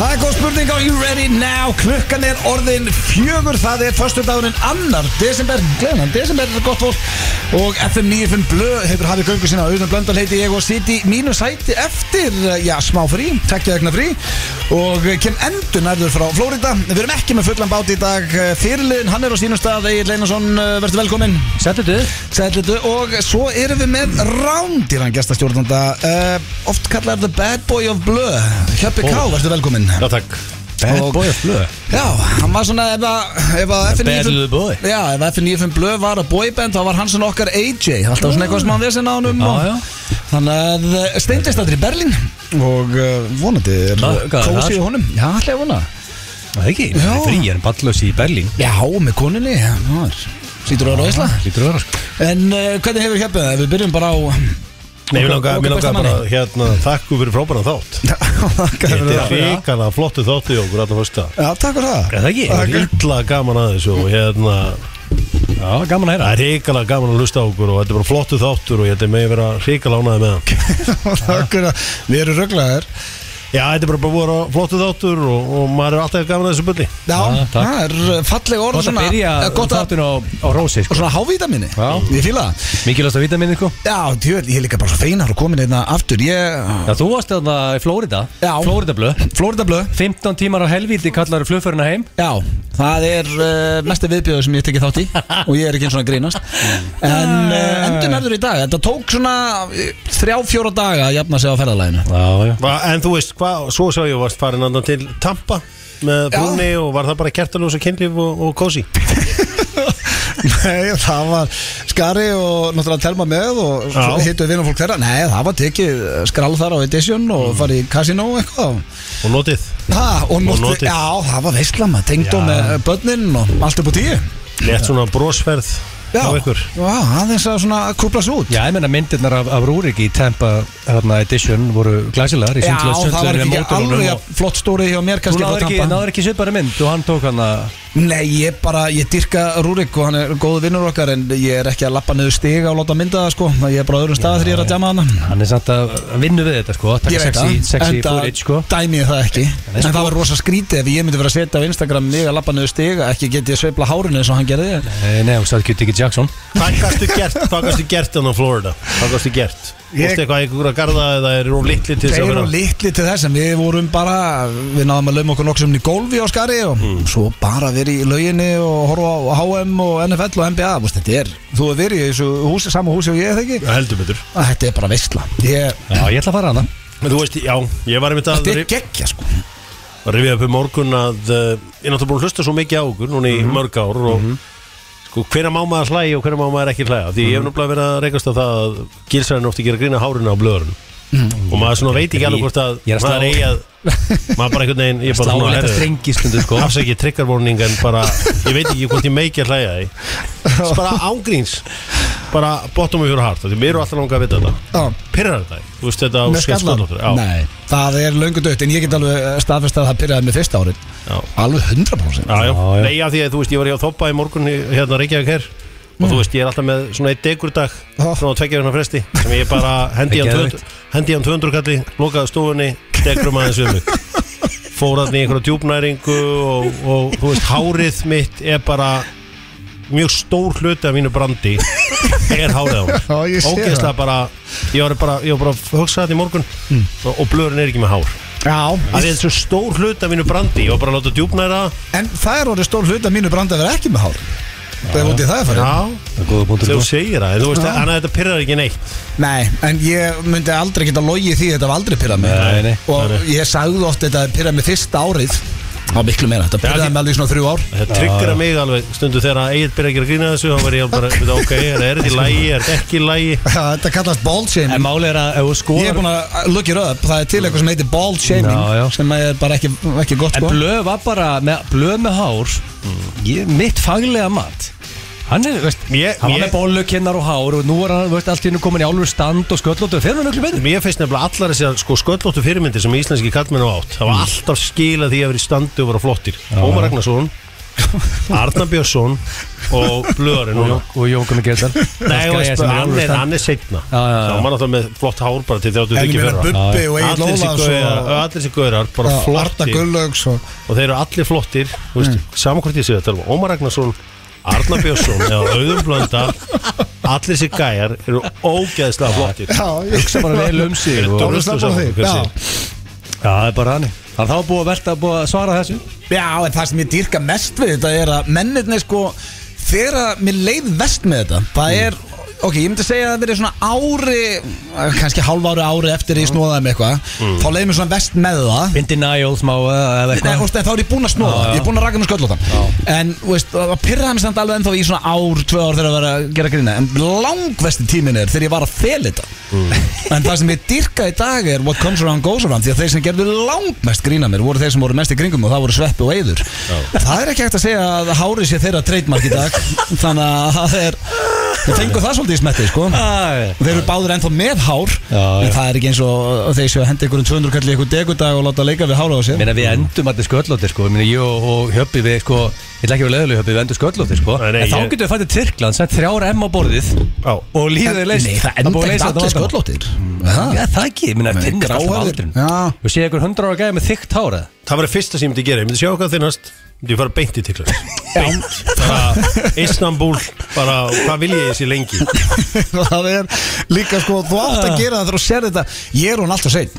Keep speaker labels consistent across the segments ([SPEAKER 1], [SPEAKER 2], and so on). [SPEAKER 1] Morning, are you ready now? Klukkan er orðin fjögur, það er förstu dagurinn annar, desember, gleðan, desember er gott fólk og FM 95 Blö hefur hafið göngu sína auðvitað blöndal heiti ég og siti mínu sæti eftir, já, smá frí, tekja egna frí og kem endur nærður frá Flórida. Við erum ekki með fullan bát í dag, fyrirliðin, hann er á sínum stað, Egil Einarsson, verður velkominn.
[SPEAKER 2] Settu duð
[SPEAKER 1] Sætlutu og svo erum við með rándýran gestastjórnanda uh, Oft kallar the bad boy of blö Hjöppi K,
[SPEAKER 2] Ó.
[SPEAKER 1] verður velkominn
[SPEAKER 2] Já takk
[SPEAKER 1] Og-
[SPEAKER 2] boy of blue
[SPEAKER 1] Já, hann var svona ef að, ef að FN95
[SPEAKER 2] bad little boy.
[SPEAKER 1] Já, ef FN95 blö var að boyband þá var hann svona okkar AJ Alltaf svona eitthvað sem hann vesinn á honum
[SPEAKER 2] Já,
[SPEAKER 1] og-
[SPEAKER 2] já.
[SPEAKER 1] Þannig að eh, steindist allir í Berlín Og uh, vonandi er
[SPEAKER 2] Hvað- hvað er
[SPEAKER 1] kósið
[SPEAKER 2] það?
[SPEAKER 1] í honum Já, allir að vona
[SPEAKER 2] Það er ekki,
[SPEAKER 1] Já.
[SPEAKER 2] það er frí, ég er ballös í Berlín
[SPEAKER 1] Já, með konunni Sýtur ára á Ísla
[SPEAKER 2] Lítur að vera sko
[SPEAKER 1] En uh, hvernig hefur hjöppið það? Við byrjum bara á
[SPEAKER 3] Nei,
[SPEAKER 1] okkar-
[SPEAKER 3] mér langaði
[SPEAKER 1] okkar
[SPEAKER 3] mér
[SPEAKER 1] besta
[SPEAKER 3] langaði
[SPEAKER 1] manni.
[SPEAKER 3] bara hérna, þakku fyrir frábæran þátt
[SPEAKER 1] Þakka
[SPEAKER 3] Þetta
[SPEAKER 1] fyrir
[SPEAKER 3] er
[SPEAKER 1] það
[SPEAKER 3] ríkala flottu þáttu í okkur alltaf fyrsta
[SPEAKER 1] Já, takk fyrir það
[SPEAKER 2] Er það ekki?
[SPEAKER 3] Það er illa gaman að þessu og hérna
[SPEAKER 2] Já, gaman að heyra
[SPEAKER 3] Það er ríkala gaman að lusta á okkur og þetta er bara flottu þáttur og ég held að megi vera ríkala ánaði með hann
[SPEAKER 1] Takk fyrir það Við erum röglaðir
[SPEAKER 3] Já, þetta er bara bara voru flottu þáttur og, og maður er alltaf gaman að þessu bulli
[SPEAKER 1] Já,
[SPEAKER 2] Já, takk.
[SPEAKER 1] það er uh, falleg orð
[SPEAKER 2] Gott að
[SPEAKER 1] svona,
[SPEAKER 2] byrja
[SPEAKER 1] eh, Gott að
[SPEAKER 2] þáttun á, á rósi
[SPEAKER 1] og
[SPEAKER 2] sko
[SPEAKER 1] svona hávítamini
[SPEAKER 2] Já.
[SPEAKER 1] Ég fíla það
[SPEAKER 2] Mikilvægast að vita minni sko
[SPEAKER 1] Já, djöðl, ég er líka bara svo feinar og komin einna aftur Ég,
[SPEAKER 2] Já, þú varst þarna í Flórida
[SPEAKER 1] Já.
[SPEAKER 2] Flórida blöð
[SPEAKER 1] Florida blöð
[SPEAKER 2] 15 tímar á helvíti kallar flugförina heim
[SPEAKER 1] Já, það er uh, mesta viðbjöðu sem ég tekið þátt í og ég er ekki eins og að grínast En uh, endur nærður í dag, þetta tók svona eh, þrjá, fjóra daga að jafna sig á ferðalæginu
[SPEAKER 2] Já, já
[SPEAKER 3] Va- En þú veist hvað, svo sá ég varst farin andan til Tampa með
[SPEAKER 1] Já.
[SPEAKER 3] brúni og var það bara kertaljós og kynlíf og, og kósi
[SPEAKER 1] Nei, það var skari og náttúrulega telma með og svo
[SPEAKER 3] Já.
[SPEAKER 1] hittu við fólk þeirra Nei, það var tekið skrall þar á Edition og farið í Casino og eitthvað
[SPEAKER 3] og notið
[SPEAKER 1] ha, Og
[SPEAKER 3] notið.
[SPEAKER 1] notið, já, það var veistlama, tengd og
[SPEAKER 3] Já.
[SPEAKER 1] með eh, börnin og allt upp á tíu
[SPEAKER 3] Létt svona brosferð
[SPEAKER 1] Já,
[SPEAKER 3] á ykkur
[SPEAKER 1] já aðeins að svona kúpla svo út
[SPEAKER 2] Já, ég menna myndirnar af, af Rúrik í Tampa hérna, Edition voru glæsilegar í
[SPEAKER 1] Já,
[SPEAKER 2] sundlega
[SPEAKER 1] það var ekki
[SPEAKER 2] sundlega með mótorunum
[SPEAKER 1] alveg
[SPEAKER 2] og-
[SPEAKER 1] jafn flott stóri hjá mér
[SPEAKER 2] Þú
[SPEAKER 1] kannski
[SPEAKER 2] náður
[SPEAKER 1] frá
[SPEAKER 2] ekki,
[SPEAKER 1] Tampa
[SPEAKER 2] náður ekki svipari mynd og hann tók hann að
[SPEAKER 1] Nei, ég bara, ég dyrka Rúrik og hann er góðu vinnur okkar en ég er ekki að lappa niður stiga og láta mynda það sko ég er bara á öðrum stað þegar ég er að djama hana
[SPEAKER 2] Hann er samt að vinna við þetta sko Takk
[SPEAKER 1] Ég veit
[SPEAKER 2] sexy,
[SPEAKER 1] það,
[SPEAKER 2] sexy
[SPEAKER 1] enda
[SPEAKER 2] footage sko
[SPEAKER 1] dæmi ég það ekki En
[SPEAKER 2] sko-
[SPEAKER 1] það var rosa skrítið ef ég myndi vera að setja á Instagram mig að lappa niður stiga ekki get ég sveifla hárinu eins og hann gerði
[SPEAKER 2] Nei, Eh, nei, hún sagði Kjötiki Jackson
[SPEAKER 3] Hvað gastu gert, hvað gastu gert hann á Florida? Hvað gastu gert? Þú
[SPEAKER 1] Ég-
[SPEAKER 3] veist eitthvað einhverja garða eða er of litli til þess
[SPEAKER 1] Þeir
[SPEAKER 3] að
[SPEAKER 1] eru
[SPEAKER 3] vera
[SPEAKER 1] litli til þess en við vorum bara við náðum að lauma okkur nokkur sem í golfi á skari og
[SPEAKER 3] Mm.
[SPEAKER 1] svo bara verið í lauginni og horfa á HM og NFL og NBA Vist, þetta er, þú hefur verið í þessu húsi, sama húsi og ég er það ekki
[SPEAKER 3] Heldur betur
[SPEAKER 1] Að Þetta er bara veistla ég,
[SPEAKER 2] Já, ég ætla að fara hana
[SPEAKER 3] En þú veist, já, ég var einmitt að
[SPEAKER 1] Þetta er
[SPEAKER 3] ri-
[SPEAKER 1] geggja sko
[SPEAKER 3] rifja upp um morgun að uh, ég er náttúrulega búin að hlusta svo mikið á okkur núna
[SPEAKER 2] Mhm.
[SPEAKER 3] í mörg ár og sko, hvenær má maður hlæja og hvenær má maður ekki hlæja því ég hef
[SPEAKER 2] Mhm.
[SPEAKER 3] náttúrulega verið að reykast á það að gilsarinn ofti gera grína hárinu á blöðurinn og maður svona veit ekki alveg hvort að
[SPEAKER 2] Mhm. Ég er að slá-
[SPEAKER 3] maður eigi að maður bara einhvern veginn ég er bara
[SPEAKER 2] Slá
[SPEAKER 3] svona
[SPEAKER 2] þetta
[SPEAKER 3] herðu,
[SPEAKER 2] strengi stundu sko
[SPEAKER 3] afsækið triggervorning en bara, ég veit ekki hvort ég meiki að hlæja því Þess bara ángríns bara bottom of your heart því mér eru alltaf langa að vita þetta
[SPEAKER 1] Já,
[SPEAKER 3] pyrrar þetta, þig? þú veist þetta á
[SPEAKER 1] með skallan
[SPEAKER 3] skellskotlóttur já,
[SPEAKER 1] Nei, það er löngu dött en ég get alveg eh, staðfest að það pyrraði mig fyrsta árið
[SPEAKER 3] já,
[SPEAKER 1] Alveg 100%
[SPEAKER 3] já,
[SPEAKER 2] Já,
[SPEAKER 3] já.
[SPEAKER 2] já.
[SPEAKER 3] nei af því að þú veist ég var hjá þoppa í morgun í- hérna Reykjavík her og þú veist ég er alltaf með svona eitt degurdag
[SPEAKER 1] Já.
[SPEAKER 3] svona tveggjafina fresti sem ég bara hendi í hann
[SPEAKER 2] Geðveikt.
[SPEAKER 3] 200 hendi í hann 200 kalli, lokaði stofunni degrum aðeins við mig fór hann í einhverja djúpnæringu og, og þú veist hárið mitt er bara mjög stór hluti af mínu brandi er hárið á mér
[SPEAKER 1] Já, ég sé
[SPEAKER 3] ógeðslega bara ég var bara, ég var bara að hugsa þetta í morgun og, og blöðurinn er ekki með hár
[SPEAKER 1] Já,
[SPEAKER 3] að þetta er svo stór hluti af mínu brandi ég var bara að láta djúpnæra
[SPEAKER 1] en það er orðið stór hlut að mínu brandi að vera ekki með hár Það er útið það er farið
[SPEAKER 3] já,
[SPEAKER 2] Það er góða punktur
[SPEAKER 3] þú
[SPEAKER 2] sko
[SPEAKER 3] segir það en þú veist, hann að þetta pyrrar ekki neitt
[SPEAKER 1] Nei, en ég myndi aldrei geta logið því að þetta var aldrei pyrrað mig
[SPEAKER 2] Nei, nei.
[SPEAKER 1] Og ég sagði oft þetta pyrrað mig fyrsta árið Það var miklu meira, þetta
[SPEAKER 3] því-
[SPEAKER 1] pyrraði mig alveg í svona þrjú ár
[SPEAKER 3] þetta tryggra mig alveg stundu þegar Egil byrja að gera grína þessu þá var ég bara, veit, ok, er þetta í lægi, er þetta ekki í lægi
[SPEAKER 1] Þetta kallast ball shame
[SPEAKER 2] En máli er að ef þú
[SPEAKER 1] Ég er
[SPEAKER 2] skoðar
[SPEAKER 1] búin að look it up, það er til eitthvað sem heitir ball shaming
[SPEAKER 2] Já, já.
[SPEAKER 1] sem er bara ekki, ekki gott
[SPEAKER 2] En
[SPEAKER 1] sko.
[SPEAKER 2] blöð var bara með, blöð með hár ég, Mitt faglega mat Hann er, veist,
[SPEAKER 3] Ég-
[SPEAKER 2] hann var
[SPEAKER 3] ég-
[SPEAKER 2] með bollukinnar og hár og nú er hann, veist, allt í hennu komin í álfur stand og sköllóttu Þeir eru miklu betur
[SPEAKER 3] Mér finnst nefnilega allar þessar sko, sköllóttu Mm. fyrirmyndir sem íslenski kallmenn á átt Það var alltaf skilað því að vera í standi og vera flottir Ómar Ragnarsson Arnar Björnsson og Blöðarinn núna
[SPEAKER 2] Og Jókum ekki þetta
[SPEAKER 3] Nei, og veist, hann, er, hann er seinna
[SPEAKER 2] Já, já, já.
[SPEAKER 3] Sá mann alltaf með flott hár bara til 30
[SPEAKER 1] En ég
[SPEAKER 3] þykir
[SPEAKER 1] meina
[SPEAKER 3] fyrra
[SPEAKER 1] Bubbi og Egil
[SPEAKER 3] Allir þessi
[SPEAKER 1] Ólafs
[SPEAKER 3] gaurar-
[SPEAKER 1] og
[SPEAKER 3] Allir þessi gaurar, bara
[SPEAKER 1] Já, Arna
[SPEAKER 3] flottir
[SPEAKER 1] Gullaugs og
[SPEAKER 3] Og þeir eru allir flottir þú veist,
[SPEAKER 1] Mm.
[SPEAKER 3] Saman hvort ég sé þetta alveg Ómar Ragnarsson, Arnar Björnsson eða Auðun Blöndal Allir þessi gæjar eru ógeðslega flottir
[SPEAKER 1] Já, ég
[SPEAKER 2] Hugsa bara vel um sig
[SPEAKER 3] Eru
[SPEAKER 2] og-
[SPEAKER 1] Dóra
[SPEAKER 3] Dóra
[SPEAKER 1] slappar á því
[SPEAKER 3] Slappar, hver
[SPEAKER 1] Já.
[SPEAKER 2] Já, það er bara hann Það er þá búið að velta að búið að svara þessu
[SPEAKER 1] Já, en það sem ég dýrka mest við þetta er að mennirni sko þegar að mér leið vest með þetta það er, ok, ég myndi segja að það verið svona ári eh, kannski hálf ári ári eftir ég snóðaði með eitthvað þá leið mér svona vest með það
[SPEAKER 2] Bindi Niles má eh, eða
[SPEAKER 1] Nei,
[SPEAKER 2] eitthvað
[SPEAKER 1] óst, þá er ég búinn að snóða,
[SPEAKER 2] Já, já.
[SPEAKER 1] ég er búinn að raka mér sköllóta En, þú veist, það pyrraði mér samt alveg ennþá í svona ár, tvö ár þegar að vera að gera grína En langvesti tíminn er þegar ég var að fela þetta
[SPEAKER 2] Mm.
[SPEAKER 1] En það sem ég dyrka í dag er what comes around goes around Því að þeir sem gerðu langmest grína mér voru þeir sem voru mest í kringum og það voru sveppi og eyður Það er ekki hægt að segja að hárið sé þeirra trademark í dag Þannig að það er, þeir fengu það svolítið í smetti, sko
[SPEAKER 2] Æ.
[SPEAKER 1] Þeir eru báðir ennþá með hár
[SPEAKER 2] Já, já.
[SPEAKER 1] En það er ekki eins og þeir séu að henda ykkur um 200 kalli ykkur degudag og láta leika við hára á sér
[SPEAKER 2] Meina við endum allir sköllóttir sko Meina ég og, og Hjöppi við sko Ég ætla ekki að vera leiðileg Hjöppi við endum sköllóttir sko
[SPEAKER 3] Nei, nei,
[SPEAKER 2] En þá
[SPEAKER 3] ég-
[SPEAKER 2] getum við fættið Tyrkland Sett þrjára M á borðið
[SPEAKER 3] Já.
[SPEAKER 2] Og lífið er leist
[SPEAKER 1] Nei, það enda ekki allir
[SPEAKER 2] sköllóttir
[SPEAKER 1] sköllóttir
[SPEAKER 2] Já, það ekki Meina
[SPEAKER 1] Nei,
[SPEAKER 2] finnir alltaf
[SPEAKER 1] gráhærðir.
[SPEAKER 2] aldrin
[SPEAKER 1] Já.
[SPEAKER 2] Þú sé einhver hundra ára gæði með þykkt hára
[SPEAKER 3] Það var það fyrsta sem ég myndi gera, ég myndi sjá hvað þinnast Ég myndi fara beint í tikla Beint, bara Istanbul Bara, hvað vil ég þessi lengi
[SPEAKER 1] Það er líka sko, þú átt að gera það þegar þú sér þetta Ég er hún alltaf sein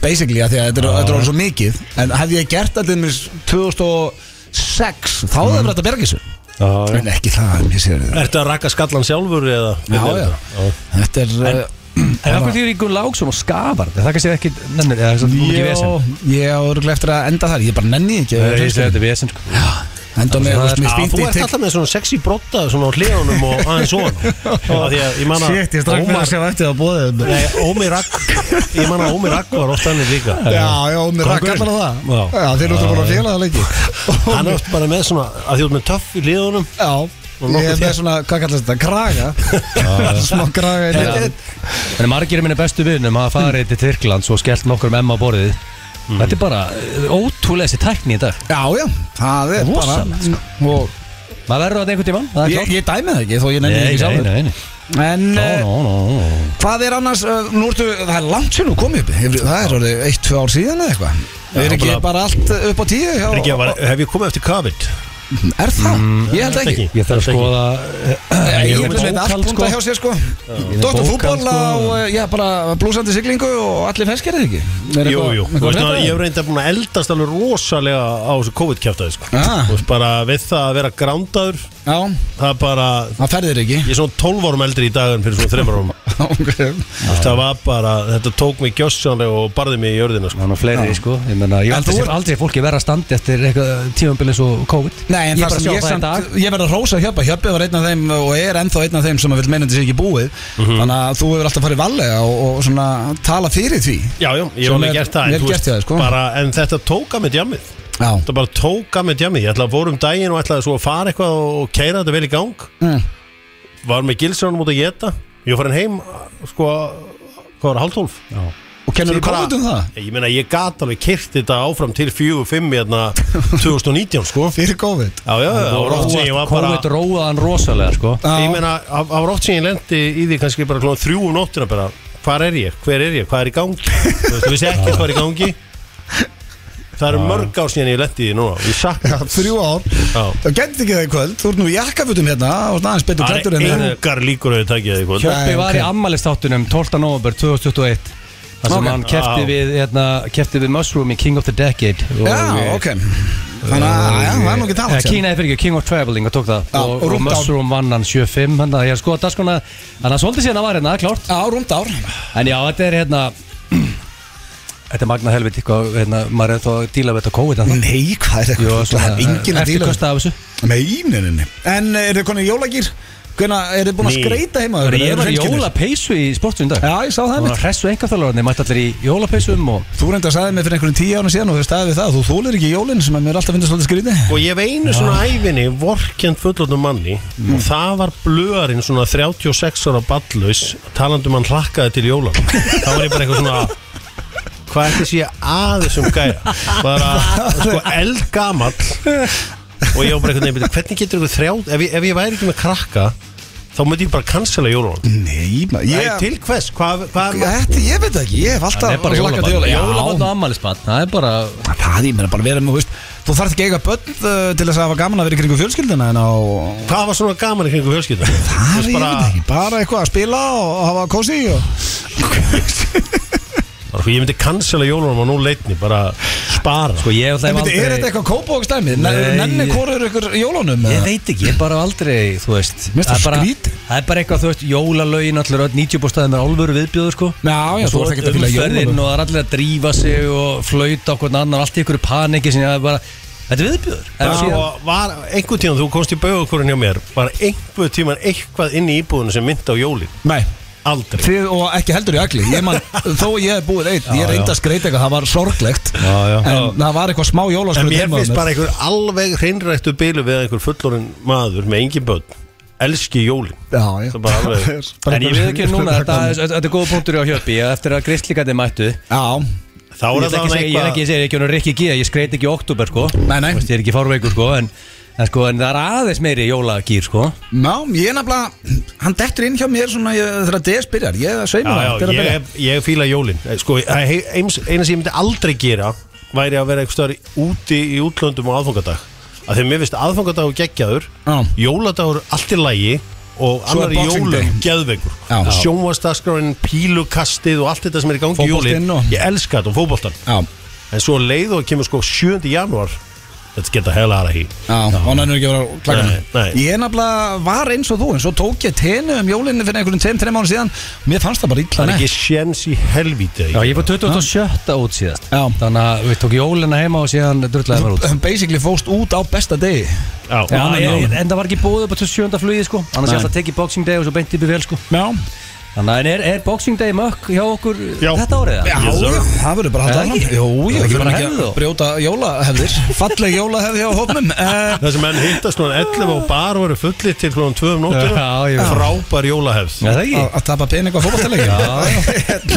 [SPEAKER 1] Basically, af því að þetta er- þetta er orðið svo mikið En hefði ég gert þetta til 2006 Þá hefði verið þetta að berga þessu
[SPEAKER 2] Já,
[SPEAKER 1] En ekki það, mér sér þetta
[SPEAKER 3] Ertu að raka skallan sjálfur eða?
[SPEAKER 1] Já, já, þetta er uh,
[SPEAKER 2] En af hverju þýr ykkur lágsum og skafar Það kannski ekki, nennir, eða þess að þú ekki vesen
[SPEAKER 1] Ég ég á örgulega eftir að enda þar Ég bara nenni því
[SPEAKER 2] Ég segi
[SPEAKER 1] ekki
[SPEAKER 2] þetta er vesen sko
[SPEAKER 1] Enda með, þú
[SPEAKER 2] Það
[SPEAKER 1] veist,
[SPEAKER 2] er-
[SPEAKER 1] mér
[SPEAKER 3] Já,
[SPEAKER 1] spýndi
[SPEAKER 3] þú
[SPEAKER 1] í
[SPEAKER 3] ert
[SPEAKER 1] tigg
[SPEAKER 3] alltaf með svona sexy brotta svona á hliðunum og aðeins svona Því að ég manna
[SPEAKER 1] Shit, ég strakk með að sjá eftir að bóða þetta
[SPEAKER 3] Nei, Ómi Rakk Ég manna Ómi Rakk var oft annir líka
[SPEAKER 1] Já, já, mér rakk
[SPEAKER 3] Kóngurinn.
[SPEAKER 1] allan á það
[SPEAKER 3] Já.
[SPEAKER 1] Já, þeir eru út að búin að fjöla það lengi
[SPEAKER 3] Hann er oft bara með svona að því út með töff í hliðunum
[SPEAKER 1] Já, ég
[SPEAKER 3] nokkuð
[SPEAKER 1] er með
[SPEAKER 3] þér.
[SPEAKER 1] svona, hvað kallast þetta, kraga Smá kraga í þetta
[SPEAKER 2] En margir minni bestu vinnum hafa farið til Tyrklands og skellt nokkur um M á borðið Þetta er bara eh, ótrúlega þessi tækni í dag
[SPEAKER 1] Já, já, það er bara Mm,
[SPEAKER 2] Rosalegt, sko.
[SPEAKER 1] og
[SPEAKER 2] Maður verður þetta einhvern tímann, það er
[SPEAKER 1] ég,
[SPEAKER 2] klárt
[SPEAKER 1] ég dæmi það ekki, þó ég nefnir
[SPEAKER 2] Nei,
[SPEAKER 1] ekki
[SPEAKER 2] nei,
[SPEAKER 1] sjálfur
[SPEAKER 2] nei, nei
[SPEAKER 1] En eh,
[SPEAKER 2] Nó, nó, nó, nó
[SPEAKER 1] hvað er annars, eh, nú ertu, það er langt sér nú komið upp Hefur- Það er orðið eitt, tvö ár síðan eða eitthvað Er ekki
[SPEAKER 3] bara-
[SPEAKER 1] bara allt eh, upp á tíu? hjá-
[SPEAKER 3] Ríkja, var, hef ég komið eftir COVID?
[SPEAKER 1] Er það? Ég Mm, held ekki
[SPEAKER 2] Ég þarf að
[SPEAKER 3] Þetta
[SPEAKER 2] skoða eh,
[SPEAKER 1] Ég
[SPEAKER 2] Ég er
[SPEAKER 1] er
[SPEAKER 2] með
[SPEAKER 1] með allt
[SPEAKER 2] bókhald,
[SPEAKER 1] punta
[SPEAKER 2] sko.
[SPEAKER 1] hjá sér sko
[SPEAKER 2] Ég er með
[SPEAKER 1] Dóttur
[SPEAKER 2] bókhald,
[SPEAKER 1] fútból
[SPEAKER 2] sko.
[SPEAKER 1] á, eh, já, bara blúsandi siglingu og allir feskerið ekki Er
[SPEAKER 3] Jú,
[SPEAKER 1] eitthvað-
[SPEAKER 3] jú,
[SPEAKER 1] eitthvað
[SPEAKER 3] þú veist
[SPEAKER 1] að
[SPEAKER 3] að
[SPEAKER 1] frétta?
[SPEAKER 3] ég hef reynda búin að eldast alveg rosalega á þessu COVID-kjaftaði sko.
[SPEAKER 1] Ah.
[SPEAKER 3] Þú veist bara við það að vera grándaður
[SPEAKER 1] Já,
[SPEAKER 3] það er bara,
[SPEAKER 1] það ferðir ekki
[SPEAKER 3] ég er svona 12 árum eldri í dagan fyrir svona 3 árum
[SPEAKER 1] Ok.
[SPEAKER 3] Þú veist, það var bara, þetta tók mig gjössanlega og barði mig í jörðina sko.
[SPEAKER 2] Þannig fleiri, sko Ég menna, ég
[SPEAKER 1] En
[SPEAKER 2] aldrei
[SPEAKER 1] þú
[SPEAKER 2] sé
[SPEAKER 1] ert-
[SPEAKER 2] aldrei fólki vera að standa eftir eitthvað tífambil eins og COVID
[SPEAKER 1] Nei, en
[SPEAKER 2] Ég
[SPEAKER 1] það
[SPEAKER 2] bara
[SPEAKER 1] sem
[SPEAKER 2] sjá
[SPEAKER 1] ég
[SPEAKER 2] það í
[SPEAKER 1] samt,
[SPEAKER 2] dag.
[SPEAKER 1] ég verð að rósa Hjöppa Hjöppi var einn af þeim og er ennþá einn af þeim sem að vil meina þetta sé ekki búið Þannig að þú hefur alltaf farið varlega og, og svona tala fyrir því
[SPEAKER 3] Já, já, ég hef
[SPEAKER 1] Svo
[SPEAKER 3] alveg
[SPEAKER 1] vel-
[SPEAKER 3] gert það en
[SPEAKER 1] vel
[SPEAKER 3] þú
[SPEAKER 1] gert hjá þér, sko.
[SPEAKER 3] bara, En þetta tók að með djamið
[SPEAKER 1] Já,
[SPEAKER 3] Þetta bara tók að með djamið Ég ætlaði að fórum daginn og ætlaði svo að fara eitthvað og keira þetta vel í gang
[SPEAKER 1] Mm.
[SPEAKER 3] Var með gilsjónum út að geta Ég var farin heim, sko, hvað var, hálftólf?
[SPEAKER 1] og kennur þú
[SPEAKER 3] Ég bara-
[SPEAKER 1] komið um það?
[SPEAKER 3] Ég meina, ég gat alveg kyrt þetta áfram til 4-5 hérna 2019, sko
[SPEAKER 1] Fyrir COVID
[SPEAKER 3] Já, já, já, það var oft sem ég var bara
[SPEAKER 2] COVID róðan rosalega, sko
[SPEAKER 3] Ég meina, það var oft sem ég lendi í því kannski bara klóðan þrjú um nóttina bara Hvar er ég? Hver er ég? Hvað er í gangi? Þú veist, þú veist ekki hvað er í gangi Það eru mörg ár síðan ég lendi í því núna Ég sakna
[SPEAKER 1] Já, þrjú ár
[SPEAKER 3] Já.
[SPEAKER 1] Það gæti ekki það í kvöld, þú ert nú í jakkafutum hérna og aðeins betur
[SPEAKER 3] Það
[SPEAKER 1] klættur
[SPEAKER 3] eru
[SPEAKER 1] en það
[SPEAKER 3] engar líkur að ég takja því kvöld
[SPEAKER 2] Hjöppi
[SPEAKER 1] Nei,
[SPEAKER 2] var
[SPEAKER 1] ok.
[SPEAKER 2] í ammælistáttunum 12. november 2021 þar sem
[SPEAKER 1] Ok.
[SPEAKER 2] hann kefti
[SPEAKER 3] Já.
[SPEAKER 2] við, hérna, kefti við Mushroom í King of the Decade og,
[SPEAKER 1] Já, ok Þannig að, já, það er nú ekki
[SPEAKER 2] Eh,
[SPEAKER 1] talað
[SPEAKER 2] Kína er fyrir ekki, King of Traveling og tók það
[SPEAKER 1] Já,
[SPEAKER 2] og,
[SPEAKER 1] og
[SPEAKER 2] og,
[SPEAKER 1] rúmt ár.
[SPEAKER 2] Mushroom vann hann 75 þannig að ég er sko að daskona þannig að svolítið síðan að var hérna, klárt
[SPEAKER 1] Já, rúmt ár
[SPEAKER 2] en já, þetta er hérna þetta er magna helviti hvað, hérna, maður er þá að díla við þetta COVID en það
[SPEAKER 1] Nei, hvað er
[SPEAKER 2] Jú,
[SPEAKER 1] eitthvað? Það er enginn að díla
[SPEAKER 2] eftirkosta af þessu
[SPEAKER 1] Nei, nei, nei, nei En eh, eru þið konið jólagýr? Hvernig, eru þið búin að
[SPEAKER 3] Nei.
[SPEAKER 1] skreita heima?
[SPEAKER 2] Þannig að
[SPEAKER 1] Eru
[SPEAKER 2] ég var í
[SPEAKER 1] hreinskilnir?
[SPEAKER 2] jólapeysu í sportun dag
[SPEAKER 1] Já, ég sá það
[SPEAKER 2] það var
[SPEAKER 1] mitt
[SPEAKER 2] að hressu engarþálararni mætti allir í jólapeysum og
[SPEAKER 1] Þú reyndi að sagði mig fyrir einhverjum tíu árið síðan og þú staðið við það Þú þólir ekki jólinn sem að mér alltaf finnst svolítið skrýti
[SPEAKER 3] Og ég hef einu svona æfinni vorkend fullotnum manni
[SPEAKER 1] Mm.
[SPEAKER 3] og það var blöðarinn svona 36 ára ballaus talandum hann hlakkaði til jólan þá var ég bara eitthvað svona hvað ætti sé aðeins um gæja bara sko eldgamall og ég var bara einhvern veginn, "Bíddu, hvernig getur ykkur þrjá ef ég, ef ég væri ekki með krakka þá myndi ég bara cancela jólun
[SPEAKER 1] Nei, maður
[SPEAKER 3] yeah.
[SPEAKER 1] ég,
[SPEAKER 3] til hvers, hvað, hvað er
[SPEAKER 1] Þetta, ég veit það ekki, ég hef
[SPEAKER 2] Það er
[SPEAKER 1] alltaf
[SPEAKER 2] bara
[SPEAKER 1] hlakkað til
[SPEAKER 2] jólabann
[SPEAKER 1] jóla-
[SPEAKER 2] Jólabann
[SPEAKER 1] Já,
[SPEAKER 2] og ammælisbann Það er bara
[SPEAKER 1] það ég meina bara vera með, þú veist Þú þarf ekki að eiga börn uh, til þess að hafa gaman að vera í kringu fjölskyldina En á,
[SPEAKER 3] hvað var svona gaman í kringu fjölskylda
[SPEAKER 1] það er ég veit það ekki, bara eitthvað að spila og hafa kósi og
[SPEAKER 3] Bara, sko, ég myndi cancela jólunum á nú leitni bara spara
[SPEAKER 2] Sko ég og
[SPEAKER 1] En
[SPEAKER 2] þeim
[SPEAKER 1] veitu, er þetta
[SPEAKER 2] aldrei
[SPEAKER 1] eitthvað kópókstæmi?
[SPEAKER 2] Nei,
[SPEAKER 1] Nenni
[SPEAKER 2] ég-
[SPEAKER 1] hvorur ykkur jólunum?
[SPEAKER 2] Ég
[SPEAKER 1] eða?
[SPEAKER 2] veit ekki, ég bara hef aldrei, þú veist
[SPEAKER 1] Mér finnst það
[SPEAKER 2] er bara-
[SPEAKER 1] skrítið.
[SPEAKER 2] Það er bara eitthvað, þú veist, jólalögin allir öll 90 bústæðum er alvöru viðbjóður sko
[SPEAKER 1] Já, já,
[SPEAKER 2] Og
[SPEAKER 1] þú
[SPEAKER 2] svo
[SPEAKER 1] ert ekkert að fylgja
[SPEAKER 2] umferðin
[SPEAKER 1] jólunum.
[SPEAKER 2] og það er allir að drífa sig og flauta okkur annar Allt í ykkur paniki sem ég er bara Þetta er viðbjóður Það er síðan.
[SPEAKER 3] og sko, var einhvern tíðan þú komst í baugakorinn hjá mér var einhvern tíman eitthvað inn í íbúðinu sem myndi á jólin
[SPEAKER 1] Nei
[SPEAKER 3] aldrei
[SPEAKER 1] Þið og ekki heldur í agli Ég man, Þó að ég hef búið einn Ég
[SPEAKER 2] Já,
[SPEAKER 1] reyndi
[SPEAKER 2] já.
[SPEAKER 1] að skreita eitthvað Það var sorglegt
[SPEAKER 2] Já, já.
[SPEAKER 1] En það var eitthvað smá
[SPEAKER 3] en
[SPEAKER 1] jólaskröð
[SPEAKER 3] mér finnst bara einhver alveg hreinrættu bílu við að einhver fullorinn maður með engin börn elski jólin
[SPEAKER 1] Já, já
[SPEAKER 3] Það er bara alveg-
[SPEAKER 2] En ég veit ekki núna, þetta þetta- þetta er góð punktur á hjöpi Eftir að gristlíkandi mættu
[SPEAKER 1] Já,
[SPEAKER 3] þá
[SPEAKER 2] Ég ætla
[SPEAKER 3] er það
[SPEAKER 2] ekki að
[SPEAKER 3] hann
[SPEAKER 2] segja, ég er ekki
[SPEAKER 3] eitthvað
[SPEAKER 2] að segja, ég er ekki að Rikki G, ég skreit ekki í oktober sko
[SPEAKER 1] Nei, nei.
[SPEAKER 2] Þú veist, Ég er ekki fárveikur sko en, en sko, en það er aðeins meiri jólagýr sko
[SPEAKER 1] Ná, ég er nefnilega Hann dettur inn hjá mér svona ég, Þegar að DS byrjar Ég sveimur
[SPEAKER 3] já,
[SPEAKER 1] það
[SPEAKER 3] já,
[SPEAKER 1] þegar að byrja.
[SPEAKER 3] ég, ég fíla jólin Eh, sko, það er eins, eina sem ég myndi aldrei gera væri að vera eitthvað úti í útlöndum á aðfangadag af því að mér finnst aðfangadagur geggjaður
[SPEAKER 1] Já.
[SPEAKER 3] jóladagur allt í lægi og
[SPEAKER 1] Svo er
[SPEAKER 3] annar í
[SPEAKER 1] Boxing Day.
[SPEAKER 3] jólum geðveikur
[SPEAKER 1] Já.
[SPEAKER 3] sjónvastaskráin, pílukastið og allt þetta sem er í gangi í
[SPEAKER 1] Fótboltinn
[SPEAKER 3] jólin
[SPEAKER 1] og-
[SPEAKER 3] ég elska þetta og fótboltan
[SPEAKER 1] Já,
[SPEAKER 3] en svo leið og kemur sko 7. janúar þetta geta hella aðra hí
[SPEAKER 1] já, hann er nú ekki að vera klakkan
[SPEAKER 3] Nei, nei.
[SPEAKER 1] Ég er nefnilega var eins og þú En svo tók ég tenu um jólinni fyrir einhverjum tveim, þreim mánu síðan Mér fannst það bara illa
[SPEAKER 3] það er
[SPEAKER 1] nett.
[SPEAKER 3] ekki sjens í helvíti
[SPEAKER 2] Já, ég var 27. út síðast
[SPEAKER 1] Já.
[SPEAKER 2] Þannig að við tók jólina heima og síðan drullaði mér út
[SPEAKER 1] Þú Um, basically fóst út á besta degi
[SPEAKER 3] Já.
[SPEAKER 2] Já,
[SPEAKER 1] annan
[SPEAKER 2] ég,
[SPEAKER 1] jólin.
[SPEAKER 2] en það var ekki búið upp á 27. flugið sko Annars
[SPEAKER 1] Nei.
[SPEAKER 2] ég ætla að tekið Boxing Day og svo beint upp í vel sko
[SPEAKER 1] Já,
[SPEAKER 2] Þannig að en er, er Boxing Day mökk hjá okkur
[SPEAKER 3] Já.
[SPEAKER 2] þetta árið?
[SPEAKER 1] Já,
[SPEAKER 2] eða?
[SPEAKER 3] Yes, sir.
[SPEAKER 1] já, það verður bara að halda
[SPEAKER 2] Er það
[SPEAKER 1] áfram
[SPEAKER 2] ekki?
[SPEAKER 1] Jú,
[SPEAKER 2] Er
[SPEAKER 1] já,
[SPEAKER 2] það
[SPEAKER 1] ég
[SPEAKER 2] ekki
[SPEAKER 1] verður
[SPEAKER 2] bara
[SPEAKER 1] ekki
[SPEAKER 2] hefð
[SPEAKER 1] að
[SPEAKER 2] og-
[SPEAKER 1] brjóta jólahefðir Falleg jólahefð hjá hópnum uh,
[SPEAKER 3] Það sem menn hittast núna 11 og bar voru fullir til klónum 2 um nóttina
[SPEAKER 2] Já, ég veit.
[SPEAKER 3] Frábær jólahefs
[SPEAKER 2] Já, það
[SPEAKER 1] Að
[SPEAKER 2] ekki?
[SPEAKER 1] að tapa pening á fótballtelegjum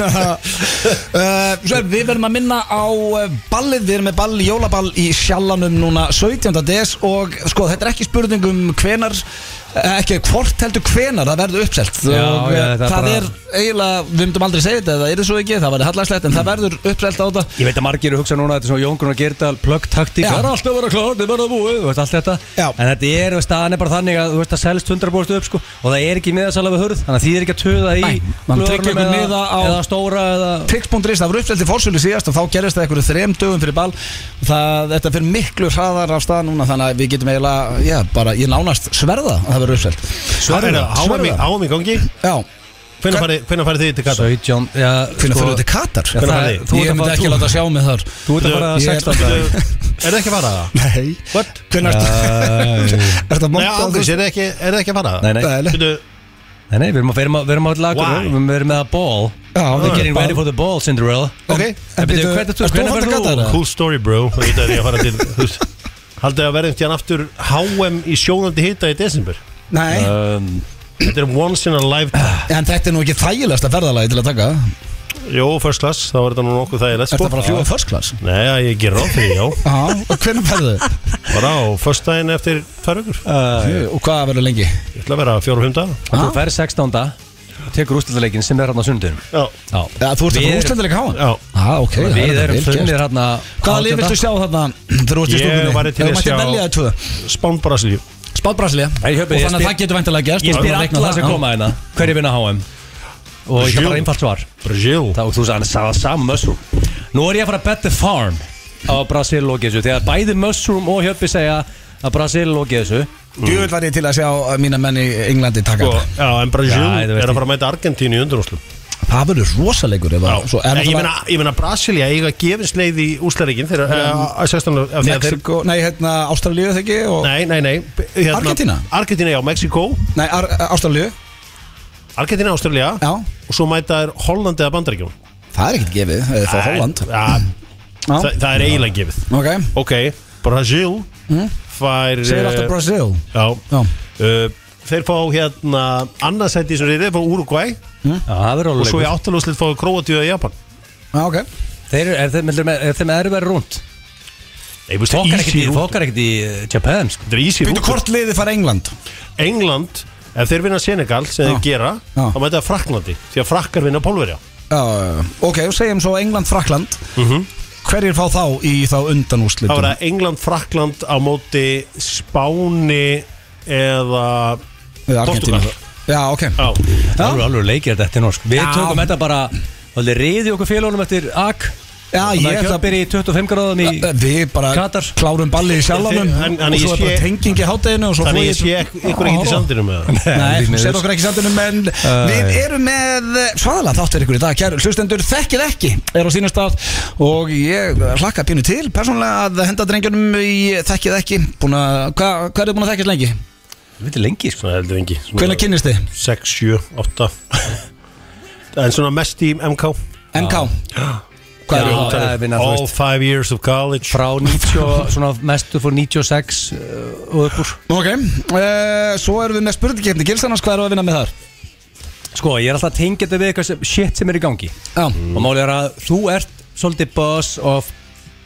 [SPEAKER 1] Svo er, eh, við verðum að minna á eh, ballið Við erum með ball, jólaball í sjallanum núna 17. des Og sko, þetta er ekki spurning um hvenar eh, Ekki hvort heldur hvenar það verður uppselt
[SPEAKER 2] Já,
[SPEAKER 1] Og eh,
[SPEAKER 2] já, það er
[SPEAKER 1] það
[SPEAKER 2] bara-
[SPEAKER 1] er eiginlega, við myndum aldrei segja þetta Það er svo ekki, það verður hallarslegt En það verður uppselt á þetta
[SPEAKER 2] Ég veit að margir eru að hugsa núna að þetta er svona Jón Gunnar Gerdal plöggtaktík sko.
[SPEAKER 1] Já.
[SPEAKER 2] Það er alltaf að vera klart, það er bara búið, þú veist allt þetta
[SPEAKER 1] Já.
[SPEAKER 2] En þetta er, þú veist, staðan er bara þannig að þú veist að selst 100% upp sko Og það er ekki miðasala við hurð, þannig að því er ekki að töða í
[SPEAKER 1] Nei, mann
[SPEAKER 2] blöðunum
[SPEAKER 1] tryggir ykkur miða
[SPEAKER 2] eða,
[SPEAKER 1] á-
[SPEAKER 2] eða stóra eða
[SPEAKER 1] Tix.is, það voru uppselti fórsölu síðast og þá gerist það einhverju þrem dögum fyrir ball það, þetta fyrir miklu hraðar af stað núna þannig að við getum eiginlega, já, bara ég nánast sverða að það verður uppselt
[SPEAKER 3] Sverða, háum í, háum í gangi
[SPEAKER 1] Já,
[SPEAKER 3] Hvenær farið- hvenær farið þið til Katar?
[SPEAKER 2] 17 já,
[SPEAKER 1] hvernig
[SPEAKER 2] sko,
[SPEAKER 1] fyrir þetta katar?
[SPEAKER 2] Já, það
[SPEAKER 3] farið
[SPEAKER 2] er-
[SPEAKER 3] þið?
[SPEAKER 2] Þú
[SPEAKER 1] Ég
[SPEAKER 2] ert að
[SPEAKER 1] myndi
[SPEAKER 2] fara
[SPEAKER 1] ekki
[SPEAKER 2] tú-
[SPEAKER 1] láta sjá mig þar
[SPEAKER 2] þú ert að fara
[SPEAKER 1] Ég er-
[SPEAKER 2] 16
[SPEAKER 3] Bíddu, Er þið ekki að fara það?
[SPEAKER 1] Nei,
[SPEAKER 3] What?
[SPEAKER 1] hvernig ertu? Ertu að
[SPEAKER 3] Nei,
[SPEAKER 1] monta á
[SPEAKER 3] Andris,
[SPEAKER 1] þessu?
[SPEAKER 3] er þið ekki, er þið ekki að fara það?
[SPEAKER 2] Nei, nei,
[SPEAKER 1] Nei, nei.
[SPEAKER 3] Bíddu,
[SPEAKER 2] nei, nei, við erum að- við erum að- við erum að lagur
[SPEAKER 3] Why?
[SPEAKER 2] Við erum með að ball
[SPEAKER 1] Já,
[SPEAKER 2] We're getting
[SPEAKER 1] bara-
[SPEAKER 2] ready for the ball, Cinderella
[SPEAKER 1] Ah.
[SPEAKER 3] Ok,
[SPEAKER 1] En
[SPEAKER 2] Bíddu,
[SPEAKER 1] býttu,
[SPEAKER 2] hvernig
[SPEAKER 1] ertu
[SPEAKER 2] þú-
[SPEAKER 1] að
[SPEAKER 2] hvenær
[SPEAKER 1] fara
[SPEAKER 2] ferð
[SPEAKER 1] til
[SPEAKER 2] þú?
[SPEAKER 1] Katar? eða?
[SPEAKER 3] cool story bro Þetta er ég að fara til þú veist, Haldið þið að verðum tíðan aftur HM í sjónandi hita í desember
[SPEAKER 1] Nei,
[SPEAKER 2] um,
[SPEAKER 3] Þetta er once in a lifetime
[SPEAKER 1] en þetta er nú ekki þægilegasta ferðalagi til að taka
[SPEAKER 3] Jó, first class, þá er þetta nú nokkuð þægilegt
[SPEAKER 1] Ertu
[SPEAKER 3] sko.
[SPEAKER 1] að fara að fljúa first class?
[SPEAKER 3] Nei, já, ég ger ráð fyrir, já
[SPEAKER 1] Já, og hvernig ferðu?
[SPEAKER 3] Bara á first daginn eftir tvær ökur
[SPEAKER 2] uh,
[SPEAKER 1] Og hvað verður lengi?
[SPEAKER 3] Ég ætla að vera fjóra og fimm daga
[SPEAKER 2] Þú fer 16 Tekur úrstöldaleikin sem er hann á sundunum
[SPEAKER 3] Já,
[SPEAKER 2] Já,
[SPEAKER 1] Já, þú ert að fara
[SPEAKER 2] Við-
[SPEAKER 1] úrstændilega háan?
[SPEAKER 3] já
[SPEAKER 1] Já, ok, það
[SPEAKER 2] Við
[SPEAKER 1] þetta
[SPEAKER 2] erum
[SPEAKER 1] vel gert.
[SPEAKER 2] þunnið hérna
[SPEAKER 1] Hvaða lið viltu sjá þarna þegar þú ert í
[SPEAKER 3] Ég
[SPEAKER 1] stúkunni?
[SPEAKER 3] væri
[SPEAKER 1] Ef
[SPEAKER 3] til að
[SPEAKER 1] Þú mætti
[SPEAKER 3] sjá-
[SPEAKER 1] velja tvö
[SPEAKER 3] Spán Brasilíu
[SPEAKER 1] Spáð Brasilia Og
[SPEAKER 2] Nei, ég höfði- ég
[SPEAKER 1] þannig að
[SPEAKER 2] spyr-
[SPEAKER 1] það getur væntalega gerst
[SPEAKER 2] Ég
[SPEAKER 1] og
[SPEAKER 2] spyr
[SPEAKER 1] við
[SPEAKER 2] alla
[SPEAKER 1] reiknum
[SPEAKER 2] sem
[SPEAKER 1] já.
[SPEAKER 2] koma hérna Hverju vinna HM? Og ég
[SPEAKER 3] Brasil.
[SPEAKER 2] hef bara einfalt svar
[SPEAKER 3] Brasil
[SPEAKER 2] Það og þú sagði það saman mushroom Nú er ég að fara að betta farm á Brasil og Gessu Þegar bæði mushroom og hjöppi segja að Brasil og Gessu
[SPEAKER 1] Djúvel var ég til að sjá uh, mína menn í Englandi taka
[SPEAKER 3] Sko,
[SPEAKER 1] þetta
[SPEAKER 3] já, en Brasil
[SPEAKER 2] Já, þú veist ég.
[SPEAKER 3] er að fara að mæta Argentínu í undurúslum
[SPEAKER 1] Það verður rosalegur ef að svo er
[SPEAKER 3] Ég
[SPEAKER 1] náttúrulega-
[SPEAKER 3] meina, ég meina Brasilia eiga gefinsleið í úslaríkin þegar eh, að 16 af því að þeir
[SPEAKER 1] Mexiko, nei hérna Ástralíu þegar ekki og,
[SPEAKER 3] Nei, nei, nei b- hérna,
[SPEAKER 1] Argentína?
[SPEAKER 3] Argentína, já, Mexiko
[SPEAKER 1] Nei, Ar- Ástralíu,
[SPEAKER 3] Argentína, Ástralja
[SPEAKER 1] já
[SPEAKER 3] Og svo mæta þær Hollandi eða Bandaríkjum
[SPEAKER 1] Það er ekkert gefið, það er frá Holland
[SPEAKER 3] ja,
[SPEAKER 1] Já,
[SPEAKER 3] það, það er eiginlega gefið
[SPEAKER 1] ok
[SPEAKER 3] Ok, Brasil fær
[SPEAKER 1] Mhm. Segir
[SPEAKER 3] eh,
[SPEAKER 1] alltaf Brasil
[SPEAKER 3] Já
[SPEAKER 1] Já,
[SPEAKER 3] uh, Þeir fá hérna annarsætti í þessum reyðið Fá Uruguay
[SPEAKER 2] Já, það verður
[SPEAKER 3] Og svo í
[SPEAKER 2] alveg
[SPEAKER 3] áttalúslið fá Kroatíu eða Japan
[SPEAKER 1] já ok
[SPEAKER 2] Þeir eru, er þeim, er þeim, er þeim erfæri rúnd?
[SPEAKER 3] Nei, veistu,
[SPEAKER 2] Fokkar ekkert í,
[SPEAKER 3] easy route.
[SPEAKER 2] fokkar ekkert í eh, Japan sko.
[SPEAKER 3] Þetta er easy
[SPEAKER 1] Býtu
[SPEAKER 3] rútur
[SPEAKER 1] hvort liðið fara England
[SPEAKER 3] England, ef þeir vinna Senegal sem
[SPEAKER 1] Já.
[SPEAKER 3] þeir gera,
[SPEAKER 1] Já.
[SPEAKER 3] þá mæta það Fraklandi því að frakkar vinna Pólverja
[SPEAKER 1] Já, já, já. Ok, og segjum svo England-Frakland Hverjir fá þá í þá
[SPEAKER 3] Mhm. þá
[SPEAKER 1] undanúslitum?
[SPEAKER 3] er það England, Frakland á móti Spáni eða
[SPEAKER 1] Eða Argentínu.
[SPEAKER 3] Portugal.
[SPEAKER 1] Já, ok
[SPEAKER 3] á,
[SPEAKER 1] Já.
[SPEAKER 2] Alveg, alveg leikir þetta í norsk Við
[SPEAKER 1] Já.
[SPEAKER 2] tökum þetta bara Alveg reyði okkur félónum eftir AK
[SPEAKER 1] Já,
[SPEAKER 2] Það
[SPEAKER 1] ég
[SPEAKER 2] er
[SPEAKER 1] ætla-
[SPEAKER 2] kjöpir í 25 gráðum í
[SPEAKER 1] Við bara
[SPEAKER 2] Katar.
[SPEAKER 1] klárum balli í sjallanum
[SPEAKER 3] En- en
[SPEAKER 1] og svo
[SPEAKER 3] ég
[SPEAKER 1] er bara
[SPEAKER 3] sé-
[SPEAKER 1] tenging í hátæðinu og svo
[SPEAKER 3] þannig
[SPEAKER 1] flogið
[SPEAKER 3] ég sé
[SPEAKER 1] til-
[SPEAKER 3] ek- ykkur ekkert í
[SPEAKER 1] Já,
[SPEAKER 3] sandinum með það
[SPEAKER 1] Nei,
[SPEAKER 2] því
[SPEAKER 1] þú
[SPEAKER 2] miður.
[SPEAKER 1] sér okkur ekki sandunum en við erum með svaðalega þáttur ykkur í dag Kæru hlustendur, þekkið ekki er á sínum stað og ég hlakka pínu til persónulega að henda drengjunum í þekkið ekki Búna, hva, Hvað er þið búin að þekkjast lengi?
[SPEAKER 2] Við erum lengi sko
[SPEAKER 3] svona heldur engi
[SPEAKER 1] Hvenær kynnist þið?
[SPEAKER 3] 6, 7, 8 en svona mest í MK
[SPEAKER 1] MK Hvað
[SPEAKER 2] Já,
[SPEAKER 1] er
[SPEAKER 2] það er vinna, þú
[SPEAKER 3] all
[SPEAKER 2] veist.
[SPEAKER 3] 5 years of college
[SPEAKER 2] Frá 90, svona mestu fór 96 uh, og upp úr
[SPEAKER 1] Ok, uh, svo erum við með spurningkefni Gilsanars, hvað erum við að vinna með þar?
[SPEAKER 2] Sko, ég er alltaf tengjandi við eitthvað sem, shit sem er í gangi
[SPEAKER 1] Já,
[SPEAKER 2] Og málið er að þú ert svolítið boss of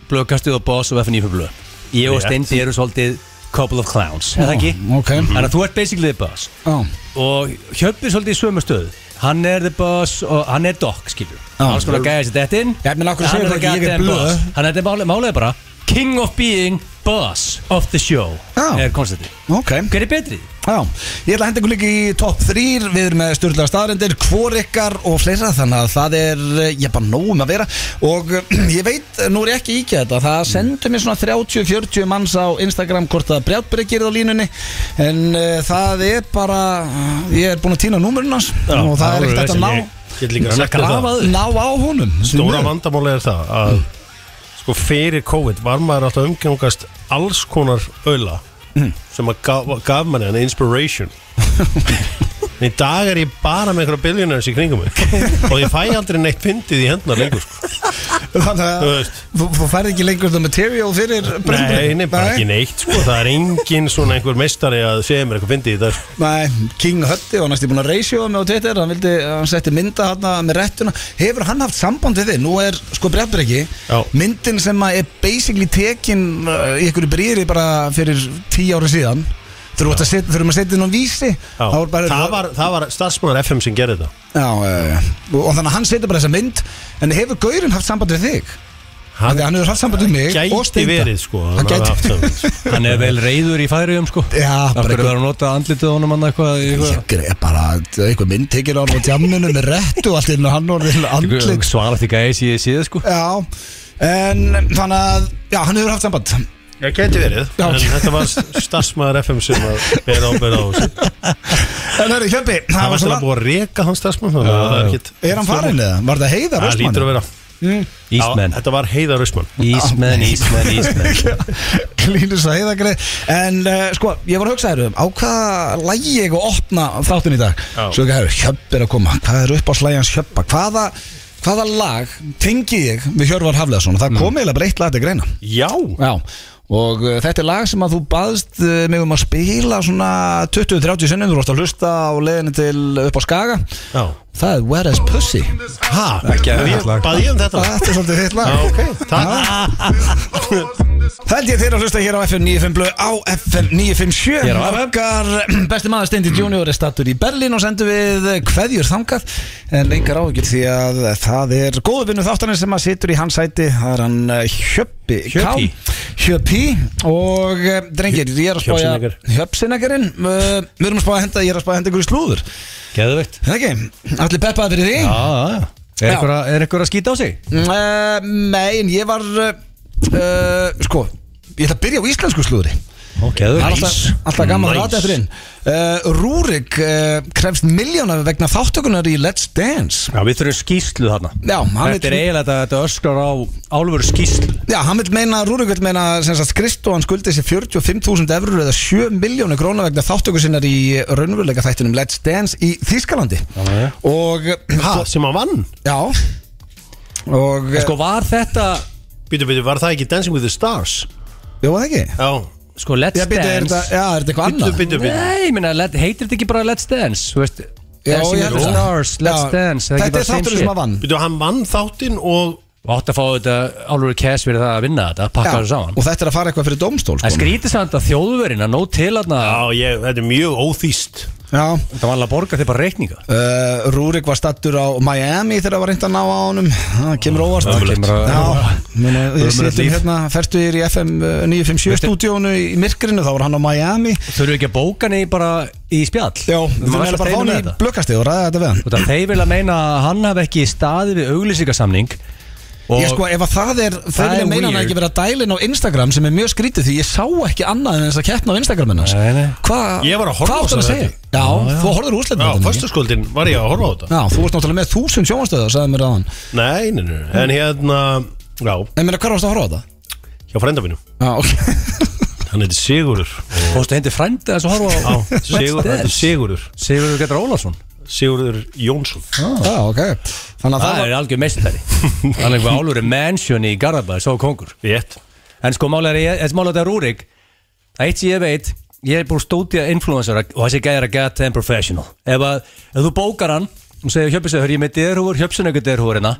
[SPEAKER 2] Blöðkastið og boss of FNF Blöð Ég og
[SPEAKER 3] Rétt.
[SPEAKER 2] Steindi eru svolítið couple of clowns, er það ekki?
[SPEAKER 1] Mm, ok.
[SPEAKER 2] Þannig að þú ert basically the boss
[SPEAKER 1] já,
[SPEAKER 2] Og Hjöppi er svolítið í sömu stöðu Hann er the boss og hann er doc, skilur
[SPEAKER 1] Já.
[SPEAKER 2] Hann skoða gæja sér þetta inn
[SPEAKER 1] Ah. Já, menn, af hverju
[SPEAKER 2] Hann
[SPEAKER 1] segirðu
[SPEAKER 2] er
[SPEAKER 1] ekki, ég er
[SPEAKER 2] goddamn
[SPEAKER 1] blöð?
[SPEAKER 2] boss. Hann er þetta málið- málið er bara King of being boss of the show
[SPEAKER 1] Já.
[SPEAKER 2] Er konstantið
[SPEAKER 1] ok
[SPEAKER 2] Hver er betrið?
[SPEAKER 1] Já, ég ætla að henda ykkur líka í topp 3 Við erum með styrla staðarendir, hvor ykkar og fleira Þannig að það er, eh, ég er bara nóg um að vera Og ég veit, nú er ég ekki íkja þetta Það sendu mér svona 30-40 manns á Instagram Hvort að brjátbreykir á línunni En uh, það er bara, eh, ég er búin að týna númurinn hans Og það er ekkert að ná,
[SPEAKER 3] ég get líka sagt þér það
[SPEAKER 2] grafað
[SPEAKER 1] ná á honum
[SPEAKER 3] stóra vandamáli er það að sko fyrir COVID var maður alltaf að umgangast alls konar öla
[SPEAKER 1] Mm.
[SPEAKER 3] sem að gaf, gaf manni hann inspiration en í dag er ég bara með einhverja billionaires í kringum mig og ég fæ aldrei neitt fyndið í hendnar lengur sko.
[SPEAKER 1] Þannig
[SPEAKER 3] Þú
[SPEAKER 1] að
[SPEAKER 3] veist.
[SPEAKER 1] þú, þú færð ekki lengur það material fyrir
[SPEAKER 3] nei,
[SPEAKER 1] brennbrauð.
[SPEAKER 3] nei, bara ekki neitt sko. það er engin svona einhver meistari að segja mér eitthvað fyndið í dag sko.
[SPEAKER 1] Nei, King Huddy var næstu búin að reysjóða mig á Twitter hann, vildi, hann setti mynda hann með rettuna Hefur hann haft samband við þig? Nú er sko breyðbreki
[SPEAKER 3] Já.
[SPEAKER 1] Myndin sem að er basically tekin uh, í einhverju brýri bara fyrir tíu ári síðan Þurfum að setja þurfum að setja inn á vísi
[SPEAKER 3] Já.
[SPEAKER 1] Það var bara
[SPEAKER 3] það var, það var starfsmæður FM sem gerði þetta
[SPEAKER 1] Já, uh, Og þannig að hann setja bara þessa mynd En hefur Gaurinn haft samband við þig? Hann,
[SPEAKER 3] hann
[SPEAKER 1] hann hefur haft samband við mig og
[SPEAKER 3] gæti
[SPEAKER 1] Steinda.
[SPEAKER 3] verið sko,
[SPEAKER 1] Hann
[SPEAKER 3] hafi
[SPEAKER 1] gæti-
[SPEAKER 3] haft samband.
[SPEAKER 2] Hann er vel reyður í færiðum sko
[SPEAKER 1] Já,
[SPEAKER 2] Af
[SPEAKER 1] bara
[SPEAKER 2] hverju
[SPEAKER 1] eitthvað-
[SPEAKER 2] verður hann notað andlitið á honum hann eitthvað í eitthvað-
[SPEAKER 1] Ég er bara einhver mynd tekir á hann á tjamminu með rettu og allt inn og hann orðin andlit
[SPEAKER 2] eitthvað Svalast í gæði síðið síðið sko
[SPEAKER 1] Já, en þannig að Já, hann hefur haft samband
[SPEAKER 3] Já, gæti verið
[SPEAKER 1] Já.
[SPEAKER 3] En þetta var starfsmæður FM sem að vera ábyrða á þessu
[SPEAKER 1] En hörru, Hjöppi,
[SPEAKER 3] Það
[SPEAKER 1] það var
[SPEAKER 3] var
[SPEAKER 1] svona
[SPEAKER 3] alltaf búið að reka hann starfsmann þannig að það er ekkit
[SPEAKER 1] Er hann farin eða? Var það heiðar
[SPEAKER 3] Það lítur að vera
[SPEAKER 2] Ísmenn
[SPEAKER 3] Já, Þetta var heiðar Ísmann
[SPEAKER 2] Ísmenn, Ísmenn, Ísmenn
[SPEAKER 1] Klínus að heiðagri En uh, sko, ég var að hugsa þér um Á hvað lægi ég að opna þáttun í dag
[SPEAKER 3] Já.
[SPEAKER 1] Svo ekki að Hjöppi er að koma Hvað er upp á slægjans Hjöppa? Hvaða, hvaða lag tengi ég við Hjörvar Hafleðarsson?
[SPEAKER 3] Mm.
[SPEAKER 1] Það kom eiginlega bara eitt lag til greina
[SPEAKER 3] Já
[SPEAKER 1] Já, og uh, þetta er lag sem að þú baðst uh, mig um að spila svona 20-30 sinnum, þú vorst að hlusta á leiðinu til upp á Skaga
[SPEAKER 3] Já
[SPEAKER 1] Það er Where is Pussy
[SPEAKER 3] Ha?
[SPEAKER 2] Ekki að
[SPEAKER 3] Bað
[SPEAKER 2] vera
[SPEAKER 3] ég-
[SPEAKER 2] lag.
[SPEAKER 3] Bað ég um þetta
[SPEAKER 1] Þetta er svolítið þitt lag
[SPEAKER 3] Já, ok Takk
[SPEAKER 1] Það held ég þeir að hlusta hér á FM 95 blöð á FM 957
[SPEAKER 2] Hér á FM.
[SPEAKER 1] Okkar besti maður Steindi Junior er stattur í Berlín og sendur við kveðjur þangað en engar áhyggjur því að það er góðu vinnu þáttanir sem að situr í hans sæti það er hann eh, Hjöppi K.
[SPEAKER 2] Hjöppi.
[SPEAKER 1] Hjöppi og eh, drengir, ég er að spája
[SPEAKER 3] Hjöpsinegger.
[SPEAKER 1] Hjöpsineggarinn Eh, við erum að spája að henda, ég er að spája að henda ykkur í slúður
[SPEAKER 2] Geðveikt
[SPEAKER 1] Það ekki, allir peppaði fyrir því
[SPEAKER 2] Já, já, já Er
[SPEAKER 1] Já.
[SPEAKER 2] einhver að- Er einhver að skýta á sig?
[SPEAKER 1] Uh, nei, en ég var uh, uh, Sko, ég ætla að byrja á íslensku slúðri
[SPEAKER 2] Ó,
[SPEAKER 1] Það er
[SPEAKER 2] geðveikt
[SPEAKER 1] alltaf, alltaf gaman að
[SPEAKER 3] Nice.
[SPEAKER 1] rata eftir inn uh, Rúrik uh, krefst miljónar vegna þáttökunar í Let's Dance
[SPEAKER 2] Já, við þurfum skýslu þarna
[SPEAKER 1] Já, hann
[SPEAKER 2] Þetta er
[SPEAKER 1] vill-
[SPEAKER 2] eiginlega þetta- þetta öskrar á álfur skýslu
[SPEAKER 1] Já, hann vil meina, Rúrik vil meina sem sagt Kristóan skuldi sér 45.000 eurur eða 7 miljónu króna vegna þáttöku sinnar í raunveruleika þættinum Let's Dance í Þýskalandi
[SPEAKER 2] já.
[SPEAKER 1] Og,
[SPEAKER 3] Ha? Sem að vann
[SPEAKER 1] já Og,
[SPEAKER 2] Sko, var þetta
[SPEAKER 3] Býtu, býtu, var það ekki Dancing with the Stars?
[SPEAKER 1] jú, það ekki
[SPEAKER 3] Já
[SPEAKER 2] Sko, Let's
[SPEAKER 1] Já, býttu, er þetta
[SPEAKER 2] Dance
[SPEAKER 1] já, er þetta eitthvað
[SPEAKER 3] Býtu,
[SPEAKER 1] annað?
[SPEAKER 3] býtu, býtu
[SPEAKER 2] Nei, ég meina, let- heitir þetta ekki bara Let's Dance? Þú veist
[SPEAKER 1] Já,
[SPEAKER 2] Dancing
[SPEAKER 1] ég
[SPEAKER 2] with the
[SPEAKER 1] held að-
[SPEAKER 2] Stars, Let's
[SPEAKER 1] Já,
[SPEAKER 2] Dance
[SPEAKER 1] Þetta er þátturinn sem að vann
[SPEAKER 3] Býtu, hann vann þáttinn og
[SPEAKER 2] og átt að fá þetta álur cash fyrir það að vinna þetta, pakka þessu saman
[SPEAKER 1] og þetta er að fara eitthvað fyrir sko. domstól
[SPEAKER 2] Það skrítið samt að þjóðverina nóg til að það
[SPEAKER 3] Já, ég, þetta er mjög óþýst
[SPEAKER 1] Já,
[SPEAKER 2] var alveg að borga þeir bara reikninga
[SPEAKER 1] Uh, Rúrik var stattur á Miami þegar það var reynd að ná á honum það kemur óvart
[SPEAKER 2] Það kemur að-
[SPEAKER 1] Já, meni, ég
[SPEAKER 2] Ömurlegt
[SPEAKER 1] setjum
[SPEAKER 2] líf.
[SPEAKER 1] hérna færtugir í FM uh, 957 stúdíónu í myrkrinu þá var hann á Miami
[SPEAKER 2] Þurfu ekki að bóka henni bara í spjall
[SPEAKER 1] Já,
[SPEAKER 2] Maður
[SPEAKER 1] við
[SPEAKER 2] ætlar
[SPEAKER 1] erum bara að fá
[SPEAKER 2] að
[SPEAKER 1] hann
[SPEAKER 2] deila
[SPEAKER 1] í
[SPEAKER 2] þetta.
[SPEAKER 1] blökkasti og ræða þetta við hann
[SPEAKER 2] Þú veit að Þeir vilja meina að hann hafi ekki staðið við auglýsingasamning og
[SPEAKER 1] Ég sko, ef að það er, þau
[SPEAKER 2] Það
[SPEAKER 1] vilja
[SPEAKER 2] er
[SPEAKER 1] meina hann
[SPEAKER 2] weird.
[SPEAKER 1] ekki vera dælinn á Instagram sem er mjög skrítið því ég sá ekki annað en þess að keppna á Instagram hennas
[SPEAKER 2] Nei, nei.
[SPEAKER 1] Hvað
[SPEAKER 3] Ég var að horfa á
[SPEAKER 1] áttu hann að
[SPEAKER 3] þessa
[SPEAKER 1] segja?
[SPEAKER 3] þætti.
[SPEAKER 1] Já, þú horfður
[SPEAKER 3] Já,
[SPEAKER 1] úrslitin
[SPEAKER 3] föstuskvöldin var ég að horfa á þetta
[SPEAKER 1] Já, þú varst náttúrulega með þúsund sjónastöðu, sagði mér aðan
[SPEAKER 3] Nei, nei, nei, en hérna Já,
[SPEAKER 1] En meina, hver varst að horfa á þetta?
[SPEAKER 3] hjá frenda mínum
[SPEAKER 1] Já, ok
[SPEAKER 3] Hann heitir Sigurður
[SPEAKER 2] Fórstu hindi frændið þess að horfa á
[SPEAKER 3] Sigur, hann heitir Sigurður
[SPEAKER 2] Sigurður Getur Ólafsson
[SPEAKER 3] Sigurður Jónsson
[SPEAKER 1] Já, ok Þannig að það
[SPEAKER 2] Það
[SPEAKER 1] var
[SPEAKER 2] er algjör meistari Það er einhver álur mansion í Garðabæði, svo kongur
[SPEAKER 3] Rétt
[SPEAKER 2] En sko málega er, ég- þessi málega þetta er Rúrik Það eitt sem ég veit Ég er búin að stótið að influensara og þessi gæðir að get them professional Ef, að, ef þú bókar hann og segir Hjöpsinu, hör ég er með derhúfur, Hjöpsinu ekki derhúfurina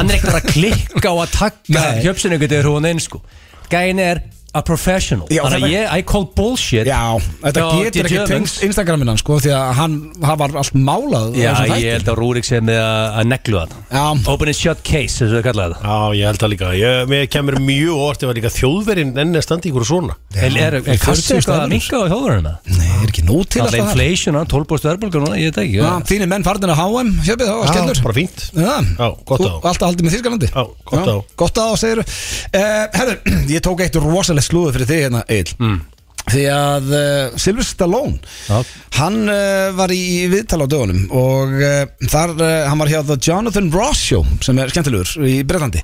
[SPEAKER 2] Hann er ekkert að klikka og að takka
[SPEAKER 1] Mm. Nei.
[SPEAKER 2] Hjöpsinu ekki derhúfuna inn sko Gæðin er a professional
[SPEAKER 1] Já,
[SPEAKER 2] Þannig
[SPEAKER 1] þetta-
[SPEAKER 2] að ég, I call bullshit
[SPEAKER 1] Já, þetta
[SPEAKER 2] Já,
[SPEAKER 1] getur
[SPEAKER 2] DJ
[SPEAKER 1] ekki
[SPEAKER 2] Evans.
[SPEAKER 1] tengst Instagraminan sko því að hann, hann var allt málað á
[SPEAKER 2] Já,
[SPEAKER 1] þessum þætti.
[SPEAKER 2] ég held að Rúrik sé með að að neglu
[SPEAKER 1] Já.
[SPEAKER 2] það Open and shut case, þess að við kallaði það
[SPEAKER 3] Já, ég held það líka ég, Mér kemur mjög óvart ef að líka þjóðverinn enn er standi ykkur svona
[SPEAKER 2] Er, er, er
[SPEAKER 1] 40
[SPEAKER 2] kastið eitthvað að
[SPEAKER 1] stafurinn.
[SPEAKER 2] minka á þjóðurinn það?
[SPEAKER 1] Nei, er ekki nóg til
[SPEAKER 2] Alltaf
[SPEAKER 1] alltaf það
[SPEAKER 2] inflation, 12% verðbólgur núna, ég veit ekki
[SPEAKER 1] Já, Þínir menn farnir á HM, sjöfið það var skellur
[SPEAKER 3] bara fínt
[SPEAKER 1] Já,
[SPEAKER 3] Já, gott á.
[SPEAKER 1] Og alltaf haldið með Þýrskalandi
[SPEAKER 3] Já, gott á.
[SPEAKER 1] Gott á, segir þú Herru, ég tók eitt rosalegt slúðu fyrir þig hérna, Eil mm. Því að uh, Silvur Stallone
[SPEAKER 2] Já.
[SPEAKER 1] Hann uh, var í viðtal á dögunum Og uh, þar, uh, hann var hjá The Jonathan Ross Show Sem er skemmtilegur í Breitlandi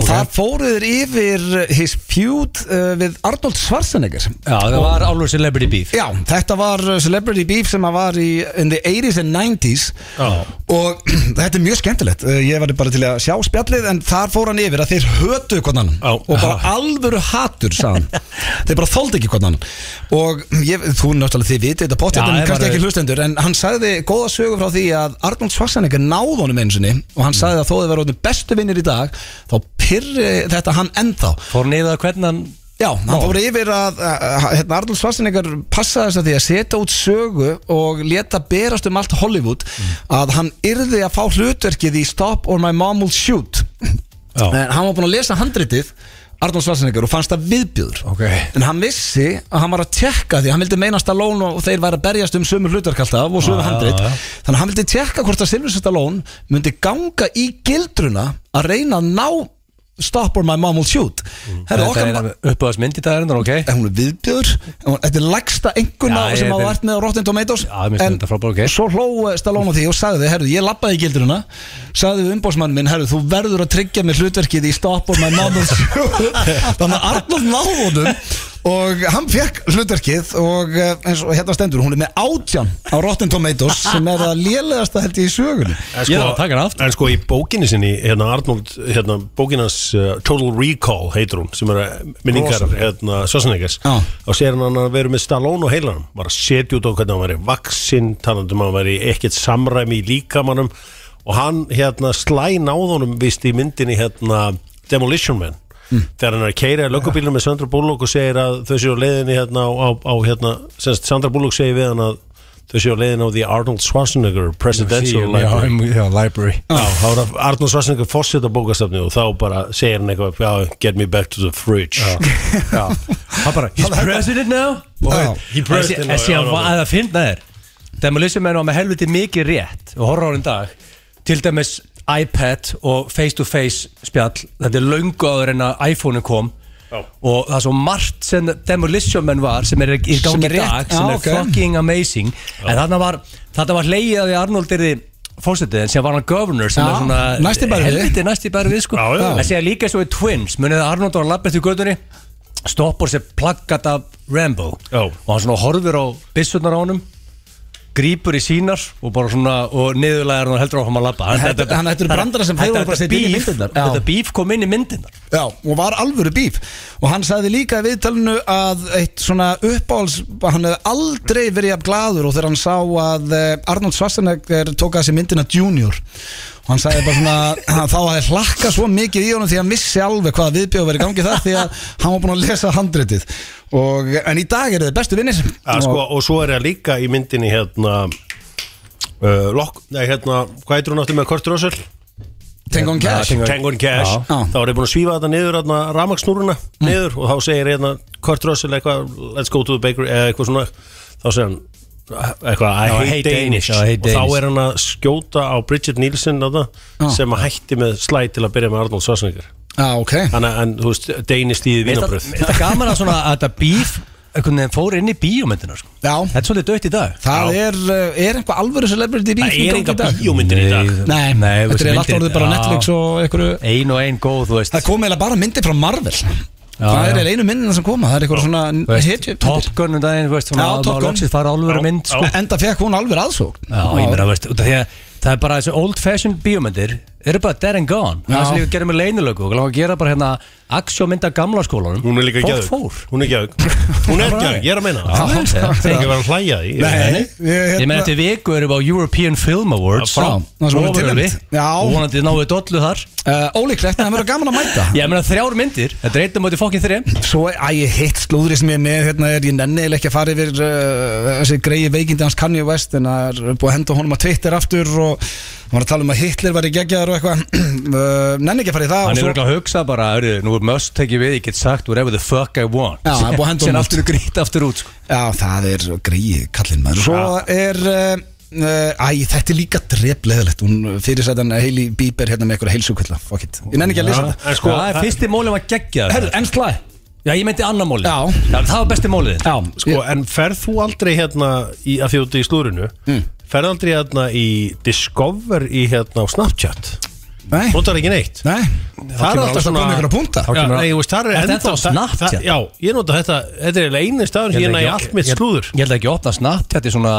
[SPEAKER 1] Og þar fóruður yfir uh, His feud uh, við Arnold Schwarzenegger
[SPEAKER 2] Já, það var álur celebrity beef
[SPEAKER 1] Já, þetta var uh, Celebrity Beef sem að var í in the 80s and 90s
[SPEAKER 3] Já.
[SPEAKER 1] og þetta er mjög skemmtilegt Uh, ég var bara til að sjá spjallið en þar fór hann yfir að þeir hötu hvern annan
[SPEAKER 3] Já.
[SPEAKER 1] og bara alvöru hatur sagðan þeir bara þóldi ekki hvern annan og ég, þú náttúrulega þið vitið þetta
[SPEAKER 2] Já,
[SPEAKER 1] pottet en
[SPEAKER 2] ég
[SPEAKER 1] kannski
[SPEAKER 2] bara-
[SPEAKER 1] ekki hlustendur en hann sagði góða sögu frá því að Arnold Schwarzenegger náð honum einu sinni og hann sagði að þó þið verður orðnir bestu vinnir í dag þá pyrri þetta hann ennþá
[SPEAKER 2] Fór niður að hvernig hann
[SPEAKER 1] Já, hann fór yfir að, að, að hérna, Arnold Schwarzenegger passaði þess að því að setja út sögu og leta berast um allt Hollywood
[SPEAKER 2] Mm.
[SPEAKER 1] að hann yrði að fá hlutverkið í Stop or My Mom Will Shoot
[SPEAKER 2] Já.
[SPEAKER 1] en hann var búinn að lesa handritið Arnold Schwarzenegger og fannst það viðbjöður
[SPEAKER 2] Ok.
[SPEAKER 1] en hann vissi að hann var að tekka því hann vildi meina Stallone og þeir væri að berjast um sömu hlutverk alltaf og sömu
[SPEAKER 2] Já, já,
[SPEAKER 1] handrit
[SPEAKER 2] já.
[SPEAKER 1] þannig að hann vildi tekka hvort að Silvestre Stallone myndi ganga í gildruna að reyna að ná Stop or my mom will shoot Herra,
[SPEAKER 2] Mm. Þetta er uppáðasmynd í dagarinn, ok?
[SPEAKER 1] en hún er viðbjöður en hún- þetta er lægsta enguna
[SPEAKER 2] Já, ég-
[SPEAKER 1] sem hafa
[SPEAKER 2] þetta-
[SPEAKER 1] vært með á Rotten Tomatoes
[SPEAKER 2] Já, mér finnst
[SPEAKER 1] en
[SPEAKER 2] þetta frábær, ok.
[SPEAKER 1] svo hló eh, Stallone á því og sagði herru, ég lappaði í gilduruna sagði við umbósmann minn, herru, þú verður að tryggja mér hlutverkið í Stop or My Mom Will Shoot." þannig að Arnold náðunum og hann fekk hlutverkið og eh, eins og hérna stendur, hún er með átján á Rotten Tomatoes sem er það lélegasta held ég í sögunni
[SPEAKER 3] En
[SPEAKER 2] Ég þarf að taka hana aftur.
[SPEAKER 3] En sko í bókinni sinni hérna Arnold, hérna bókinas uh, Total Recall heitur hún sem er eh, minningar
[SPEAKER 1] Rosaleg.
[SPEAKER 3] hérna Sossanegas
[SPEAKER 1] Já.
[SPEAKER 3] og segir hann að hann verið með Stallone og heilanum var að setja út á hvernig hann væri vaksinn talandum að hann væri ekkert samræmi í líkamannum og hann hérna slæ náðunum vist í myndinni hérna Demolition Man
[SPEAKER 2] Mm.
[SPEAKER 3] þegar hann er að keira löggubílum með Sandra Bullock og segir að þau séu á leiðinni hérna á, á, á hérna, semst Sandra Bullock segir við hann að þau séu á leiðinni á The Arnold Schwarzenegger Presidential Library
[SPEAKER 2] já, library
[SPEAKER 3] Já, þá er það Arnur Svarsningur fórsett á bókastafni og þá bara segir hann eitthvað já, get me back to the fridge
[SPEAKER 2] Já, hann bara, he's president now
[SPEAKER 1] Já.
[SPEAKER 3] He president now,
[SPEAKER 2] Þessi
[SPEAKER 3] já,
[SPEAKER 2] að
[SPEAKER 3] já, já.
[SPEAKER 2] að það finna þér Demolition Man var með helviti mikið rétt og horra á hann í dag til dæmis iPad og face to face spjall, þetta er löngu áður en að iPhone kom
[SPEAKER 3] Já.
[SPEAKER 2] og það er svo margt sem Demolition Man var sem er í
[SPEAKER 1] Sem
[SPEAKER 2] gangi
[SPEAKER 1] er
[SPEAKER 2] í
[SPEAKER 1] rétt,
[SPEAKER 2] dag
[SPEAKER 1] já,
[SPEAKER 2] sem er
[SPEAKER 1] ok.
[SPEAKER 2] fucking amazing en þarna var, þarna var leiðið að Arnold er fórsetið en sem var hann governor sem
[SPEAKER 1] Já,
[SPEAKER 2] er svona
[SPEAKER 1] næsti bara við.
[SPEAKER 2] helviti næst í bæri við sko
[SPEAKER 3] Já, já.
[SPEAKER 2] En segja líka svo í Twins munið að Arnold var að labba eftir gödunni stoppar sér plaggat af Rambo
[SPEAKER 3] Já.
[SPEAKER 2] og hann svona horfir á byssunar á honum grípur í sínar og bara svona og niðurlega er hann heldur áfram að labba Hann-
[SPEAKER 1] Þetta- hann- þetta eru brandarar sem þeir voru bara að setja inn í
[SPEAKER 2] beef-
[SPEAKER 1] myndirnar. Já.
[SPEAKER 2] þetta bíf kom inn í myndirnar
[SPEAKER 1] Já, og var alvöru bíf og hann sagði líka í viðtalinu að eitt svona uppáhalds hann hefði aldrei verið jafn gladur og þegar hann sá að eh, Arnold Schwarzenegger tók að sér myndina Junior og hann sagði bara svona hann þá hafði hlakka svo mikið í honum því að hann vissi alveg hvaða viðbjóð verið gangi þar því að hann var búin að lesa handritið og, en í dag eru þið bestu vinnir
[SPEAKER 3] að, sko, og svo er það líka í myndinni hérna uh, lok, nei, hérna, hvað heitir hún aftur með Kurt Russell
[SPEAKER 1] Tengon Cash
[SPEAKER 2] Tengon-
[SPEAKER 3] Tango and Cash
[SPEAKER 1] Já.
[SPEAKER 3] þá er ég búin að svífa þetta niður hérna, ramaksnúruna niður og þá segir hérna Kurt Russell eitthvað let's go to the bakery eða eitthvað svona þá segir hann eitthvað I
[SPEAKER 2] Já,
[SPEAKER 3] hate,
[SPEAKER 2] hate Danish,
[SPEAKER 3] Danish,
[SPEAKER 2] já, hate
[SPEAKER 3] og
[SPEAKER 2] Danish.
[SPEAKER 3] þá er hann að skjóta á Bridget Nielsen þarna,
[SPEAKER 1] Já.
[SPEAKER 3] sem að hætti með slæð til að byrja með Arnold Schwarzenegger
[SPEAKER 1] Já, ok
[SPEAKER 3] þannig að en, þú veist Danish
[SPEAKER 2] Mér
[SPEAKER 3] stíði
[SPEAKER 2] finnst
[SPEAKER 3] vínabröð
[SPEAKER 2] það- mér finnst það gaman að svona að þetta bíf einhvern veginn fór inn í bíómyndina sko.
[SPEAKER 1] Já.
[SPEAKER 2] Þetta er svolítið dött í dag
[SPEAKER 1] Það er, uh, er einhvað alvöru celebrity beef
[SPEAKER 3] það
[SPEAKER 1] í
[SPEAKER 3] er
[SPEAKER 1] gangi í
[SPEAKER 3] enga
[SPEAKER 1] dag?
[SPEAKER 3] bíómyndir í dag
[SPEAKER 1] Nei,
[SPEAKER 2] Nei,
[SPEAKER 1] þetta
[SPEAKER 2] þessi
[SPEAKER 1] er alltaf
[SPEAKER 2] myndir-
[SPEAKER 1] orðið bara
[SPEAKER 2] Já.
[SPEAKER 1] Netflix og einhverju
[SPEAKER 2] Ein og ein góð, þú veist
[SPEAKER 1] Það kom eiginlega bara myndir frá Marvel Það er
[SPEAKER 2] já.
[SPEAKER 1] eiginlega einu myndina sem koma Það er einhverju
[SPEAKER 2] Þú
[SPEAKER 1] svona
[SPEAKER 2] veist,
[SPEAKER 1] hitju
[SPEAKER 2] Top Gun um daginn, þú veist, svona
[SPEAKER 1] Já,
[SPEAKER 2] að
[SPEAKER 1] Top
[SPEAKER 2] maður
[SPEAKER 1] Gun.
[SPEAKER 2] loksins fara álveru
[SPEAKER 3] Já,
[SPEAKER 2] mynd sko.
[SPEAKER 1] Enda fekk hún alveg aðsókn
[SPEAKER 2] Já, ég meina, veist, út af því að það er bara þessi old fashioned bíómyndir eru bara dead and gone Það
[SPEAKER 1] Já.
[SPEAKER 2] er sem líka að gera með leinilöku og langar að gera bara hérna aksjómynda gamla skólanum
[SPEAKER 3] Hún er líka
[SPEAKER 2] Fólk
[SPEAKER 3] gæðug
[SPEAKER 2] fór
[SPEAKER 3] Hún er gæðug Hún er gæðug, ég er að meina
[SPEAKER 2] Já,
[SPEAKER 3] það
[SPEAKER 2] það er-
[SPEAKER 3] Það er ekki að vera að hlæja því
[SPEAKER 1] Nei, ég-
[SPEAKER 2] Ég meina eftir viku erum við á European Film Awards
[SPEAKER 3] Já, frá.
[SPEAKER 1] Það sem voru
[SPEAKER 2] Ofan
[SPEAKER 1] tilnefnd.
[SPEAKER 2] við.
[SPEAKER 1] Já.
[SPEAKER 2] Og vonandi náðu við dollu þar
[SPEAKER 1] Uh, Ólíklegt, en það verður gaman að mæta
[SPEAKER 2] Ég meina þrjár myndir, þetta er eittum átti fokkin þrjum
[SPEAKER 1] Svo að ég hitt slúðri sem ég er með hérna er ég nenni eiginlega ekki að fara yfir uh, þessi greiði veikindi hans Kanye West en það er búið að henda honum að Twitter aftur og hann var að tala um að Hitler var í geggjaðar og eitthvað uh, nenni ekki að fara í það
[SPEAKER 2] Hann
[SPEAKER 1] og
[SPEAKER 2] er
[SPEAKER 1] svo,
[SPEAKER 2] verið að hugsa bara, eru, nú er möst tekið við, ég get sagt whatever the fuck I want
[SPEAKER 1] Já, það er búið að henda honum
[SPEAKER 2] Sen
[SPEAKER 1] út.
[SPEAKER 2] aftur grýtt aftur út sko.
[SPEAKER 1] Já, það er greiði kallinn maður Svo er uh, uh, Æ, þetta er líka drefleðilegt Hún fyrirsætan Hailey Bieber hérna með eitthvað heilsugvilla Fuck it, ég nenni ekki að lýsa þetta
[SPEAKER 3] En sko,
[SPEAKER 2] það er fyrsti mólið var geggja
[SPEAKER 1] Herðu, en slæ
[SPEAKER 2] Já, ég meinti annar mólið
[SPEAKER 1] Já.
[SPEAKER 2] Það var besti mólið þitt.
[SPEAKER 1] Já,
[SPEAKER 3] sko En ferð þú aldrei hérna í, að því úti í slúrinu Ferð aldrei hérna í Discover í hérna á Snapchat
[SPEAKER 1] Nei,
[SPEAKER 3] Notar ekki neitt
[SPEAKER 1] nei Það er
[SPEAKER 3] kemur
[SPEAKER 1] alltaf
[SPEAKER 3] alveg
[SPEAKER 1] að koma ykkur að punta
[SPEAKER 2] Þá
[SPEAKER 3] Já,
[SPEAKER 2] kemur-
[SPEAKER 3] nei, þú veist, það er
[SPEAKER 2] Þetta er
[SPEAKER 3] ennþá
[SPEAKER 2] ennþá Snapchat.
[SPEAKER 3] það- Já, ég nota þetta Þetta er eiginlega einu staður sem ég næ allt mitt slúður
[SPEAKER 2] Ég held ekki að opna snabbt Þetta er svona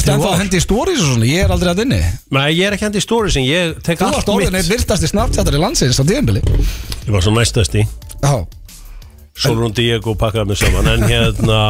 [SPEAKER 1] Ertu ennþá að hendi í stories og svona, ég er aldrei að inni
[SPEAKER 3] Nei, ég er ekki hendi í stóri sem ég tek
[SPEAKER 1] Þú
[SPEAKER 3] allt
[SPEAKER 1] ert orðin
[SPEAKER 3] mitt
[SPEAKER 1] eitt virtasti snartjáttar í landsins á tíðanbili
[SPEAKER 3] Ég var svo næstast í
[SPEAKER 1] Já,
[SPEAKER 3] Solrún Diego pakkaði mig saman En hérna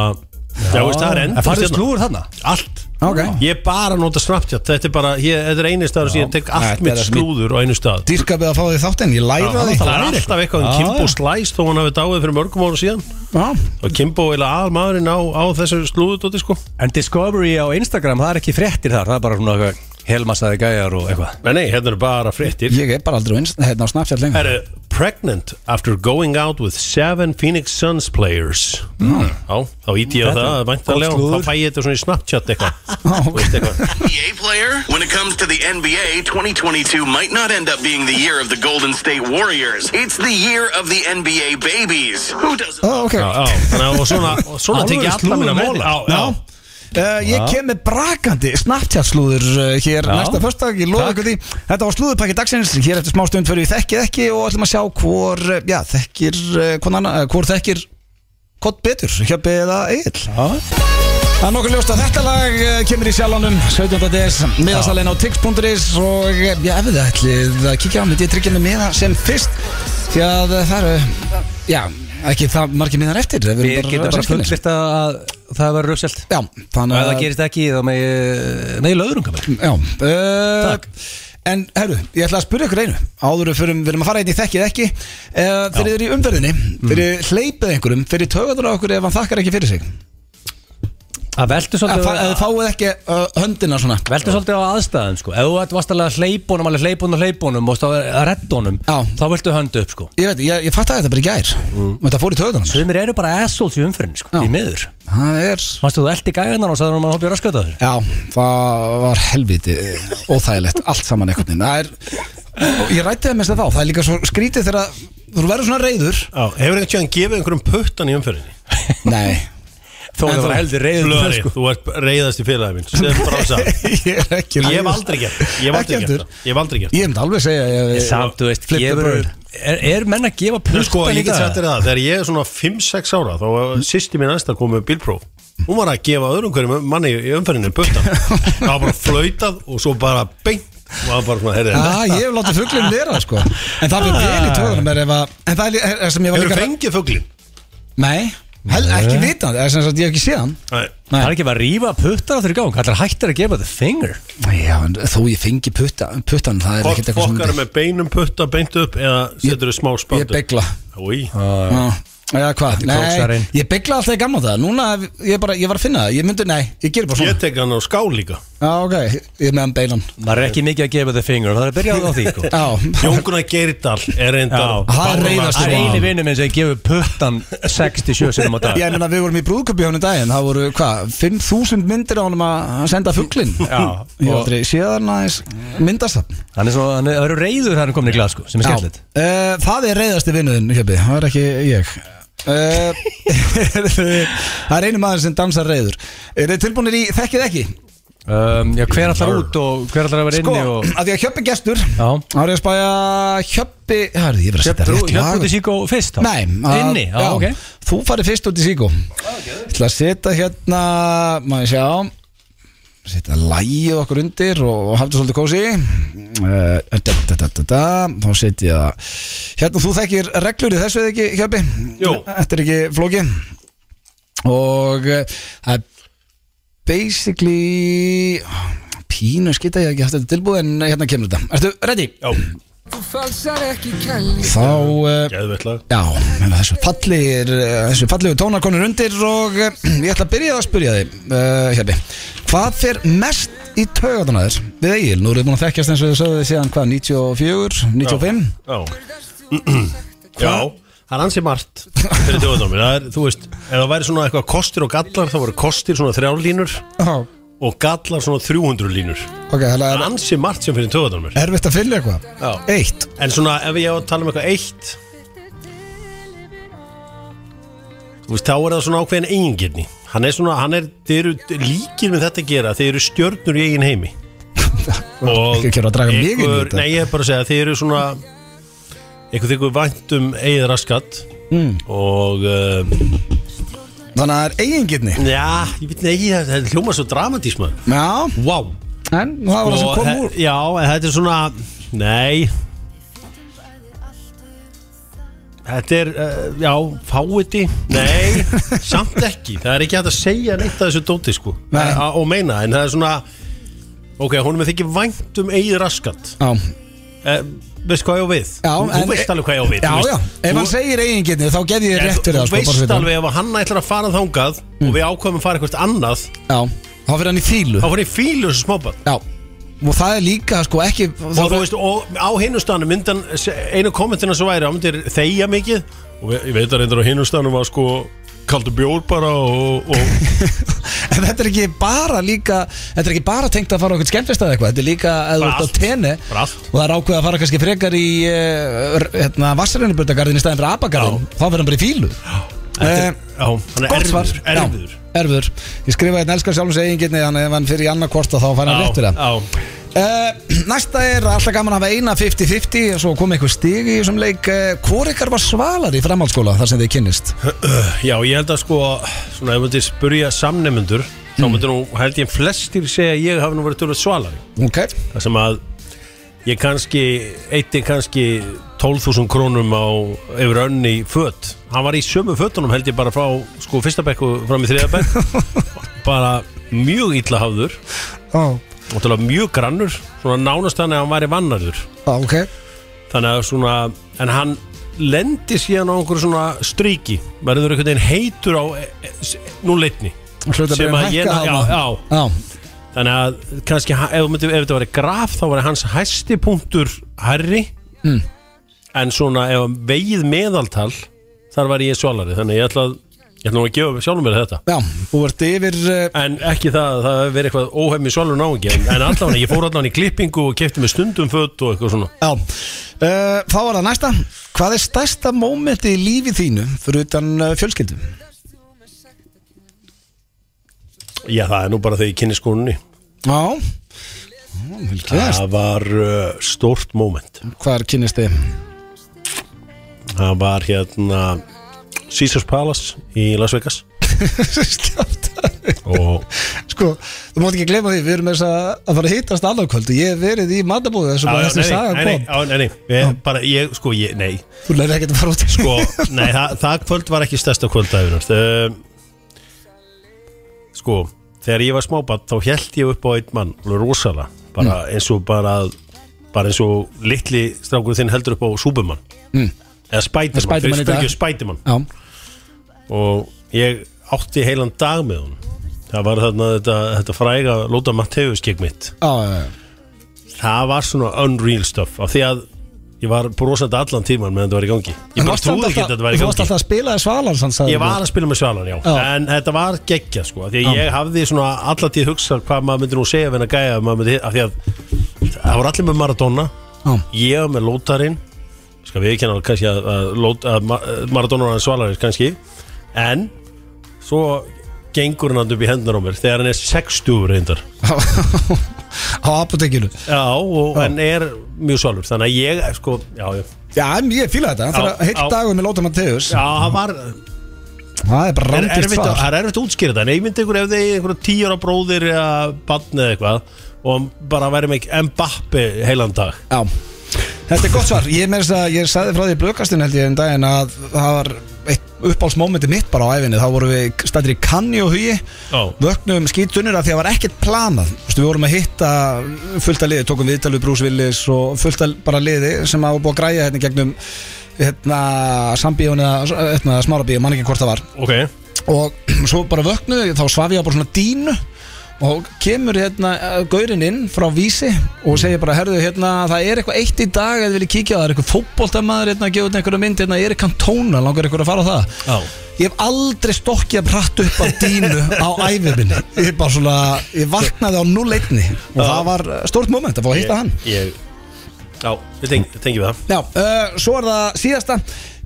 [SPEAKER 3] Já, veist,
[SPEAKER 1] Ah.
[SPEAKER 3] það er
[SPEAKER 2] En
[SPEAKER 3] ennþá
[SPEAKER 2] farið slúður þarna
[SPEAKER 3] Allt
[SPEAKER 1] ok
[SPEAKER 3] Ég er bara að nota Snapchat Þetta er bara, ég, þetta er einu staður sem ég tek allt
[SPEAKER 1] Þetta
[SPEAKER 3] mitt
[SPEAKER 1] er mitt-
[SPEAKER 3] slúður á einu stað
[SPEAKER 1] Dýrkapið að fá því þáttinn, ég
[SPEAKER 3] Já,
[SPEAKER 1] læra því
[SPEAKER 3] Það er alltaf eitthvað um
[SPEAKER 2] Já,
[SPEAKER 3] Kimbo
[SPEAKER 2] já.
[SPEAKER 3] Slice þó hann hafi dáið fyrir mörgum ára síðan
[SPEAKER 1] Já,
[SPEAKER 3] og Kimbo er aðal maðurinn á, á þessu slúðudóti sko
[SPEAKER 2] En Discovery á Instagram Það er ekki fréttir þar Það er bara svona eitthvað Helmasaði gæjar og eitthvað
[SPEAKER 3] Nei, nei, hérna eru bara fréttir
[SPEAKER 1] ég er bara aldrei á Inst- hérna á snartjátt lengur
[SPEAKER 3] Það eru pregnant after going out with seven Phoenix Suns players Já, þá ít ég á
[SPEAKER 2] Þetta
[SPEAKER 3] það,
[SPEAKER 2] er
[SPEAKER 3] væntanlega
[SPEAKER 2] gott slúður.
[SPEAKER 3] þá fæ ég þetta svona í Snapchat eitthvað
[SPEAKER 1] Já, ok.
[SPEAKER 3] Veist eitthvað
[SPEAKER 4] NBA player? When it comes to the NBA, 2022 might not end up being the year of the Golden State Warriors. It's the year of the NBA babies. Who doesn't?
[SPEAKER 1] Ó, ok
[SPEAKER 3] Já, já, þannig að og svona, og svona tek
[SPEAKER 2] Alvöru
[SPEAKER 3] ég alla
[SPEAKER 2] slúður
[SPEAKER 3] minna
[SPEAKER 2] móla.
[SPEAKER 3] móla Já, já
[SPEAKER 1] Uh, ég kem með brakandi snartjátslúður uh, hér
[SPEAKER 2] Já.
[SPEAKER 1] næsta föstudag, ég lofa
[SPEAKER 2] Takk.
[SPEAKER 1] ykkur því Þetta var slúðurpakki dagsins, hér eftir smá stund fyrir við þekkið ekki og ætlum að sjá hvor, uh, já, þekkir, uh, hvor, anna, uh, hvor þekkir hvort betur, hjöppi eða eigill Það er nokkuð ljóst að þetta lag uh, kemur í sjálfanum 17. des, miðasalinn á tix.is og uh, já, ef þið ætlið að kíkja á mig, ég tryggja mig miða sem fyrst því að uh, það eru, uh, já, ekki það margir miðar eftir Við
[SPEAKER 2] Við
[SPEAKER 1] erum
[SPEAKER 2] getum bara
[SPEAKER 1] sextánir.
[SPEAKER 2] fullist að það verður rökselt
[SPEAKER 1] Já,
[SPEAKER 2] Og
[SPEAKER 1] þannig
[SPEAKER 2] ef það gerist ekki Þá með Nei, löðrunga mér
[SPEAKER 1] Já uh,
[SPEAKER 2] Takk.
[SPEAKER 1] En herru, ég ætla að spyrja ykkur einu Áður en við förum, við erum að fara einn í þekkið ekki uh, Þegar þið eru í umferðinni
[SPEAKER 3] Mm.
[SPEAKER 1] Þegar þið hleypið einhverjum Þegar þið tögaður á okkur ef hann þakkar ekki fyrir sig
[SPEAKER 2] Það
[SPEAKER 1] Ef
[SPEAKER 2] veldur
[SPEAKER 1] fa- ef þið
[SPEAKER 2] svolítið
[SPEAKER 1] fáið ekki uh, höndina svona
[SPEAKER 2] Veltu svolítið á aðstæðum sko Ef þú ert vastalega hleypunum, alveg hleypunum, hleypunum og þá er að reddunum,
[SPEAKER 1] Já.
[SPEAKER 2] þá viltu höndu upp sko
[SPEAKER 1] Ég veit, ég, ég fatt að þetta bara í gær
[SPEAKER 3] Mm.
[SPEAKER 1] Þetta fór í tögaður hans
[SPEAKER 2] Sumir eru bara assholes í umfyrinni sko,
[SPEAKER 1] Já.
[SPEAKER 2] í miður
[SPEAKER 1] Það er
[SPEAKER 2] Manstu þú eldi gæðinan og sagði hann að hoppa í raskvölda þér?
[SPEAKER 1] Já, það var helviti óþægilegt, allt saman einhvern veginn Það er, og ég rætti það mest að þá Það er líka svo skrítið þegar að- þú verður svona reyður
[SPEAKER 3] Hefur einhvern tjóðan gefið einhverjum puttan í umferðinni?
[SPEAKER 1] Nei, En
[SPEAKER 2] Þó að
[SPEAKER 1] þú-
[SPEAKER 2] það var heldur sko. reyður
[SPEAKER 3] Blöðari, þú ert reyðast í félagi mín Sem brása
[SPEAKER 1] ég er ekki
[SPEAKER 3] Ég hef aldrei gert það. Ég hef
[SPEAKER 1] Ekki
[SPEAKER 3] aldrei gert
[SPEAKER 1] heldur.
[SPEAKER 3] það. Ég hef aldrei gert það.
[SPEAKER 1] Ég myndi alveg segja eh, ég,
[SPEAKER 2] Samt, þú veist,
[SPEAKER 1] Flip the
[SPEAKER 2] gefur
[SPEAKER 1] bird.
[SPEAKER 2] er, er menn að gefa
[SPEAKER 3] Nú
[SPEAKER 2] puttan
[SPEAKER 3] sko, ég get sagt
[SPEAKER 2] dag?
[SPEAKER 3] þér það Þegar ég er svona 5-6 ára Þá var sýsti mín aðstæð komið með bílpróf Hún var að gefa öðrum hverjum manni í umferðinni puttan Það var bara flautað og svo bara beint Og það var bara svona, herri,
[SPEAKER 1] Já, ég hef látið fuglinn vera sko Ah. En það byrði vel í töðunum er ef að En það er- er er sem ég var
[SPEAKER 3] hefur
[SPEAKER 1] líka
[SPEAKER 3] fengið fugglin?
[SPEAKER 1] Nei, Hel, ekki vitað, það er sem sagt ég hef ekki séð hann
[SPEAKER 3] Nei,
[SPEAKER 2] Það er ekki bara að rífa puttar á þeirri gang Það er hættir að gefa the finger
[SPEAKER 1] Já, en þó ég fengi putta, puttan það er ekkert eitthvað sem
[SPEAKER 3] Fokkar með beinum putta beint upp eða setur þau smá
[SPEAKER 1] Ég
[SPEAKER 3] spöndu
[SPEAKER 1] begla
[SPEAKER 3] Úi,
[SPEAKER 1] Já, Já, hvað, nei,
[SPEAKER 2] króksarinn.
[SPEAKER 1] ég begla alltaf í gamla það Núna, ég, bara, ég var að finna það, ég myndi, nei, ég gerir bara svona
[SPEAKER 3] ég tek hann á ská líka
[SPEAKER 1] Já, ok, ég er með hann beinan
[SPEAKER 2] Það er ekki mikið að gefa the finger Það er að byrja á því sko.
[SPEAKER 1] Já,
[SPEAKER 3] Jónguna Geirdal er
[SPEAKER 2] Já.
[SPEAKER 3] reyndar
[SPEAKER 1] Hann
[SPEAKER 3] Bára-
[SPEAKER 1] reiðast
[SPEAKER 2] Það er
[SPEAKER 1] Vá.
[SPEAKER 2] eini vinnu minn sem gefur puttan 67 sinum á dag
[SPEAKER 1] ég meina við vorum í brúðköpi honum um daginn Það voru, hvað, 5.000 myndir á honum að að senda fuglinn
[SPEAKER 2] Já,
[SPEAKER 1] Ég
[SPEAKER 2] og-
[SPEAKER 1] aldrei séð hann aðeins myndast það
[SPEAKER 2] Hann er svona, hann er, það eru reyður hann er komin í glas sko, sem er
[SPEAKER 1] Já,
[SPEAKER 2] skemmtilegt
[SPEAKER 1] uh, það er reyðasti vinnuðin Hjöpi, það er ekki ég uh, Það er einu maður sem dansar reyður Er þið tilbúinir í þekkið ekki?
[SPEAKER 2] um, Já, hver allar út og hver allar að vera
[SPEAKER 1] Sko,
[SPEAKER 2] inni og
[SPEAKER 1] að því að Hjöpi gestur
[SPEAKER 2] Já.
[SPEAKER 1] Þá er ég að spæja Hjöpi Hörðu, ég verið að setja
[SPEAKER 2] Hjöppu
[SPEAKER 1] rétt lag
[SPEAKER 2] út í síkó fyrst þá
[SPEAKER 1] Nei, uh, að-
[SPEAKER 2] Inni, já, ok
[SPEAKER 1] Þú farið fyrst út í síkó Ég ætla að setja hérna Maður sjá Setja lægið okkur undir og, og hafði svolítið kósi uh, da, da, da, da, da. Þá setja ég það Hérna þú þekkir reglur í þessu eða ekki Hjöpi?
[SPEAKER 3] Jú.
[SPEAKER 1] Þetta er ekki flóki Og eh, það er basically Pínu skita ég hef ekki haft þetta tilbúið En hérna kemur þetta Ertu ready?
[SPEAKER 3] Já,
[SPEAKER 1] Þá uh,
[SPEAKER 3] geðveitt lag
[SPEAKER 1] Já, menn, þessu fallir þessu fallegu tónar konur undir og eh, ég ætla að byrja að spyrja þig uh, Hjöpi, hvað fer mest í taugatana þér við Egil? Nú erum við búin að þekkjast eins og þið sögðu þið síðan hvað, 94, 95?
[SPEAKER 3] Já Já, það er ansið margt fyrir þjóðdómi Það er, þú veist, ef það væri svona eitthvað kostir og gallar þá voru kostir svona þrjárlínur
[SPEAKER 1] Já,
[SPEAKER 3] og gallar svona 300 línur
[SPEAKER 1] ok, það
[SPEAKER 3] Það
[SPEAKER 1] er
[SPEAKER 3] er ansið margt sem fyrir þjóðdómi
[SPEAKER 1] erfitt að finna eitthvað
[SPEAKER 3] Já.
[SPEAKER 1] Eitt,
[SPEAKER 3] En svona, ef ég á að tala um eitthvað eitt Þú veist, þá er það svona ákveðin eigingirni Hann er svona, hann er, þið eru líkir með þetta að gera Þið eru stjörnur í eigin heimi Og
[SPEAKER 1] Ekki að gera að draga mig inn í
[SPEAKER 3] ykkur-
[SPEAKER 1] þetta.
[SPEAKER 3] Nei, ég er bara að segja, þið eru svona Eitthvað þykku vænt um eigið raskat mm. Og, uh,
[SPEAKER 1] þannig að það er eigingirni
[SPEAKER 3] já, ég veit nei, það það hljómar svo dramatísma
[SPEAKER 1] Já,
[SPEAKER 3] Vá wow.
[SPEAKER 1] en það var það sem kom úr
[SPEAKER 3] Já, en þetta er svona Nei Þetta er, uh, já, fáiði Nei, samt ekki Það er ekki hægt að segja neitt að þessu dóti sko
[SPEAKER 1] Nei.
[SPEAKER 3] A- Og meina, en það er svona Ok, hún er með þykir vænt um eigið raskat
[SPEAKER 1] Já,
[SPEAKER 3] uh, Veist hvað ég á við?
[SPEAKER 1] Já,
[SPEAKER 3] þú,
[SPEAKER 1] en-
[SPEAKER 3] þú veist alveg hvað ég á við
[SPEAKER 1] já,
[SPEAKER 3] þú
[SPEAKER 1] já,
[SPEAKER 3] veist,
[SPEAKER 1] ef hann
[SPEAKER 3] þú-
[SPEAKER 1] segir eigingirni þá gef ég
[SPEAKER 3] en
[SPEAKER 1] þér rétt fyrir Mm. það
[SPEAKER 3] Þú
[SPEAKER 1] sko, bara
[SPEAKER 3] veist
[SPEAKER 1] svo þetta.
[SPEAKER 3] alveg ef hann ætlar að fara þangað Og við ákvæmum að fara eitthvað annað
[SPEAKER 1] Já, þá fyrir hann í fílu
[SPEAKER 3] Þá fyrir ég fílu þessu smábarn
[SPEAKER 1] Já, og það er líka sko ekki
[SPEAKER 3] og þú veist, og á hinnustanu myndan einu kommentina svo væri, hann myndir þeia mikið og ég veit að reyndar á hinnustanu var sko kaldur bjór bara og, og
[SPEAKER 1] En þetta er ekki bara líka Þetta er ekki bara tengt að fara á okkur skemmtist eða eitthvað Þetta er líka að þú
[SPEAKER 3] Bara
[SPEAKER 1] ert á
[SPEAKER 3] allt.
[SPEAKER 1] tenni
[SPEAKER 3] Bara allt.
[SPEAKER 1] Og það er ákveð að fara kannski frekar í uh, hérna, Vassarinnubutagarðin í staðin fyrir abagarðin Þá verður hann bara í fílu Eh,
[SPEAKER 3] já, hann er
[SPEAKER 1] Gott svar
[SPEAKER 3] erfiður, erfiður.
[SPEAKER 1] Já, erfiður Ég skrifaði einn elskar sjálfum sig eiginginni Þannig ef hann fyrir í annað hvort að þá fær hann rétt fyrir það
[SPEAKER 3] já,
[SPEAKER 1] uh, Næsta er alltaf gaman að hafa eina 50-50 Svo kom eitthvað stig í þessum leik uh, Hvor ykkar var svalar í framhaldsskóla þar sem þið kynnist?
[SPEAKER 3] já, ég held að sko svona, ef myndir spurja samnefnendur þá
[SPEAKER 1] Mm.
[SPEAKER 3] myndir nú, held ég flestir segja að ég hafi nú verið tölvöld svalari
[SPEAKER 1] Ok,
[SPEAKER 3] það sem að ég kannski, eitti kannski 12.000 krónum á yfir önni fött, hann var í sömu föttunum held ég bara frá sko fyrsta bekku fram í þriða bekk bara mjög illa hafður
[SPEAKER 1] oh.
[SPEAKER 3] náttúrulega mjög grannur svona nánast þannig að hann væri vannarður
[SPEAKER 1] ok
[SPEAKER 3] þannig að svona, en hann lendi síðan á einhverju svona stríki verður einhvern veginn heitur á e- e- nú leitni
[SPEAKER 1] Hlutabréfin
[SPEAKER 3] Sem að ég-
[SPEAKER 1] hækka
[SPEAKER 3] já,
[SPEAKER 1] þarna.
[SPEAKER 3] já.
[SPEAKER 1] já
[SPEAKER 3] þannig að kannski ha- ef, þú myndir, ef þetta var graf þá var hans hæsti punktur herri en svona ef hann vegið meðaltal þar var ég svalari þannig að ég ætla að ég ætla nú að gefa sjálfum mér þetta
[SPEAKER 1] Já, þú ert yfir uh,
[SPEAKER 3] en ekki það að það hefur verið eitthvað óhefmi svalur náingi en, en allan ég fór allan í klippingu og kefti með stundum fött og eitthvað svona
[SPEAKER 1] Já, uh, þá var það næsta Hvað er stærsta mómenti í lífi þínu fyrir utan uh, fjölskyldu?
[SPEAKER 3] já það er nú bara þegar ég kynni skónunni
[SPEAKER 1] Já Ó, vel gert.
[SPEAKER 3] það var uh, stórt moment
[SPEAKER 1] Hvar kynnist þið?
[SPEAKER 3] það var hérna Caesars Palace í Las Vegas
[SPEAKER 1] Skjátt
[SPEAKER 3] og
[SPEAKER 1] Sko, þú mátt ekki gleyma því, við erum þess að að fara að hittast annarkvöld og ég hef verið í matabóðu þessum að þessi saga
[SPEAKER 3] nei, nei,
[SPEAKER 1] kom
[SPEAKER 3] á, nei, nei, ég, bara, ég, sko, ég, nei
[SPEAKER 1] Þú lærið ekkert að fara út í
[SPEAKER 3] sko, nei, það, það kvöld var ekki stærsta kvöld aðeins um, sko, þegar ég var smábann þá held ég upp á einn mann, alveg rosalega bara
[SPEAKER 1] Mm.
[SPEAKER 3] eins og bara bara eins og litli strákur þinn heldur upp á Superman
[SPEAKER 1] Mm.
[SPEAKER 3] eða Spiderman,
[SPEAKER 1] Spiderman í
[SPEAKER 3] fyrir
[SPEAKER 1] dag.
[SPEAKER 3] spökju Spiderman
[SPEAKER 1] Já,
[SPEAKER 3] og ég átti heilan dag með hún það var þarna þetta, þetta fræga Lóta Matteus gegn mitt
[SPEAKER 1] já, já, já.
[SPEAKER 3] það var svona unreal stuff af því að ég var brosandi allan tíman meðan þetta var í gangi ég
[SPEAKER 1] En
[SPEAKER 3] bara
[SPEAKER 1] varstu
[SPEAKER 3] trúði
[SPEAKER 1] alltaf-
[SPEAKER 3] ekki að þetta var í
[SPEAKER 1] Þú varst
[SPEAKER 3] gangi
[SPEAKER 1] alltaf að spila í Svalans hans
[SPEAKER 3] Ég var að spila með Svalan, já.
[SPEAKER 1] Já.
[SPEAKER 3] En þetta var geggja, sko af Því að ég hafði svona allar tíð hugsað Hvað maður myndi nú segja við hennar gæja ef maður myndi, af Því að það var allir með Maradona
[SPEAKER 1] Já.
[SPEAKER 3] Ég var með Lótarinn Ska við ekki hann kannski að, að, Lót- að Ma- Maradona er Svalarins kannski En Svo gengur hann þarna upp í hendur á mér Þegar hann er 60 reyndar
[SPEAKER 1] Á apotekinu
[SPEAKER 3] Já, og hann er mjög svalur Þannig að ég, sko, já, já,
[SPEAKER 1] Já, en ég fíla þetta, hann
[SPEAKER 3] Já,
[SPEAKER 1] þarf að heitt
[SPEAKER 3] já.
[SPEAKER 1] dagur með Lóta Matteus
[SPEAKER 3] já það var
[SPEAKER 1] Það er bara
[SPEAKER 3] er
[SPEAKER 1] randist
[SPEAKER 3] erfitt, að,
[SPEAKER 1] svar
[SPEAKER 3] það er erfitt að útskýra þetta en ég myndi ykkur ef þið ykkur tíjar á bróðir eða barn eða eitthvað og bara væri með Mbappi heilan dag
[SPEAKER 1] Já Þetta er gott svar, ég meðist að ég sagði frá því blökastinn held ég um daginn að það var eitt uppáhaldsmómenti mitt bara á æfinni þá vorum við stættir í kanni og hugi
[SPEAKER 3] Já.
[SPEAKER 1] vöknum skítunir af því að það var ekkert planað Vistu, við vorum að hitta fullt að liði tókum viðtal við Bruce Willis og fullt að bara liði sem að var búið að græja hérna í gegnum hérna sambíjóni eða hérna, smárabíjó, mann ekki hvort það var
[SPEAKER 3] ok
[SPEAKER 1] og svo bara vöknuði þá svaf ég á bara svona dínu og kemur hérna eh, gaurinn inn frá vísi og segir bara herðu hérna það er eitthvað eitt í dag eða vilja kíkja á það er eitthvað fótboltamaður hérna að gefa út einhverja mynd hérna Erik Cantona langar eitthvað að fara á það
[SPEAKER 3] Já.
[SPEAKER 1] ég hef aldrei stokkjað pratt upp á dínu á æfiminni ég bara svona ég vaknaði á 0-1 og það var eh, stórt moment að fá að hitta hann
[SPEAKER 3] ég, Já, við tengjum tengi við það
[SPEAKER 1] já uh, svo er það síðasta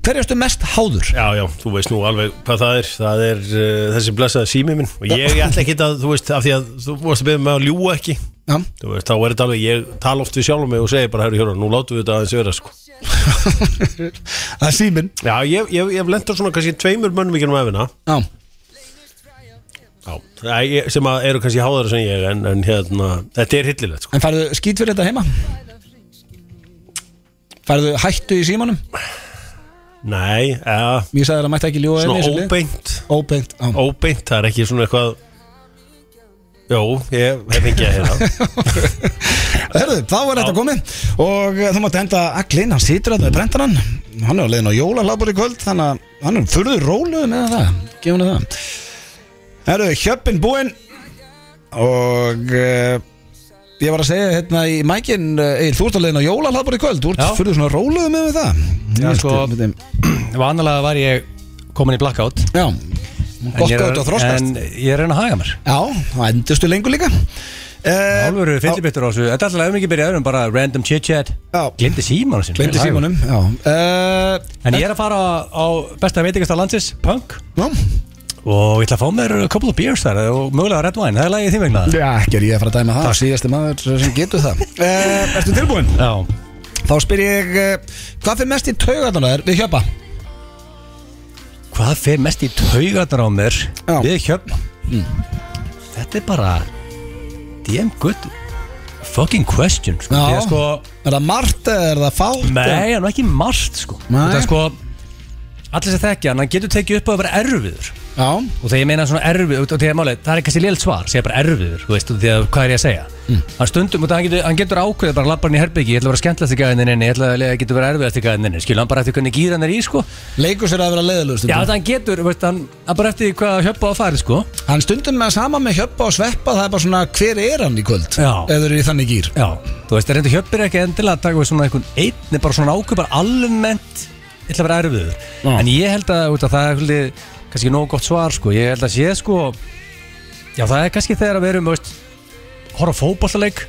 [SPEAKER 1] hverjastu mest háður
[SPEAKER 3] Já, já, þú veist nú alveg hvað það er það er uh, þessi blessaða sími minn og ég ætla ekki að, þú veist, af því að þú vorst að beða mig að ljúa ekki
[SPEAKER 1] já
[SPEAKER 3] þú veist, þá er þetta alveg, ég tala oft við sjálfum mig og segi bara, herru, hjóra, nú látum við þetta aðeins vera sko.
[SPEAKER 1] það er síminn
[SPEAKER 3] Já, ég, ég, ég hef lendur svona kannski tveimur mönnum ekki um efina
[SPEAKER 1] já
[SPEAKER 3] Já, Æ, ég- sem að eru kannski háðara sem ég en, en hérna, þetta er hillilegt sko.
[SPEAKER 1] En færðu skýt fyrir þetta heima? Færðu hættu í símanum?
[SPEAKER 3] Nei, ja,
[SPEAKER 1] Ég sagði þér að mætti ekki ljóða
[SPEAKER 3] svona óbeint
[SPEAKER 1] Óbeint á.
[SPEAKER 3] Óbeint, það er ekki svona eitthvað Jó, ég hef ekki að hérna
[SPEAKER 1] Herðu, þá er þetta komið Og eh, þú mátt henda Aglin, hann situr að það er brendan hann Hann er á leiðin á jólalabur í kvöld Þannig að hann er furður róluð með það Gefum henni það Herðu, hjöppin búinn Og uh, Ég var að segja hérna í mækin Egil, þú ert á leiðin á jólalabur í kvöld Þú
[SPEAKER 2] Já.
[SPEAKER 1] ert furður svona róluð með það
[SPEAKER 2] Já,
[SPEAKER 1] Ég
[SPEAKER 2] sko.
[SPEAKER 1] held, eh,
[SPEAKER 2] Vanalega var ég komin í blackout
[SPEAKER 1] Já,
[SPEAKER 2] en
[SPEAKER 1] gott
[SPEAKER 2] ég er-
[SPEAKER 1] gott að þroskast
[SPEAKER 2] En ég er að reyna að haga mér
[SPEAKER 1] Já, það endustu lengur líka uh,
[SPEAKER 2] Álveru fyllibittur á þessu Þetta er alltaf ef ekki byrjaður en bara random chit-chat
[SPEAKER 1] Já.
[SPEAKER 2] Glemdi símanum sinni
[SPEAKER 1] Glemdi símanum Já, uh,
[SPEAKER 2] En ég er að fara á- á besta veitingasta landsins, Punk
[SPEAKER 1] já.
[SPEAKER 2] Og ég ætla að fá mér a couple of beers þar Og mögulega red wine, það er lagið þín vegna
[SPEAKER 1] já, ekki er ég að fara að dæma það Síðasti maður sem getur það uh, Ertu tilbúin?
[SPEAKER 2] Já
[SPEAKER 1] Þá spyr ég, uh, hvað fyrir mest í taugarnar þær við hjöpa?
[SPEAKER 2] Hvað fer mest í taugarnar á mér
[SPEAKER 1] Já.
[SPEAKER 2] Við hjöfna Þetta er bara Damn good Fucking question sko.
[SPEAKER 1] Já.
[SPEAKER 2] Því að sko
[SPEAKER 1] Er það margt eða er það fátt?
[SPEAKER 2] Nei, hann er ekki margt sko
[SPEAKER 1] Nei.
[SPEAKER 2] Þetta er sko Allir sem þekkja hann, hann getur tekið upp á að vera erfiður
[SPEAKER 1] Já,
[SPEAKER 2] Og þegar ég meina svona erfið og þegar máli, það er kannski lélt svar, segja bara erfiður þú veist, og því að hvað er ég að segja hann stundum, og það hann getur, hann getur ákveðið bara labbarn í herbyggi, ég ætla að vera skemmtlast í gæðininni ég ætla að ég getur vera erfiðast í gæðininni, skilur hann bara eftir hvernig gýr hann er í, sko já,
[SPEAKER 1] leikur sér að vera leiðilegust
[SPEAKER 2] þetta hann getur, þú veist, hann, hann bara eftir hvað hjöpa á að fara, sko
[SPEAKER 1] Hann stundum með sama með hjöpa og sveppa Það er bara svona, hver er hann í kvöld?
[SPEAKER 2] Já.
[SPEAKER 1] Eða eru í þannig gýr
[SPEAKER 2] já, þú veist, reyndu hjöpir ekki endilega að taka við svona einhvern einn er bara svona ákveð, bara almennt ég ætla að vera erfiður,
[SPEAKER 1] Já.
[SPEAKER 2] en ég held að, þú veist, að það er svolítið, kannski nóg gott svar, sko ég held að sé, sko já, það er kannski þegar að við erum, þú veist horfa á fótballtaleik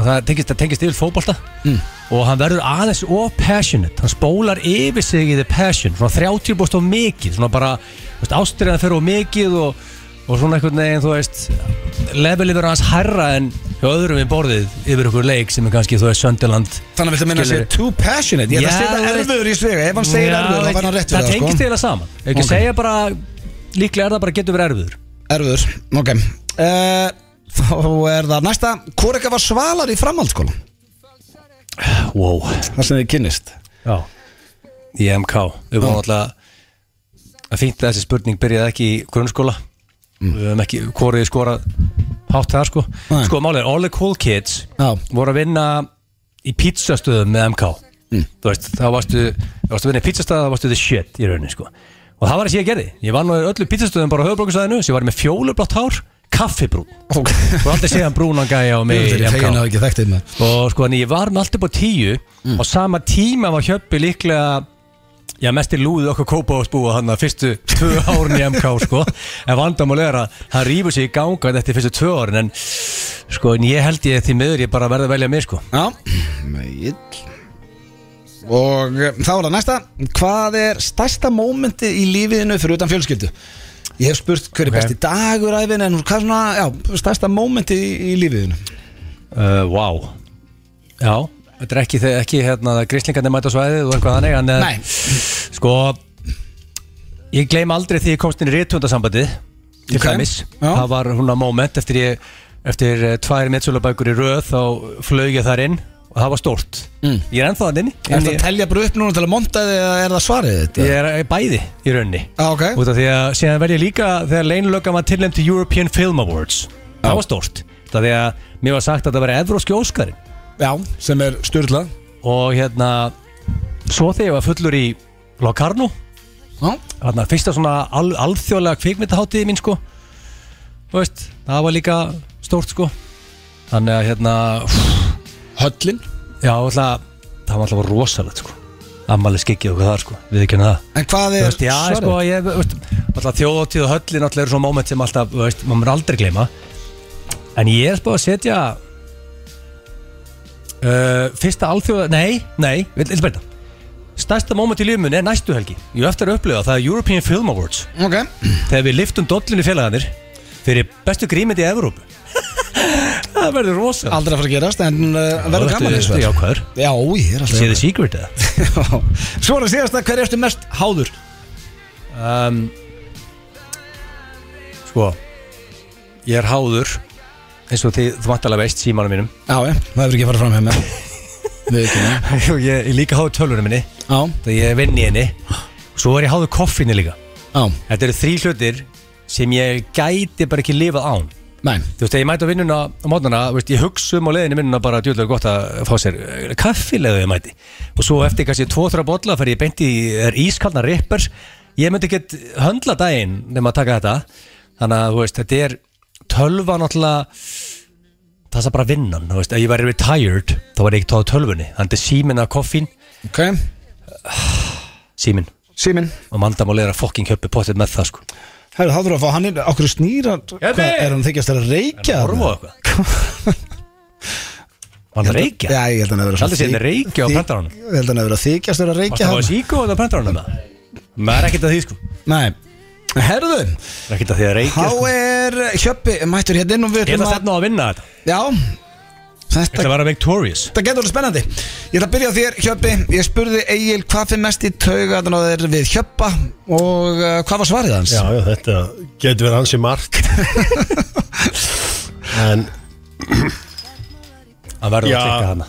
[SPEAKER 2] að það tengist, það tengist yfir fótballta og hann verður aðeins of passionate hann spólar yfir sig í the passion svona 30 búst of mikið svona bara þú veist, ástriðan fyrir of mikið og, og svona einhvern veginn þú veist levelið verður aðeins hærra en hjá öðrum við borðið yfir ykkur leik sem er kannski þú veist Söndaland
[SPEAKER 1] Þannig að viltu minna að
[SPEAKER 2] Skilurðu.
[SPEAKER 1] segja too passionate Ég ætla
[SPEAKER 2] Já,
[SPEAKER 1] að setja
[SPEAKER 2] þú veist-
[SPEAKER 1] erfiður í svega Ef hann segir erfiður, þá fær hann rétt
[SPEAKER 2] það
[SPEAKER 1] fyrir
[SPEAKER 2] tengist
[SPEAKER 1] sko.
[SPEAKER 2] eiginlega saman Ef ekki
[SPEAKER 1] Ok.
[SPEAKER 2] segja bara líklega er það bara getur verið erfiður
[SPEAKER 1] Erfur, ok uh, Þá er það næsta Hvor ekki var svalar í framhaldsskóla?
[SPEAKER 2] Wow
[SPEAKER 1] Það sem þið kynnist
[SPEAKER 2] Já Í MK Við vorum alltaf að fínt að þessi spurning byrjaði ekki í grunnskóla Við höfum ekki hvorið skorað hátt það sko
[SPEAKER 1] Mm. Nei.
[SPEAKER 2] Sko málið er All the cool kids
[SPEAKER 1] Já.
[SPEAKER 2] voru að vinna í pizzastöðum með MK
[SPEAKER 1] Mm.
[SPEAKER 2] Þú veist, þá varstu, þá varstu að vinna í pizzastöð þá varstu the shit í rauninni sko Og það var það sem ég gerði Ég vann á öllu pizzastöðum bara á höfubrókusæðinu sem var ég með fjólublátt hár kaffibrún
[SPEAKER 1] Ok
[SPEAKER 2] Og aldrei séðan um brúnan gæja á mig í
[SPEAKER 1] Ég
[SPEAKER 2] MK
[SPEAKER 1] fegin að ekki þekkt einn
[SPEAKER 2] og sko en ég var með allt upp á tíu og sama tíma var Hjöppi líklega já mest í lúðu okkur kópa og spúa hann að fyrstu tvö árin í MK sko en vandamál er að hann rýfur sig í ganga þetta er fyrstu tvö árin en sko en ég held ég því miður ég bara verði að velja mig sko
[SPEAKER 1] Já Meill Og eh, þá er það næsta Hvað er stærsta mómenti í lífiðinu fyrir utan fjölskyldu? Ég hef spurt hver er
[SPEAKER 2] Ok.
[SPEAKER 1] besti dagur æfin en hvað svona, já, stærsta mómenti í, í lífiðinu
[SPEAKER 2] uh, wow já þetta er ekki, þe- ekki hérna gríslingarnir mæta á svæðið og eitthvað þannig en eh,
[SPEAKER 1] Nei.
[SPEAKER 2] sko ég gleym aldrei því ég komst inn í rítundasambandið til
[SPEAKER 1] Ok.
[SPEAKER 2] dæmis
[SPEAKER 1] Já.
[SPEAKER 2] það var hún að moment eftir ég eftir eh, tvær metsölabækur í röð þá flög ég þar inn og það var stórt
[SPEAKER 1] Mm.
[SPEAKER 2] ég er ennþá þannig
[SPEAKER 1] Er það að telja bara upp núna til að monta þig eða er það svarið þetta?
[SPEAKER 2] ég er eh, bæði í raunni
[SPEAKER 1] Já, ok.
[SPEAKER 2] út af því að síðan verð ég líka þegar leinlöggan var tilnæmt til European Film Awards það var stórt það því að mér var sagt að það var evróski óskarinn
[SPEAKER 1] Já, sem er styrla
[SPEAKER 2] og hérna svo þegar ég var fullur í Locarno
[SPEAKER 1] Já,
[SPEAKER 2] hérna, fyrsta svona al, alþjóðlega kvikmyndaháttiði mín sko Þú veist, það var líka stórt sko þannig að hérna
[SPEAKER 1] höllin
[SPEAKER 2] já, alltaf, það var alltaf rosalegt sko ammali skikkið og hvað það sko, við ekki henni það
[SPEAKER 1] En hvað
[SPEAKER 2] Þú
[SPEAKER 1] er
[SPEAKER 2] veist, já, sko, ég, þú veist, alltaf þjóðatíð og höllin alltaf eru svona moment sem alltaf, þú veist, maður mun aldrei gleyma en ég er spáð að setja uh, fyrsta alþjóða, nei, nei vil, vil breyta stærsta moment í lífum mun er næstu helgi ég hef eftir að upplifa það er European Film Awards
[SPEAKER 1] Ok,
[SPEAKER 2] þegar við liftum dollinu félagarnir fyrir bestu grímið í Evrópu það verður rosa
[SPEAKER 1] aldrei að fara að gerast en uh, verður gaman eins og
[SPEAKER 2] Já,
[SPEAKER 1] það
[SPEAKER 2] hvað er?
[SPEAKER 1] Já, ég er alltaf
[SPEAKER 2] Sér þið secret eða?
[SPEAKER 1] Svo er það síðast að hver ertu mest háður
[SPEAKER 2] um, Sko Ég er háður eins og þið, þú vantalega veist símanum mínum
[SPEAKER 1] Já, ég, það hefur ekki farið fram hjá mér Við ekki, nei
[SPEAKER 2] og ég er líka háður tölvunum minni
[SPEAKER 1] Já,
[SPEAKER 2] þegar ég vinn í henni svo er ég háður koffinu líka
[SPEAKER 1] já,
[SPEAKER 2] Þetta eru þrý hlutir sem ég gæti bara ekki lifað án
[SPEAKER 1] næ
[SPEAKER 2] Þú veist, þegar ég mæti á vinnuna á mótnana veist, ég hugsa um á leiðinu vinnuna bara djúðlega gott að fá sér eh, kaffi leiðu ég mæti og svo eftir kannski tvo-þra bolla fer ég beint í er ískalna rippers ég myndi ekki höndla daginn nema að taka þetta þannig að þú veist, þetta er tölva náttúrulega það er bara vinnan, þú veist, ef ég væri retired þá var ég ekki tóð tölvunni, þannig að símin að koffín,
[SPEAKER 1] Ok,
[SPEAKER 2] símin
[SPEAKER 1] síminn
[SPEAKER 2] og mandamál er að fokking höppi potið með það sko
[SPEAKER 1] Herru, þá þurfum við að fá hann inn, okkur snýra
[SPEAKER 2] Hérna.
[SPEAKER 1] Hvað, er hann þykjast að reykja?
[SPEAKER 2] orfa eitthvað Var hann reykja?
[SPEAKER 1] Já, ég held að hann hefur
[SPEAKER 2] Ég held að sé hann reykja á prentaránum.
[SPEAKER 1] Ég held að hann hefur að þykjast að reykja
[SPEAKER 2] Varst það að
[SPEAKER 1] hann
[SPEAKER 2] síku og það prentar hann um það? Maður er ekkert að því sko
[SPEAKER 1] Nei Herðu,
[SPEAKER 2] Það er ekkert að því að reykja
[SPEAKER 1] þá
[SPEAKER 2] sko
[SPEAKER 1] er Hjöppi mættur hérna inn og við
[SPEAKER 2] Ég ætla að
[SPEAKER 1] að
[SPEAKER 2] stefna á að vinna þetta
[SPEAKER 1] Já,
[SPEAKER 2] Ég ætla
[SPEAKER 1] þetta
[SPEAKER 2] að vera victorious
[SPEAKER 1] Þetta getur alveg spennandi Ég ætla að byrja á þér, Hjöppi Ég spurði Egil hvað fyrir mest í tauga Þannig að þeir við Hjöppa Og uh, hvað var svarið hans?
[SPEAKER 3] Já, já, þetta getur verið ansi margt En
[SPEAKER 2] Það verður
[SPEAKER 3] Já.
[SPEAKER 2] að klikka hana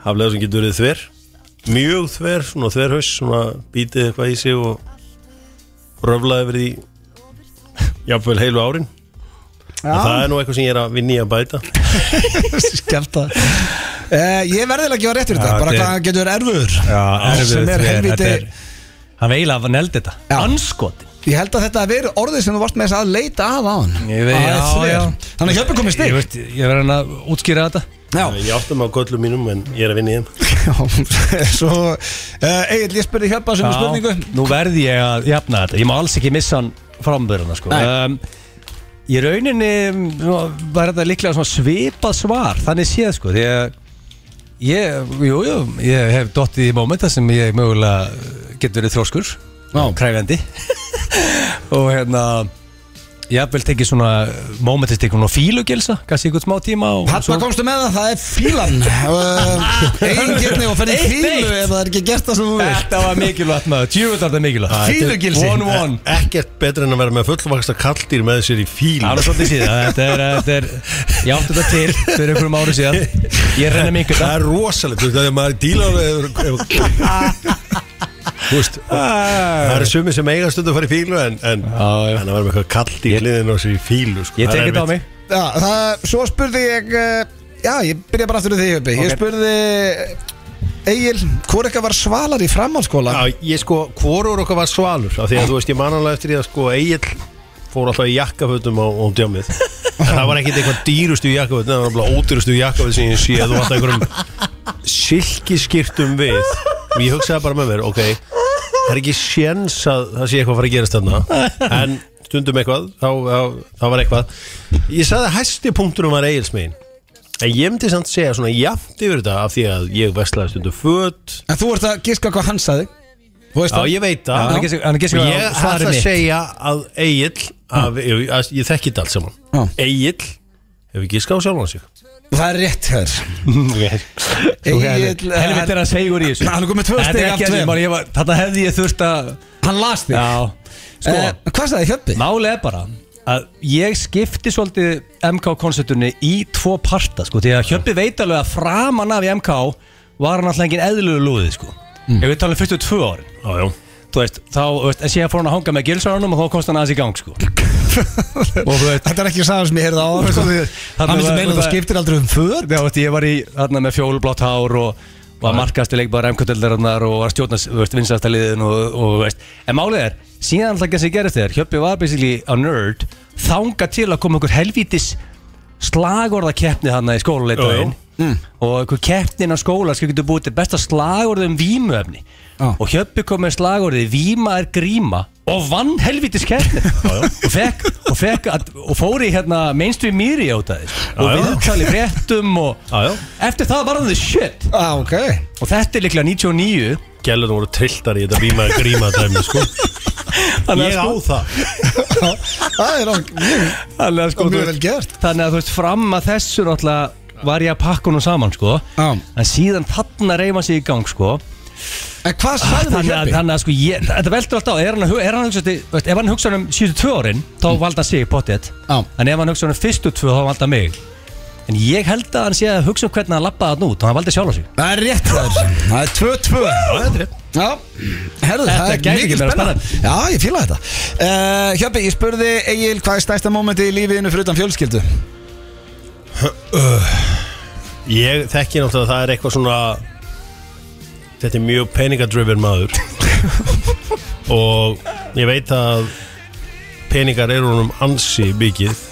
[SPEAKER 3] haflega sem getur verið þver Mjög þver, svona þverhaus Svona bítið eitthvað í sig og röflaði verið í jafnvel heilu árin En það er nú eitthvað sem ég er að vinni að bæta
[SPEAKER 1] Skemmta uh, Ég verðilega ekki að gefa rétt fyrir
[SPEAKER 2] Já,
[SPEAKER 1] þetta Bara
[SPEAKER 2] þetta er-
[SPEAKER 1] hvað hann getur verið erfur
[SPEAKER 2] erfiður
[SPEAKER 1] sem er
[SPEAKER 2] þver,
[SPEAKER 1] helvíti-
[SPEAKER 2] þetta er- Hann veila að neldi þetta
[SPEAKER 1] Já.
[SPEAKER 2] Anskotin
[SPEAKER 1] Ég held að þetta hafi verið orðið sem þú varst með þess að leita að á hann
[SPEAKER 2] Ég veit- já, já.
[SPEAKER 1] Þannig að Hjöppi komið
[SPEAKER 2] Ég
[SPEAKER 1] stig
[SPEAKER 2] veist, ég verður hann að útskýra þetta
[SPEAKER 1] Já,
[SPEAKER 3] Ég átti mig á göllum mínum en ég er að vinni í þeim
[SPEAKER 1] já Svo uh, Egil, ég spurði Hjöppa sem spurningu
[SPEAKER 2] Nú verð ég að jafna þetta Ég má alls ekki missa hann frambyrðuna sko
[SPEAKER 1] Nei.
[SPEAKER 2] um, Í rauninni um, var þetta líklega svona svipað svar Þannig séð sko Því að ég, jú, jú, ég hef dottið í mómenta sem ég mögulega uh, getur verið þróskur
[SPEAKER 1] Já.
[SPEAKER 2] Kræfjandi Og hérna jafnvel tekið svona momentist ykkur og fílugilsa, kannski ykkur smá tíma og
[SPEAKER 1] Hanna komstu með það, það er fílan Uh, Einn getni og fenni
[SPEAKER 2] Eitt,
[SPEAKER 1] fílu
[SPEAKER 2] eitt.
[SPEAKER 1] ef það er ekki gert það sem þú vil
[SPEAKER 2] Þetta var mikilvægt maður, djúvöld var þetta mikilvægt
[SPEAKER 1] Fýlugilsi.
[SPEAKER 2] One one
[SPEAKER 3] Ekkert betra en að vera með fullvaksta kalldýr með sér í fíl
[SPEAKER 2] Það var svolítið síðan, þetta er, þetta er, ég átti þetta til fyrir einhverjum ári síðan Ég reyna mikil
[SPEAKER 3] Það er rosalegt, þú veist, þegar maður dílar við ef- Þú veist,
[SPEAKER 2] Ah.
[SPEAKER 3] það eru sumir sem eiga stundu að fara í fílu en, en,
[SPEAKER 2] já.
[SPEAKER 3] en að vera með eitthvað kallt í liðin og sér í fílu sko.
[SPEAKER 2] Ég
[SPEAKER 3] Það er
[SPEAKER 2] tek þetta á
[SPEAKER 3] erfitt.
[SPEAKER 2] mig
[SPEAKER 1] Já, það, svo spurði ég uh, Já, ég byrja bara aftur í því uppi Ég
[SPEAKER 2] Ok.
[SPEAKER 1] spurði Egil, hvor eitthvað var svalar í framhaldsskóla?
[SPEAKER 3] Já, ég sko, hvorur okkar var svalur af því að þú veist, ég mananlega eftir því að sko Egil fór alltaf í jakkafötum á, á djámið en það var ekkit eitthvað dýrustu jakkafötum það var alltaf ódýrustu jakkafötum sem ég sé þú alltaf einhverjum silkiskirtum við og ég hugsaði bara með mér, ok það er ekki séns að það sé eitthvað að fara að gerast þarna en stundum eitthvað, þá, þá, þá var eitthvað ég sagði að hæsti punkturum var Egilsmein en ég myndi samt segja svona jafnt yfir þetta af því að ég veslaði stundum föt
[SPEAKER 1] En þú ert að giska hvað hann sagði Þú veist
[SPEAKER 3] Já,
[SPEAKER 1] það?
[SPEAKER 3] ég veit
[SPEAKER 2] Já, hann er
[SPEAKER 3] það
[SPEAKER 2] ekki- hann er ekki-
[SPEAKER 3] Og
[SPEAKER 2] hann er
[SPEAKER 3] Ég
[SPEAKER 2] ekki- svarið
[SPEAKER 3] ætla að
[SPEAKER 2] mitt.
[SPEAKER 3] segja að Egil að, að, að ég þekki þetta allt
[SPEAKER 1] Já.
[SPEAKER 3] saman Egil hefur giskað á sjálfan sig
[SPEAKER 1] Það er rétt hér Egill, eh,
[SPEAKER 2] Helvitt er að segur í þessu
[SPEAKER 1] Hann er komið tvö
[SPEAKER 2] Þetta
[SPEAKER 1] stig
[SPEAKER 2] er
[SPEAKER 1] af
[SPEAKER 2] ekki að
[SPEAKER 1] tveim.
[SPEAKER 2] því, maður, ég var- Þarna hefði ég þurft að
[SPEAKER 1] Hann las þig
[SPEAKER 2] Já, sko
[SPEAKER 1] Eh, Hvað sagði Hjöppi?
[SPEAKER 2] Málið er bara að ég skipti svolítið MK-konsertunni í tvo parta sko, því að Hjöppi veit alveg að framan af í MK var hann alltaf engin eðlulegu lúði sko.
[SPEAKER 1] Mm.
[SPEAKER 2] Ef við tala um fyrstu tvö árin
[SPEAKER 3] Já, já
[SPEAKER 2] þú veist, þá, þú veist, en síðan fór hann að hanga með gilsarunum og þá komst hann aðeins í gang sko. og þú veist
[SPEAKER 1] Þetta er ekki sagan sem ég heyrði á sko, því-
[SPEAKER 2] Þarna
[SPEAKER 1] Hann vildi
[SPEAKER 2] var-
[SPEAKER 1] meina að þú
[SPEAKER 2] það-
[SPEAKER 1] skiptir aldrei um föt
[SPEAKER 2] Já, veist, ég var í, þarna með fjólublátt hár og var markaðasti leikmaður MK-dildarinnar og var stjórnast, þú veist, vinsastaliðin og, og þú veist, en málið er, síðan alltaf ekki að sem gerist þér, Hjöppi var basically a nerd, þanga til að koma einhver helvítis slagorðakeppni þarna í skóluleitarinn og einhver keppnin á skóla sem getur búið til besta slagorði um vímuefni
[SPEAKER 1] Já.
[SPEAKER 2] og Hjöppi kom með slagorðið víma er gríma og vann helvítis keppni og, fekk, og, fekk að, og fór í hérna mainstream mýri á það og
[SPEAKER 3] Já, já.
[SPEAKER 2] viðtal í fréttum og
[SPEAKER 3] Já, já.
[SPEAKER 2] eftir það var hann the shit
[SPEAKER 1] ah, ok
[SPEAKER 2] og þetta er líklega 99
[SPEAKER 3] Gellur voru trilltar í þetta víma gríma dæmi sko.
[SPEAKER 2] Þannig
[SPEAKER 3] Ég á
[SPEAKER 2] að sko,
[SPEAKER 3] það
[SPEAKER 1] Það er ok
[SPEAKER 2] þannig að, sko
[SPEAKER 1] Og mjög
[SPEAKER 2] þú veist-
[SPEAKER 1] vel gert.
[SPEAKER 2] þannig að þú veist fram að þessu náttúrulega var ég að pakka honum saman sko
[SPEAKER 1] Já.
[SPEAKER 2] en síðan þarna reyma sig í gang sko
[SPEAKER 1] En hvað sagði
[SPEAKER 2] þannig að,
[SPEAKER 1] Hjöppi?
[SPEAKER 2] þannig að sko ég, þetta veldur alltaf á er hann, að hu- er hann hugsa, veist, ef hann hugsa um síðustu tvö árin þá valda hann sig pottet
[SPEAKER 1] Já.
[SPEAKER 2] en ef hann hugsa um fyrstu tvö þá valda hann mig en ég held að hann sé að hugsa um hvernig hann lappaði hann út og hann valdi sjálf á sig
[SPEAKER 1] Það er rétt þar Það er 2-2 Já, herðu,
[SPEAKER 2] Þetta
[SPEAKER 1] það er
[SPEAKER 2] gæti
[SPEAKER 1] mikil
[SPEAKER 2] ekki verið
[SPEAKER 1] spenna Já, ég fíla þetta uh, Hjöppi, ég spurði Egil hvað er stærsta mómenti í lífiðinu fyrir utan fjölskyldu?
[SPEAKER 3] Ég þekki náttúrulega að það er eitthvað svona Þetta er mjög peningadriven maður Og ég veit að Peningar eru honum ansi mikið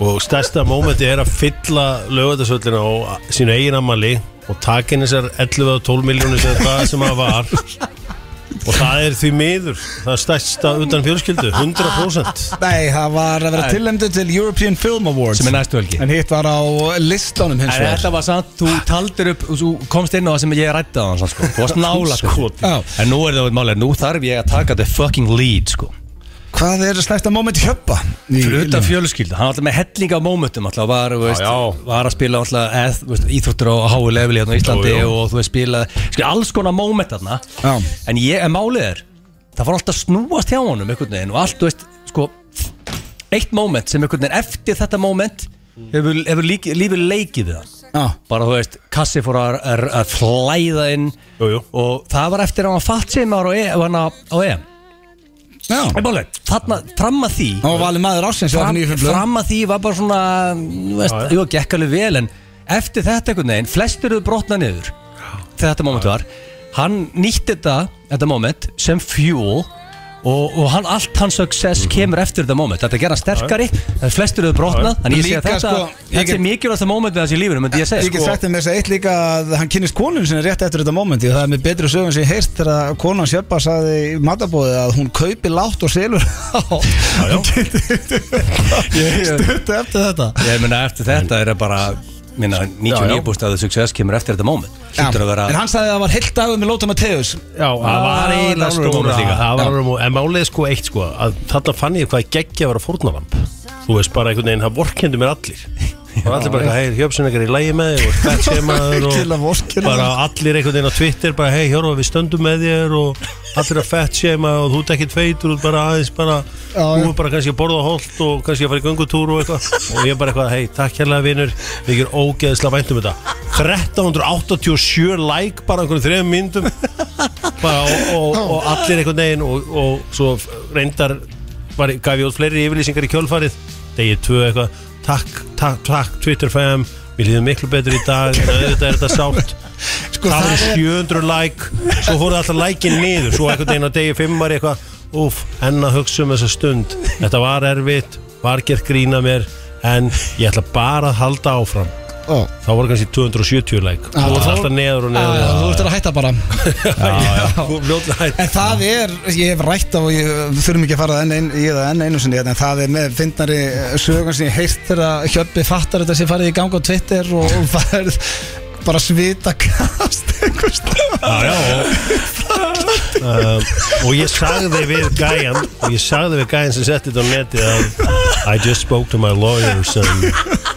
[SPEAKER 3] Og stærsta mómenti er að fylla lögatarsvöllina á sínu eigin ammali Og taka inn þessar 11-12 miljónir sem það sem það var Og það er því miður Það er stærsta utan fjölskyldu 100%
[SPEAKER 1] Nei, það var að vera
[SPEAKER 2] Nei.
[SPEAKER 1] tilnæmdu til European Film Awards
[SPEAKER 2] sem er næstu helgi
[SPEAKER 1] En hitt var á listanum hins
[SPEAKER 2] En þetta
[SPEAKER 1] vegar
[SPEAKER 2] var sant, þú taldir upp þú komst inn á það sem ég rætti á hann sko. þú varst nála sko.
[SPEAKER 3] Skot.
[SPEAKER 1] Já.
[SPEAKER 2] en nú er það málega, nú þarf ég að taka þetta fucking lead sko.
[SPEAKER 1] Hvað er stærsta mómenti Hjöppa? í
[SPEAKER 2] fyrir utan
[SPEAKER 1] lífinu?
[SPEAKER 2] fjölskyldu, hann var alltaf með helling af mómentum alltaf, var, þú veist,
[SPEAKER 3] Já, já.
[SPEAKER 2] var að spila alltaf eð, þú veist, íþróttur á háu leveli hérna á Íslandi
[SPEAKER 3] Já, já.
[SPEAKER 2] og þú veist spila skil, alls konar móment þarna
[SPEAKER 1] Já.
[SPEAKER 2] en ég, en málið er, það var alltaf að snúast hjá honum einhvern veginn og allt, þú veist, sko eitt móment sem einhvern veginn eftir þetta móment hefur, hefur líki, lífið leikið við hann
[SPEAKER 1] Já.
[SPEAKER 2] bara þú veist, kassi fór að, að, að flæða inn
[SPEAKER 3] Jú, jú.
[SPEAKER 2] og það var eftir að hann fatt sem ára á, e, hann á, á EM
[SPEAKER 1] Já,
[SPEAKER 2] En máli, þarna, fram að því
[SPEAKER 1] og valið maður ásins
[SPEAKER 2] fram, fram að því var bara svona þú veist,
[SPEAKER 3] Já, já.
[SPEAKER 2] jú, gekk alveg vel en eftir þetta einhvern veginn, flestir eru brotna niður þegar þetta moment var hann nýtti þetta, þetta moment sem fuel og, og hann, allt hans
[SPEAKER 1] Mhm.
[SPEAKER 2] success kemur eftir þetta moment þetta gerða sterkari, það er flestir eru brotna þannig ég sé að
[SPEAKER 1] Líka,
[SPEAKER 2] þetta,
[SPEAKER 1] sko, ég
[SPEAKER 2] þetta
[SPEAKER 1] get-
[SPEAKER 2] er mikilvægasta moment við þessi í lífinu, myndi ég segja sko.
[SPEAKER 1] Ég get sagt þeim þess að eitt líka að hann kynist konun sinni rétt eftir þetta momenti og það er með betri sögum sem ég heyrst þegar að konan sjöpa saði í matabóði að hún kaupi látt og selur á
[SPEAKER 3] já.
[SPEAKER 1] stutt eftir þetta
[SPEAKER 2] Ég meina eftir þetta er það bara minna 99% af the success kemur eftir þetta moment Hlýtur að vera
[SPEAKER 1] En hann sagði að það var heilt dagur með Lóta Mateus
[SPEAKER 3] Já, það var eiginlega
[SPEAKER 2] stóra
[SPEAKER 3] stóra
[SPEAKER 2] líka.
[SPEAKER 3] Það var alveg mót En málið er sko eitt sko að Þarna fann ég hvað geggja að vera fórnalamb Þú veist bara einhvern veginn, það vorkendu mér allir Það var allir bara, eitthvað, hei, hjöpsunegar í lægi með þig og hvert sem aður
[SPEAKER 1] Virkilega
[SPEAKER 3] og
[SPEAKER 1] vorkenna.
[SPEAKER 3] bara allir einhvern veginn á Twitter bara, hei, hjörfa, við stöndum með þér og allir að fett sema og þú ert ekkert feitur og bara aðeins bara,
[SPEAKER 1] Já,
[SPEAKER 3] þú
[SPEAKER 1] já.
[SPEAKER 3] er bara kannski að borða holt og kannski að fara í göngutúr og eitthvað og ég bara eitthvað, hei, takk hérlega vinur við gerum ógeðslega væntum þetta 1387 like bara einhvern þrejum myndum bara, og, og, og allir einhvern veginn og, og svo reyndar var, gaf ég út fleiri yfirlýsingar í kjölfarið degið tvö eitthvað takk, takk, takk Twitter fam við líðum miklu betur í dag en auðvitað er þetta sátt það
[SPEAKER 1] Sko, það
[SPEAKER 3] var
[SPEAKER 1] er-
[SPEAKER 3] 700 like svo fóruð alltaf like-in niður svo einhvern veginn á degi 5 var ég eitthvað úf, enn að hugsa um þessa stund þetta var erfitt, var gert grína mér en ég ætla bara að halda áfram
[SPEAKER 1] Ó.
[SPEAKER 3] þá voru kannski 270 like
[SPEAKER 1] Já,
[SPEAKER 3] þú voru
[SPEAKER 1] þá-
[SPEAKER 3] alltaf neður og
[SPEAKER 1] Já, já, Þú
[SPEAKER 3] neður
[SPEAKER 1] ert að hætta bara
[SPEAKER 3] og fljótlega
[SPEAKER 1] En það er, ég hef rætt á og ég þurfum ekki að fara enn ein, í það enn einu sinni hérna, en það er með fyndnari eh, sögum sem ég heilt þegar að Hjöppi fattar þetta sem farið í gang á Twitter og, og farið bara svita kast einhvers staðar.
[SPEAKER 3] Já, já, og, um, og ég sagði við gæjan og ég sagði við gæjan sem setti þetta á neti að I just spoke to my lawyers and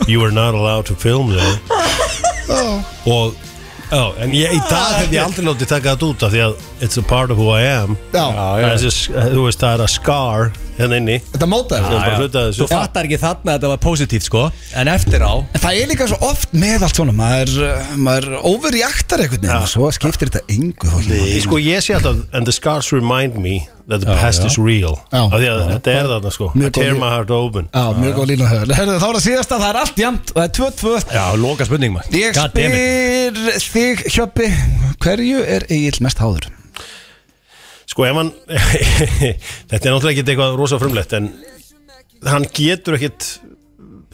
[SPEAKER 3] you are not allowed to film there
[SPEAKER 1] Oh.
[SPEAKER 3] og já, en ég, í dag hef ég aldrei látið taka þetta út af því að it's a part of who I am
[SPEAKER 1] Já,
[SPEAKER 3] Það er þessi- þú veist það er að scar hérna inni
[SPEAKER 1] þetta mótaði
[SPEAKER 3] sem
[SPEAKER 2] Já,
[SPEAKER 3] bara
[SPEAKER 2] já.
[SPEAKER 3] hluta
[SPEAKER 2] Þú
[SPEAKER 3] þessu
[SPEAKER 2] fattar ekki þarna að þetta var positíft sko En eftir á
[SPEAKER 1] En það er líka svo oft með allt svona maður, uh, maður overreaktar einhvern veginn og svo skiptir þetta engu þá ekki máli.
[SPEAKER 3] Ég sko ég sé alltaf and the scars remind me that the past is real
[SPEAKER 1] Já.
[SPEAKER 3] af því að þetta er þarna sko I
[SPEAKER 1] Mjög góð
[SPEAKER 3] tear
[SPEAKER 1] lí-
[SPEAKER 3] my heart open
[SPEAKER 1] Já, mjög góð lína höfður Herðu, þá er það síðasta, það er allt jæmt og það er 2-2
[SPEAKER 2] Já, loka spurning maður
[SPEAKER 1] Ég
[SPEAKER 2] God damn it.
[SPEAKER 1] spyr þig, Hjöppi hverju er Egil mest háður?
[SPEAKER 3] Sko ef hann Þetta er náttúrulega ekkert eitthvað rosa frumlegt En hann getur ekkert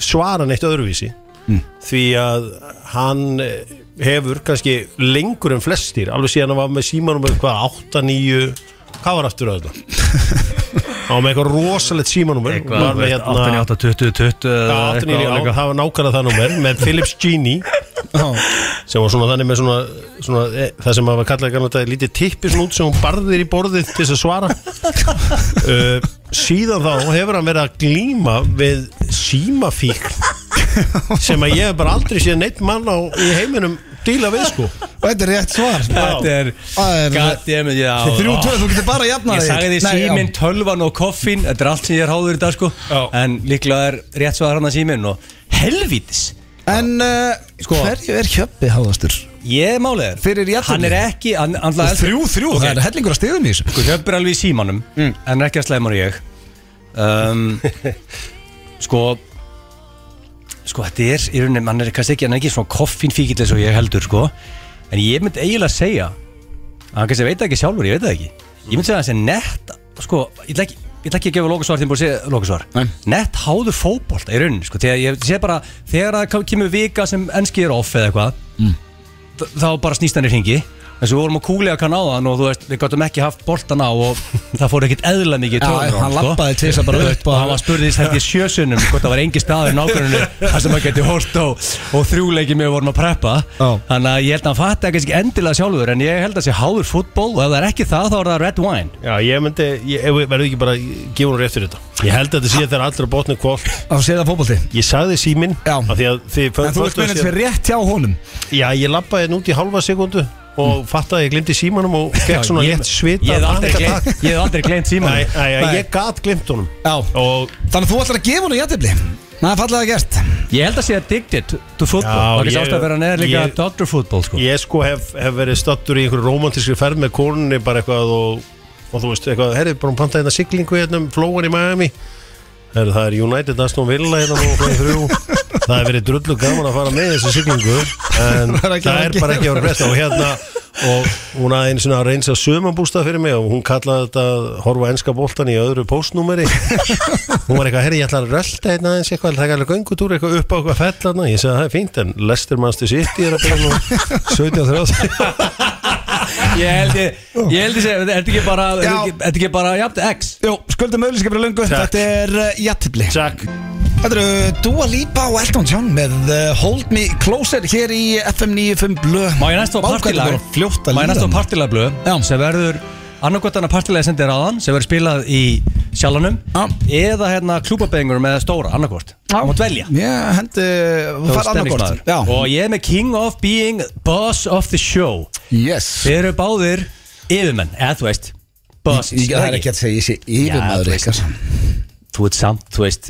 [SPEAKER 3] svara neitt öðruvísi
[SPEAKER 2] Hmm.
[SPEAKER 3] Því að hann eh, hefur kannski lengur en flestir Alveg síðan hann var með símanum með hvað 8, 9 Hvað var aftur að þetta? Hann var með eitthvað rosalegt símanum Var með hérna
[SPEAKER 2] 88, 20, 20
[SPEAKER 3] Já, 8, 9, já, það var nákvæmlega það númer með Philips Genie sem var svona þannig með svona, svona e, það sem maður var kallað kannan þetta lítið tippi svona út sem hún barðir í borðið til þess að svara uh, síðan þá hefur hann verið að glíma við símafík sem að ég hef bara aldrei séð neitt mann á í heiminum díla við sko
[SPEAKER 1] Og þetta er rétt svar
[SPEAKER 2] Þetta er
[SPEAKER 1] Það er-
[SPEAKER 2] God damn it, já
[SPEAKER 1] Þrjú,
[SPEAKER 2] Ó.
[SPEAKER 1] tvö, þú getur bara jafnað
[SPEAKER 2] Ég sagði því
[SPEAKER 1] Nei, já.
[SPEAKER 2] síminn, tölvan og koffín Þetta er allt sem ég er háður í dag sko
[SPEAKER 3] Já.
[SPEAKER 2] En líklega er rétt svo að hana síminn og helvítis
[SPEAKER 1] En uh,
[SPEAKER 2] Sko.
[SPEAKER 1] hverju er Hjöppi háðastur?
[SPEAKER 2] Ég er málega
[SPEAKER 1] Fyrir jafntefli.
[SPEAKER 2] Hann er ekki hann, hann, hann,
[SPEAKER 1] Þrjú, þrjú, það er hellingur að stigum í þessu
[SPEAKER 2] Sko, Hjöpp er alveg í símanum mm. En ekki að slæma hann ég um, Sko Sko, þetta er í rauninni, Hann er kannski ekki, hann er ekki svona koffinfíkild eins og ég heldur, sko En ég myndi eiginlega segja að Hann kannski veit það ekki sjálfur, ég veit það ekki Ég myndi segja að hann sé nett Sko, ég ætla ekki Ég ætla ekki að gefa lókusvar þeim búið að segja lókusvar
[SPEAKER 1] Nei.
[SPEAKER 2] Nett háður fótbolta í rauninni sko. Þegar ég sé bara Þegar það kemur vika sem enski er off eða eitthvað
[SPEAKER 1] Mm.
[SPEAKER 2] þ- þá bara snýst hann í ringi þess að við vorum að kúlega kann á hann og þú veist, við gáttum ekki haft boltan á og það fór ekkit eðla mikið í
[SPEAKER 1] Já,
[SPEAKER 2] taugarnar á
[SPEAKER 1] hann
[SPEAKER 2] sko.
[SPEAKER 1] labbaði tvisvar bara upp
[SPEAKER 2] og
[SPEAKER 1] og-
[SPEAKER 2] hann var spurðið þetta í sjösunum hvort það var engi staður nákvæmunu þar sem hann geti hórt á og þrjúleiki með vorum að preppa
[SPEAKER 1] Já.
[SPEAKER 2] þannig að ég held að hann fatti ekki endilega sjálfur en ég held að sé háður fútból og ef það er ekki það þá er það red wine
[SPEAKER 3] Já, ég myndi, ég ef við- verðum ekki bara að gefa hún rétt fyrir þetta ég held að þetta sé þegar allra botni kvólt
[SPEAKER 1] Á séða fótbolti
[SPEAKER 3] ég sagði síminn
[SPEAKER 1] Já.
[SPEAKER 3] af því að þið
[SPEAKER 1] En þú ert minnins fyrir rétt hjá honum
[SPEAKER 3] Já, ég lappaði hérna út í halva sekundu og fattaði að ég glimti símanum og fekk svona
[SPEAKER 2] Mm. ég-
[SPEAKER 3] létt svita
[SPEAKER 2] ég hef aldrei
[SPEAKER 3] tangatak.
[SPEAKER 2] gleymt- ég hef aldrei gleymt
[SPEAKER 3] Nei,
[SPEAKER 2] símanum
[SPEAKER 3] nei,
[SPEAKER 1] Nei.
[SPEAKER 3] ég gat glimt honum
[SPEAKER 1] Já
[SPEAKER 3] og
[SPEAKER 1] Þannig að þú ætlar að gefa honum jættibli Það er fallega gert
[SPEAKER 2] ég held að sé addicted to football
[SPEAKER 3] Já,
[SPEAKER 2] það er
[SPEAKER 3] ég-
[SPEAKER 2] ekki ástæð að vera neður líka
[SPEAKER 3] ég-
[SPEAKER 2] doctor football sko.
[SPEAKER 3] ég sko hef, hef verið stattur í einhverju romantískri ferð með konunni bara eitthvað og, og þú veist eitthvað, herri, bara hún pantaði hérna siglingu hérna um flóan í Miami herri, það er United Aston Villa hérna nú og þrjú það hefur verið drullu gaman að fara með þessu siglingu en
[SPEAKER 1] Það er
[SPEAKER 3] það
[SPEAKER 1] ekki að
[SPEAKER 3] er bara ekki að vera besta og hérna og hún hafði einu svona að reynsa sömabústað fyrir mig og hún kallaði þetta að horfa á enska boltan í öðru postnúmeri hún var eitthvað, herri ég ætla að rölda hérna aðeins eitthvað, það er alveg göngutúr eitthvað upp á eitthvað fellarna, ég sagði það er fínt en Lester Master City er að byrja nú 17.30
[SPEAKER 2] ég held ég, ég held ég segja, er þetta ekki bara
[SPEAKER 1] Já.
[SPEAKER 2] er þetta ekki- er þetta ekki bara, jafn, X
[SPEAKER 1] Jú, skuldum auðlýskapri löngu Þetta er uh, jættibli
[SPEAKER 3] Takk
[SPEAKER 1] Þetta eru Dua Lipa og Elton John með uh, Hold Me Closer hér í FM 95 Blö
[SPEAKER 2] Má ég næstu á partilag
[SPEAKER 1] Fljótt að
[SPEAKER 2] Má ég næstu á
[SPEAKER 1] líða
[SPEAKER 2] partilagblöð
[SPEAKER 1] Já.
[SPEAKER 2] sem verður annarkvöldana partilagi sendir aðan sem verður spilað í sjalanum
[SPEAKER 1] Já.
[SPEAKER 2] eða hérna klúbabeðingur með stóra annarkvöld
[SPEAKER 1] Já.
[SPEAKER 2] og dvelja
[SPEAKER 1] Ég hendi, þú fær annarkort Já,
[SPEAKER 2] og ég er með King of Being Boss of the Show
[SPEAKER 1] yes
[SPEAKER 2] Þeir eru báðir yfirmenn eða þú veist boss,
[SPEAKER 1] Ég- Það er ekki að segja, ég sé yfirmaður
[SPEAKER 2] Já, þú
[SPEAKER 1] ykkar
[SPEAKER 2] þú veist samt, þú veist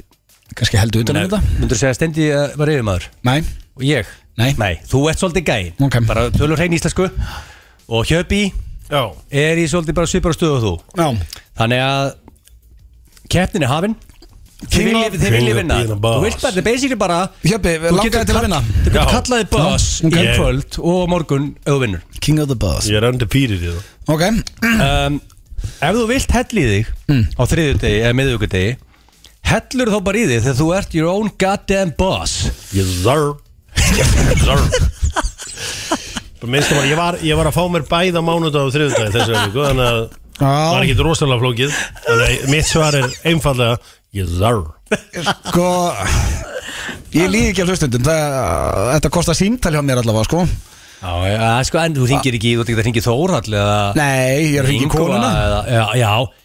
[SPEAKER 1] Kannski heldur utan um þetta
[SPEAKER 2] myndur þú segja að Stendi eh, var yfirmaður
[SPEAKER 1] Nei,
[SPEAKER 2] og ég,
[SPEAKER 1] Nei.
[SPEAKER 2] þú ert svolítið gæinn
[SPEAKER 1] Ok.
[SPEAKER 2] bara tölur hrein íslensku og Hjöbi
[SPEAKER 3] Já
[SPEAKER 2] er í svolítið bara svipar á stöðu og þú
[SPEAKER 1] já
[SPEAKER 2] Þannig að keppnin er hafin Þið
[SPEAKER 1] King
[SPEAKER 2] viljið
[SPEAKER 1] of-
[SPEAKER 2] þið viljið
[SPEAKER 3] King of
[SPEAKER 2] vinna
[SPEAKER 3] being a boss.
[SPEAKER 2] Þú vilt bara, þetta er basically bara
[SPEAKER 1] Hjöppi,
[SPEAKER 2] þú
[SPEAKER 1] langaði
[SPEAKER 2] getur
[SPEAKER 1] til að
[SPEAKER 2] kall-
[SPEAKER 1] vinna
[SPEAKER 2] Þú getur
[SPEAKER 3] Já.
[SPEAKER 2] kallaði boss
[SPEAKER 1] Já,
[SPEAKER 2] í
[SPEAKER 1] ok.
[SPEAKER 2] kvöld og á morgun ef þú vinnur
[SPEAKER 1] King of the Buzz
[SPEAKER 3] Ég er undefeated í það
[SPEAKER 1] Ok, Mm.
[SPEAKER 2] um, Ef þú vilt hell í þig á þriðjudegi eða miðvíkudegi hellur þá bara í þig þegar þú ert your own goddamn boss
[SPEAKER 3] Yes sir Yes sir Bara minnstu bara, ég var, ég var að fá mér bæða mánudag og þriðudagi þessu viku sko, Þannig að það var ekki rosalega flókið Þannig að mitt svar er einfallega Yes sir
[SPEAKER 1] sko Ég líði ekki af hlustundum Það, þetta kostar símtal hjá mér allavega, sko
[SPEAKER 2] Já, ja, sko, en þú ringir ekki, þú ert ekki að ringi Þórhall eða
[SPEAKER 1] Nei, ég er ekki
[SPEAKER 2] Ingvar
[SPEAKER 1] konuna
[SPEAKER 2] eða, já, já,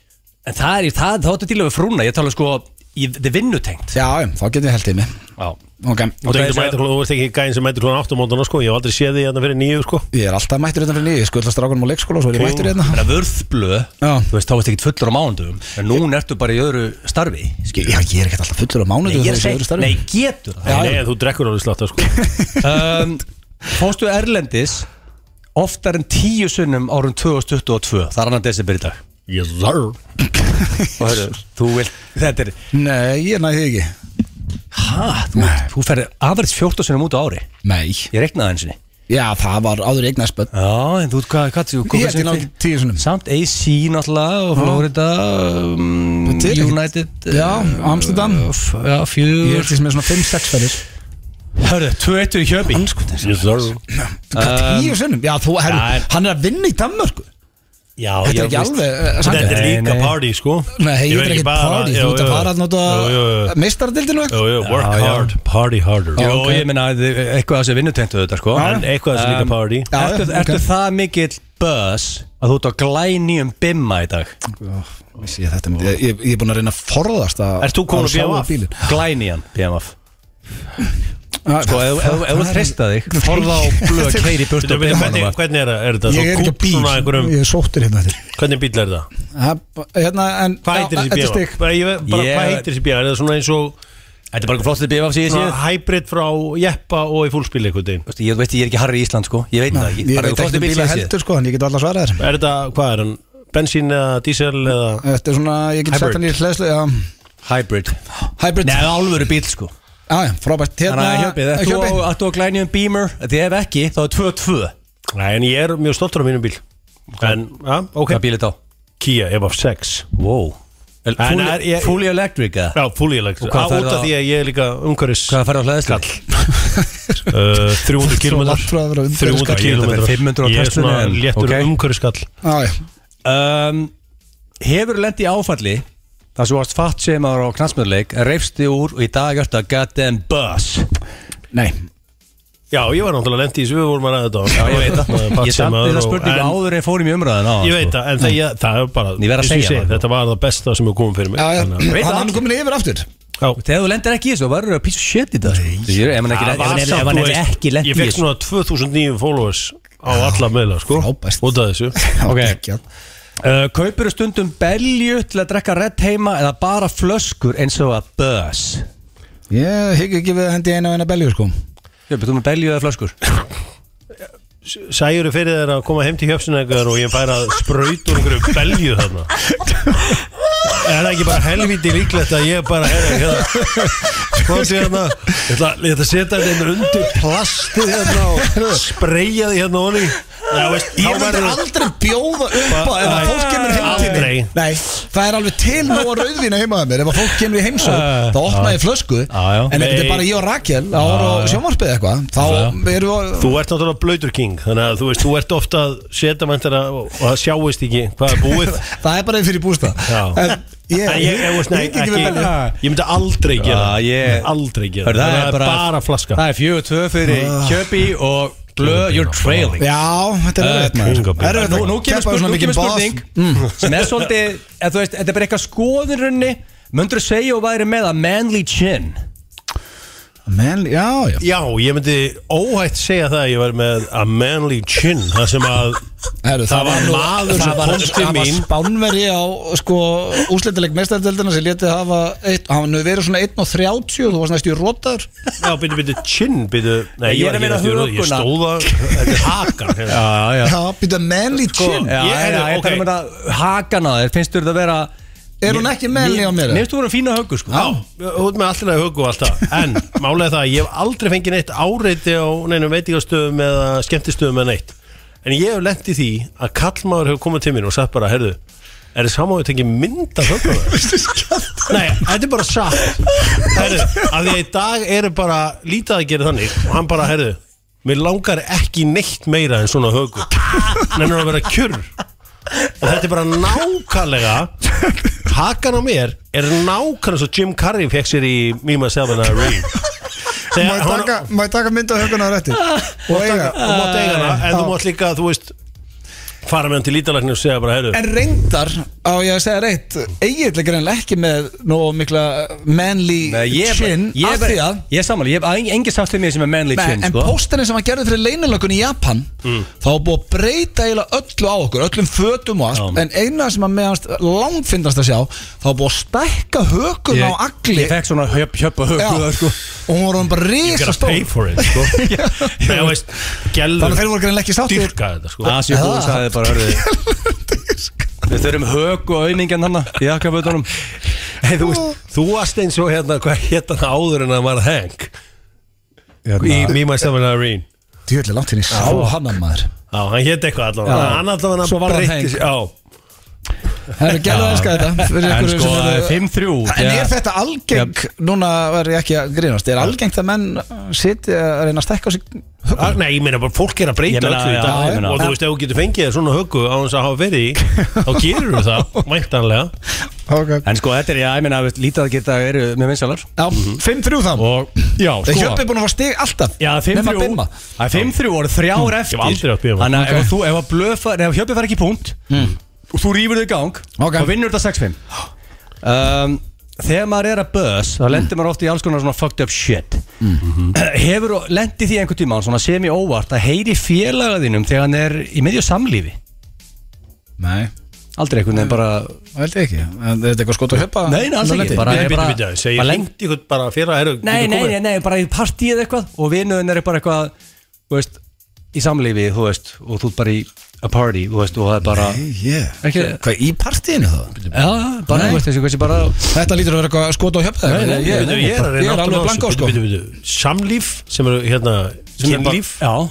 [SPEAKER 2] en það er, það, þá ertu til að við frúna, ég tala sko, í- þetta er vinnutengt
[SPEAKER 1] Já, já, þá getum við held í mig
[SPEAKER 2] Já,
[SPEAKER 1] Ok,
[SPEAKER 3] Þú
[SPEAKER 2] það er
[SPEAKER 3] ert ekki
[SPEAKER 2] svo-
[SPEAKER 3] mætur- þú ert ekki gæðin sem mætur hún átt á mótana sko Ég hef aldrei séð því hérna fyrir nýju sko
[SPEAKER 1] ég er alltaf mættur hérna fyrir nýju Sko, alltaf strákunum á leikskóla og svo er ég
[SPEAKER 3] King.
[SPEAKER 1] mættur hérna
[SPEAKER 2] Þannig að vörðblöð,
[SPEAKER 1] Já.
[SPEAKER 2] þú veist, þá veist ekkert fullur á mánudum En núna ertu bara í öðru starfi skilur.
[SPEAKER 1] Já, ég er ekkert alltaf fullur á mánuðu
[SPEAKER 2] Ég er að segja, nei, getur það
[SPEAKER 3] Nei, þú drekkur alveg slátt sko
[SPEAKER 2] um, Fórstu Erlendis oftar en tíu sunnum árum 2022 Það er annan desember í dag
[SPEAKER 3] Yes sir
[SPEAKER 2] Og hörru, þú vilt, þetta er
[SPEAKER 1] Nei, ég næði þig ekki
[SPEAKER 2] Hæ, þú, þú ferði afræðis 14 sunnum út á ári
[SPEAKER 1] Nei
[SPEAKER 2] Ég reknaði eins og
[SPEAKER 1] Já, það var áður eignarspöld
[SPEAKER 2] Já, en þú, hvað, hvað, þú,
[SPEAKER 1] Ég held ég náði tíu sinnum.
[SPEAKER 2] Samt AC náttúrulega og Florida um,
[SPEAKER 1] Þetta er ekkert-
[SPEAKER 2] United
[SPEAKER 1] Já, Amsterdam
[SPEAKER 2] uh, f- Já,
[SPEAKER 1] Ég
[SPEAKER 2] fjör
[SPEAKER 1] er til sem er svona 5-6 ferðir Eh,
[SPEAKER 2] Hörru, 2-1 í Hjöbi
[SPEAKER 3] Yes sir
[SPEAKER 1] Hvað, Sko, tíu sinnum? Já, þú, herru,
[SPEAKER 2] Já, en-
[SPEAKER 1] hann er að vinna í Danmörku
[SPEAKER 2] Já,
[SPEAKER 1] Þetta er
[SPEAKER 2] já,
[SPEAKER 1] ekki
[SPEAKER 2] veist-
[SPEAKER 1] alveg
[SPEAKER 3] Þetta
[SPEAKER 1] sangar
[SPEAKER 3] er
[SPEAKER 2] Nei,
[SPEAKER 3] líka
[SPEAKER 2] nei.
[SPEAKER 3] party sko
[SPEAKER 1] Nei,
[SPEAKER 3] Ég
[SPEAKER 1] ég
[SPEAKER 3] veit
[SPEAKER 1] er
[SPEAKER 3] ekki
[SPEAKER 1] ekki
[SPEAKER 3] bara-
[SPEAKER 1] party
[SPEAKER 3] jú,
[SPEAKER 1] Þú ert
[SPEAKER 3] jú.
[SPEAKER 1] að fara hann út
[SPEAKER 3] Jú, jú, jú.
[SPEAKER 1] að meistardildinu
[SPEAKER 3] Jú, jú, work
[SPEAKER 2] Já, já.
[SPEAKER 3] hard, party harder
[SPEAKER 2] Jó,
[SPEAKER 1] ok.
[SPEAKER 2] ég meina, þið- eitthvað sem vinnutengt auðvitað, sko
[SPEAKER 3] En eitthvað sem líka
[SPEAKER 2] Um,
[SPEAKER 3] party
[SPEAKER 1] Já,
[SPEAKER 2] ertu,
[SPEAKER 1] já,
[SPEAKER 2] ertu
[SPEAKER 1] ok.
[SPEAKER 2] það mikill buzz að þú ert á glænýjum bimma í dag?
[SPEAKER 1] Ég þetta myndi- ég- ég- ég er búin að reyna að forðast að
[SPEAKER 3] Ert þú
[SPEAKER 1] að
[SPEAKER 3] komin á
[SPEAKER 1] sjá
[SPEAKER 3] BMF?
[SPEAKER 1] bílinn.
[SPEAKER 2] Glænýjan BMF
[SPEAKER 1] Já,
[SPEAKER 2] Sko, ef ef- ef þú treysta þig, forða á blöð keiri burt
[SPEAKER 3] Þetta
[SPEAKER 2] og
[SPEAKER 3] er byrja, hvernig,
[SPEAKER 2] bimma
[SPEAKER 3] hvernig er, það- er þetta?
[SPEAKER 1] Ég er ekki á
[SPEAKER 3] Kúpt svona
[SPEAKER 1] bíl,
[SPEAKER 3] einhverjum,
[SPEAKER 1] ég er sóttur hérna eftir
[SPEAKER 3] Hvernig bíl er það?
[SPEAKER 1] Það- Hérna, en
[SPEAKER 3] Hvað heitir þessi bíl?
[SPEAKER 1] bíl?
[SPEAKER 3] Bara, ég, bara,
[SPEAKER 2] Ég-
[SPEAKER 3] Hvað heitir þessi bíl? Er það svona eins og
[SPEAKER 2] Þetta er bara eitthvað flottið bimma sem ég sé
[SPEAKER 1] Ah.
[SPEAKER 3] svona hybrid frá Jeppa og í fúlspíl einhvern veginn?
[SPEAKER 2] Þú veist, ég er ekki harri í Ísland, sko, ég veit það ekki
[SPEAKER 1] Ég
[SPEAKER 2] Bara
[SPEAKER 1] veit
[SPEAKER 2] eitthvað
[SPEAKER 1] ekki
[SPEAKER 2] flottið
[SPEAKER 1] um
[SPEAKER 2] bíl
[SPEAKER 1] bíla
[SPEAKER 2] sem ég sé
[SPEAKER 1] heldur sko, en ég get allar svarað þér
[SPEAKER 3] Er þetta, hvað er hann? Bensín eða dísel eða
[SPEAKER 1] Þetta er svona, ég get sett
[SPEAKER 3] Hybrid.
[SPEAKER 1] hann í hleðslu já.
[SPEAKER 2] Hybrid
[SPEAKER 1] Hybrid
[SPEAKER 2] Nei, alvöru bíl, sko
[SPEAKER 1] Já, já, frábært Hérna, eh,
[SPEAKER 2] Þannig að hjöpið, ert þú á- ert þú á glænýjum beamer? Því ef ekki, þá er 2-2
[SPEAKER 3] Nei, en ég er mjög stoltur af mínum bíl En, já, ok
[SPEAKER 2] Hvað bíl er þetta á?
[SPEAKER 3] Kia EV6
[SPEAKER 2] Wow El-
[SPEAKER 3] En
[SPEAKER 2] fully-
[SPEAKER 3] er- ég-
[SPEAKER 2] Fully electric, eða?
[SPEAKER 3] Já, fully electric
[SPEAKER 2] Og hvað
[SPEAKER 3] Á,
[SPEAKER 2] færðu
[SPEAKER 3] Út af
[SPEAKER 2] á-
[SPEAKER 3] því að ég er líka umhverfis
[SPEAKER 2] Hvað færðu á hlæðislu?
[SPEAKER 3] uh, 300 km
[SPEAKER 1] langt frá að vera umhverfisskall.
[SPEAKER 3] 300
[SPEAKER 2] Ég held að
[SPEAKER 3] km
[SPEAKER 2] vera 500 á
[SPEAKER 3] Ég er
[SPEAKER 2] Teslunni,
[SPEAKER 3] svona
[SPEAKER 2] en-
[SPEAKER 3] léttur
[SPEAKER 2] ok.
[SPEAKER 3] okay. umhverfiskall
[SPEAKER 1] Já, já
[SPEAKER 2] um, Hefur lendi áfalli þar sem þú varst fatt sem á knastmjörleik reyfsti úr og í dag ertu að goddamn buzz
[SPEAKER 1] Nei
[SPEAKER 3] Já, ég var náttúrulega lendi í þessu, við vorum að ræða þetta
[SPEAKER 2] Já, ég veit það
[SPEAKER 3] Maður
[SPEAKER 2] Ég samt
[SPEAKER 3] Patsemaður
[SPEAKER 2] þetta
[SPEAKER 3] og-
[SPEAKER 2] spurningu
[SPEAKER 3] en-
[SPEAKER 2] áður en fórum í umræðan á
[SPEAKER 3] Ég veit það, en það, ég, það er bara
[SPEAKER 2] sko. Ég verð að
[SPEAKER 3] eins og
[SPEAKER 2] segja
[SPEAKER 3] segi,
[SPEAKER 2] það.
[SPEAKER 3] Þetta var það besta sem hefur komið fyrir mig
[SPEAKER 1] Já, já,
[SPEAKER 3] Þannig að-
[SPEAKER 2] veit
[SPEAKER 1] hann
[SPEAKER 2] það
[SPEAKER 1] er
[SPEAKER 2] allir.
[SPEAKER 1] komin yfir aftur
[SPEAKER 2] sko. Þegar þú lendir ekki í þessu, þá verður þú að písa shit í dag sko. Ég er- Ef hann ekki-
[SPEAKER 3] Það
[SPEAKER 2] ef hann
[SPEAKER 3] var
[SPEAKER 2] er-
[SPEAKER 3] samt,
[SPEAKER 2] ef hann
[SPEAKER 3] þú
[SPEAKER 2] er
[SPEAKER 3] veist,
[SPEAKER 2] ekki lent í
[SPEAKER 3] Ég fekk
[SPEAKER 2] þessu
[SPEAKER 3] svona 2009 followers á alla meðla, sko
[SPEAKER 1] Frábært.
[SPEAKER 3] Út af þessu
[SPEAKER 2] Ok.
[SPEAKER 1] Geggjað.
[SPEAKER 2] Uh, Kaupir stundum belju til að drekka redd heima eða bara flöskur eins og að buzz
[SPEAKER 1] Ég higg ekki við að hendi einu og eina belju sko
[SPEAKER 2] Jöppi, þú með belju eða flöskur
[SPEAKER 3] Sæjuru fyrir þeir að koma heim til hjöpsinækar og ég fær að spraut úr einhverju belju þarna Er það ekki bara helviti líklegt að ég bara er hérna Komdu hérna Ég ætla, ég ætla að setja þetta hérna undir plastið hérna og spreyja því hérna onni Já, veist,
[SPEAKER 1] Ég myndi aldrei bjóða upp á ef að fólk kemur heim til
[SPEAKER 3] Aldrei, Nei.
[SPEAKER 1] Nei, það er alveg til nóg að rauðvína heimaða mér Ef að fólk kemur í heimsók,
[SPEAKER 2] Já,
[SPEAKER 1] þá opna
[SPEAKER 2] Eh, já.
[SPEAKER 1] ég flösku
[SPEAKER 2] Já, já.
[SPEAKER 1] En ef þetta
[SPEAKER 3] Nei.
[SPEAKER 1] er bara ég og Rakel að horfa á sjónvarpið eða eitthvað Þá
[SPEAKER 2] Já.
[SPEAKER 1] erum við
[SPEAKER 3] Þú ert náttúrulega blöytur king Þannig að þú veist, þú ert ofta að setja mæntar að og það sjáist ekki hvað er búið
[SPEAKER 1] Það er bara einn fyrir bústa
[SPEAKER 3] Já.
[SPEAKER 1] En ég,
[SPEAKER 3] En ég, ég, veist, nei,
[SPEAKER 1] ég, ég,
[SPEAKER 3] ekki,
[SPEAKER 1] ég, ég,
[SPEAKER 3] ég myndi aldrei
[SPEAKER 2] Já, Ah,
[SPEAKER 3] gera
[SPEAKER 2] ég-
[SPEAKER 3] það Aldrei gera
[SPEAKER 2] Hörðu,
[SPEAKER 3] það er bara flaska Ah.
[SPEAKER 2] Það er fjögur tvö fyrir Kjöpi og Blö, you're trailing
[SPEAKER 1] Já, þetta er
[SPEAKER 2] Uh,
[SPEAKER 1] erfitt
[SPEAKER 3] Kóngabíl.
[SPEAKER 1] maður
[SPEAKER 2] Nú, nú kemur spurning, nú kemur spurning
[SPEAKER 1] Mm.
[SPEAKER 2] sem er svolítið, eða þú veist, þetta er bara eitthvað skoðinrunni Möndur þú segja og væri með að manly chin
[SPEAKER 1] Men, já, já
[SPEAKER 3] Já, ég myndi óhætt segja það að ég var með a manly chin Það sem að
[SPEAKER 1] Heru,
[SPEAKER 3] Það var maður sem komst til
[SPEAKER 1] Það
[SPEAKER 3] mín.
[SPEAKER 1] var spánveri á sko, úsleitileg mestardeldina sem letið hafa eitt, hann hefur verið svona 1 og 30 þú varst næstu í rótar
[SPEAKER 3] Já, byrju, byrju, chin, byrju Nei,
[SPEAKER 2] Ég er að
[SPEAKER 3] var
[SPEAKER 2] meina
[SPEAKER 3] ekki næstur, Ég
[SPEAKER 2] hökuna.
[SPEAKER 3] stóða, þetta er hakan hérna.
[SPEAKER 2] Já, Sko,
[SPEAKER 1] Já, býta manly chin
[SPEAKER 2] Já,
[SPEAKER 3] Ég-
[SPEAKER 2] já,
[SPEAKER 3] heyrðu,
[SPEAKER 2] já, ég
[SPEAKER 3] ok.
[SPEAKER 2] tala um þetta hakan að þér finnst þú þetta að vera
[SPEAKER 1] Er hún ekki manly á mér?
[SPEAKER 2] Mér finnst þú vera fína höggu sko
[SPEAKER 1] Já.
[SPEAKER 3] Já, þú ert með allir að huggu alltaf En málega það, að ég hef aldrei fengið neitt áreiti á neinum veitingastöðum eða skemmtistöðum eða neitt En ég hef lent í því að kallmaður hefur komið til mín og sagt bara, herðu, er þið saman að við tengið mynda hugguðu? Nei, þetta er bara satt Herðu, að því að í dag eru bara lítið að gera þannig og hann bara, herðu, mér langar ekki neitt meira en svona huggu Nennir að vera kjurr og þetta er bara nákvæmlega hakan á mér er nákvæmlega svo Jim Carrey fekk sér í Me, Myself and Irene
[SPEAKER 1] Má ég taka, má ég taka mynd á höfguna á rétti? Og eiga
[SPEAKER 3] og mátt eiga hana
[SPEAKER 1] Eh,
[SPEAKER 3] en þú mátt líka, þú veist fara með hann til lítalagni og segja bara, heyrðu
[SPEAKER 1] En reyndar, á ég að segja reitt eiginlega greinlega ekki með nóg mikla manly
[SPEAKER 2] Nei, ég er bara-
[SPEAKER 1] chin
[SPEAKER 2] ég er
[SPEAKER 1] af
[SPEAKER 2] bara-
[SPEAKER 1] því að
[SPEAKER 2] Ég er samanlega, ég hef engin sátt við mér sem er manly
[SPEAKER 1] Nei,
[SPEAKER 2] chin
[SPEAKER 1] en
[SPEAKER 2] sko Mm.
[SPEAKER 1] pósterinn sem hann gerði fyrir leynilökun í Japan þá var búið að breyta eiginlega öllu á okkur öllum fötum og allt
[SPEAKER 2] Já.
[SPEAKER 1] en eina sem að meðanst langfinnast að sjá þá var búið að stækka hökun á agli
[SPEAKER 2] Ég fekk svona hjöp, hjöp og
[SPEAKER 1] Já,
[SPEAKER 2] höggu það sko
[SPEAKER 1] og hún var hann bara
[SPEAKER 3] you
[SPEAKER 1] risa
[SPEAKER 3] gotta pay for it sko. Nei, þú veist,
[SPEAKER 1] þannig að
[SPEAKER 3] gælur
[SPEAKER 1] þeir voru greinlega ekki sáttir
[SPEAKER 3] dyrka þetta sko.
[SPEAKER 2] Asi
[SPEAKER 1] Já.
[SPEAKER 2] Búi sagði bara hörðu Við þurfum hög og auðmingjan hann í jakkafötunum
[SPEAKER 3] hey, þú veist, þú varst eins og hérna hvað hétt hann áður en hann var Hank
[SPEAKER 2] Hérna.
[SPEAKER 3] í Me, Myself and Irene
[SPEAKER 1] djöðlega langt hinn í sá hann að maður
[SPEAKER 3] Já, hann hétt eitthvað allavega
[SPEAKER 2] Já.
[SPEAKER 3] Hann allavega
[SPEAKER 2] Svo var hann Hank.
[SPEAKER 3] breytti sér- Já,
[SPEAKER 1] það er gæla að elska þetta fyrir
[SPEAKER 2] En
[SPEAKER 1] ykkur
[SPEAKER 2] sko,
[SPEAKER 1] sem eru-
[SPEAKER 2] 5-3
[SPEAKER 1] En
[SPEAKER 2] já.
[SPEAKER 1] er þetta algeng, núna var ég ekki að grínast, er algengt að menn sitja að reyna að stækka á sig
[SPEAKER 3] Ah, Nei, ég meina bara fólk er
[SPEAKER 2] Ég
[SPEAKER 3] að breyta
[SPEAKER 2] meina,
[SPEAKER 3] öllu í
[SPEAKER 2] já,
[SPEAKER 3] dag
[SPEAKER 2] ég meina.
[SPEAKER 3] Og þú veist, ef þú getur fengið þér svona höggu á hans að hafa verið í Þá gerur þú það, væntanlega
[SPEAKER 1] okay.
[SPEAKER 2] En sko, þetta er, já, ég meina, við lítið að geta eru með Mhm. vinsalar
[SPEAKER 1] Já, 5-3 þá
[SPEAKER 2] Og, já,
[SPEAKER 1] Þeir
[SPEAKER 2] sko
[SPEAKER 1] hjöppi búin að fá stig alltaf
[SPEAKER 2] Já,
[SPEAKER 1] nema Mhm.
[SPEAKER 2] 5-3
[SPEAKER 1] Bimma.
[SPEAKER 2] Það er 5-3 voru þrjár eftir
[SPEAKER 3] var aldrei að bíða.
[SPEAKER 2] Þannig að ef þú, ef að blöfa, ef hjöppi fær ekki í punkt Og þú rýfur þau í gang
[SPEAKER 1] Mhm. Ok.
[SPEAKER 2] Og vinnur þetta 6-5 um, Þegar maður er að buzz Þá lendir maður ofta í alls konar svona fucked up shit
[SPEAKER 1] Mhm.
[SPEAKER 2] Hefur, lendir því einhvern tímann Svona semi óvart að heyri félagaðinum Þegar hann er í miðju samlífi
[SPEAKER 1] Nei,
[SPEAKER 2] Aldrei einhvern veginn bara
[SPEAKER 1] það held ég ekki En er þetta eitthvað skot að hjöppa?
[SPEAKER 2] Nei, nei, alls ekki, bara-
[SPEAKER 3] Nei,
[SPEAKER 2] er
[SPEAKER 3] býtu, býtu, segir
[SPEAKER 2] bara lengt-
[SPEAKER 3] lengt ykkur bara fyrir að herru
[SPEAKER 2] Nei, nei, nei, nei, bara í partí eða eitthvað og vinuðin er bara eitthvað þú veist, í samlífi, þú veist og þú ert bara í a party, þú veist og það er bara,
[SPEAKER 1] yeah.
[SPEAKER 2] Ekki-
[SPEAKER 1] Hvað, í partíinu þá?
[SPEAKER 2] já, bara, þú veist þessi, hversi bara
[SPEAKER 1] Þetta lítur að vera eitthvað skot að hjöppa
[SPEAKER 2] Nei, nei,
[SPEAKER 1] ég,
[SPEAKER 2] nei,
[SPEAKER 3] Ég er að
[SPEAKER 1] ég er
[SPEAKER 3] reyna átt
[SPEAKER 1] alveg
[SPEAKER 3] að
[SPEAKER 1] blank á sko
[SPEAKER 3] Býtu, býtu, samlíf sem eru hérna
[SPEAKER 2] sem er bara-
[SPEAKER 3] Kynlíf
[SPEAKER 2] Já,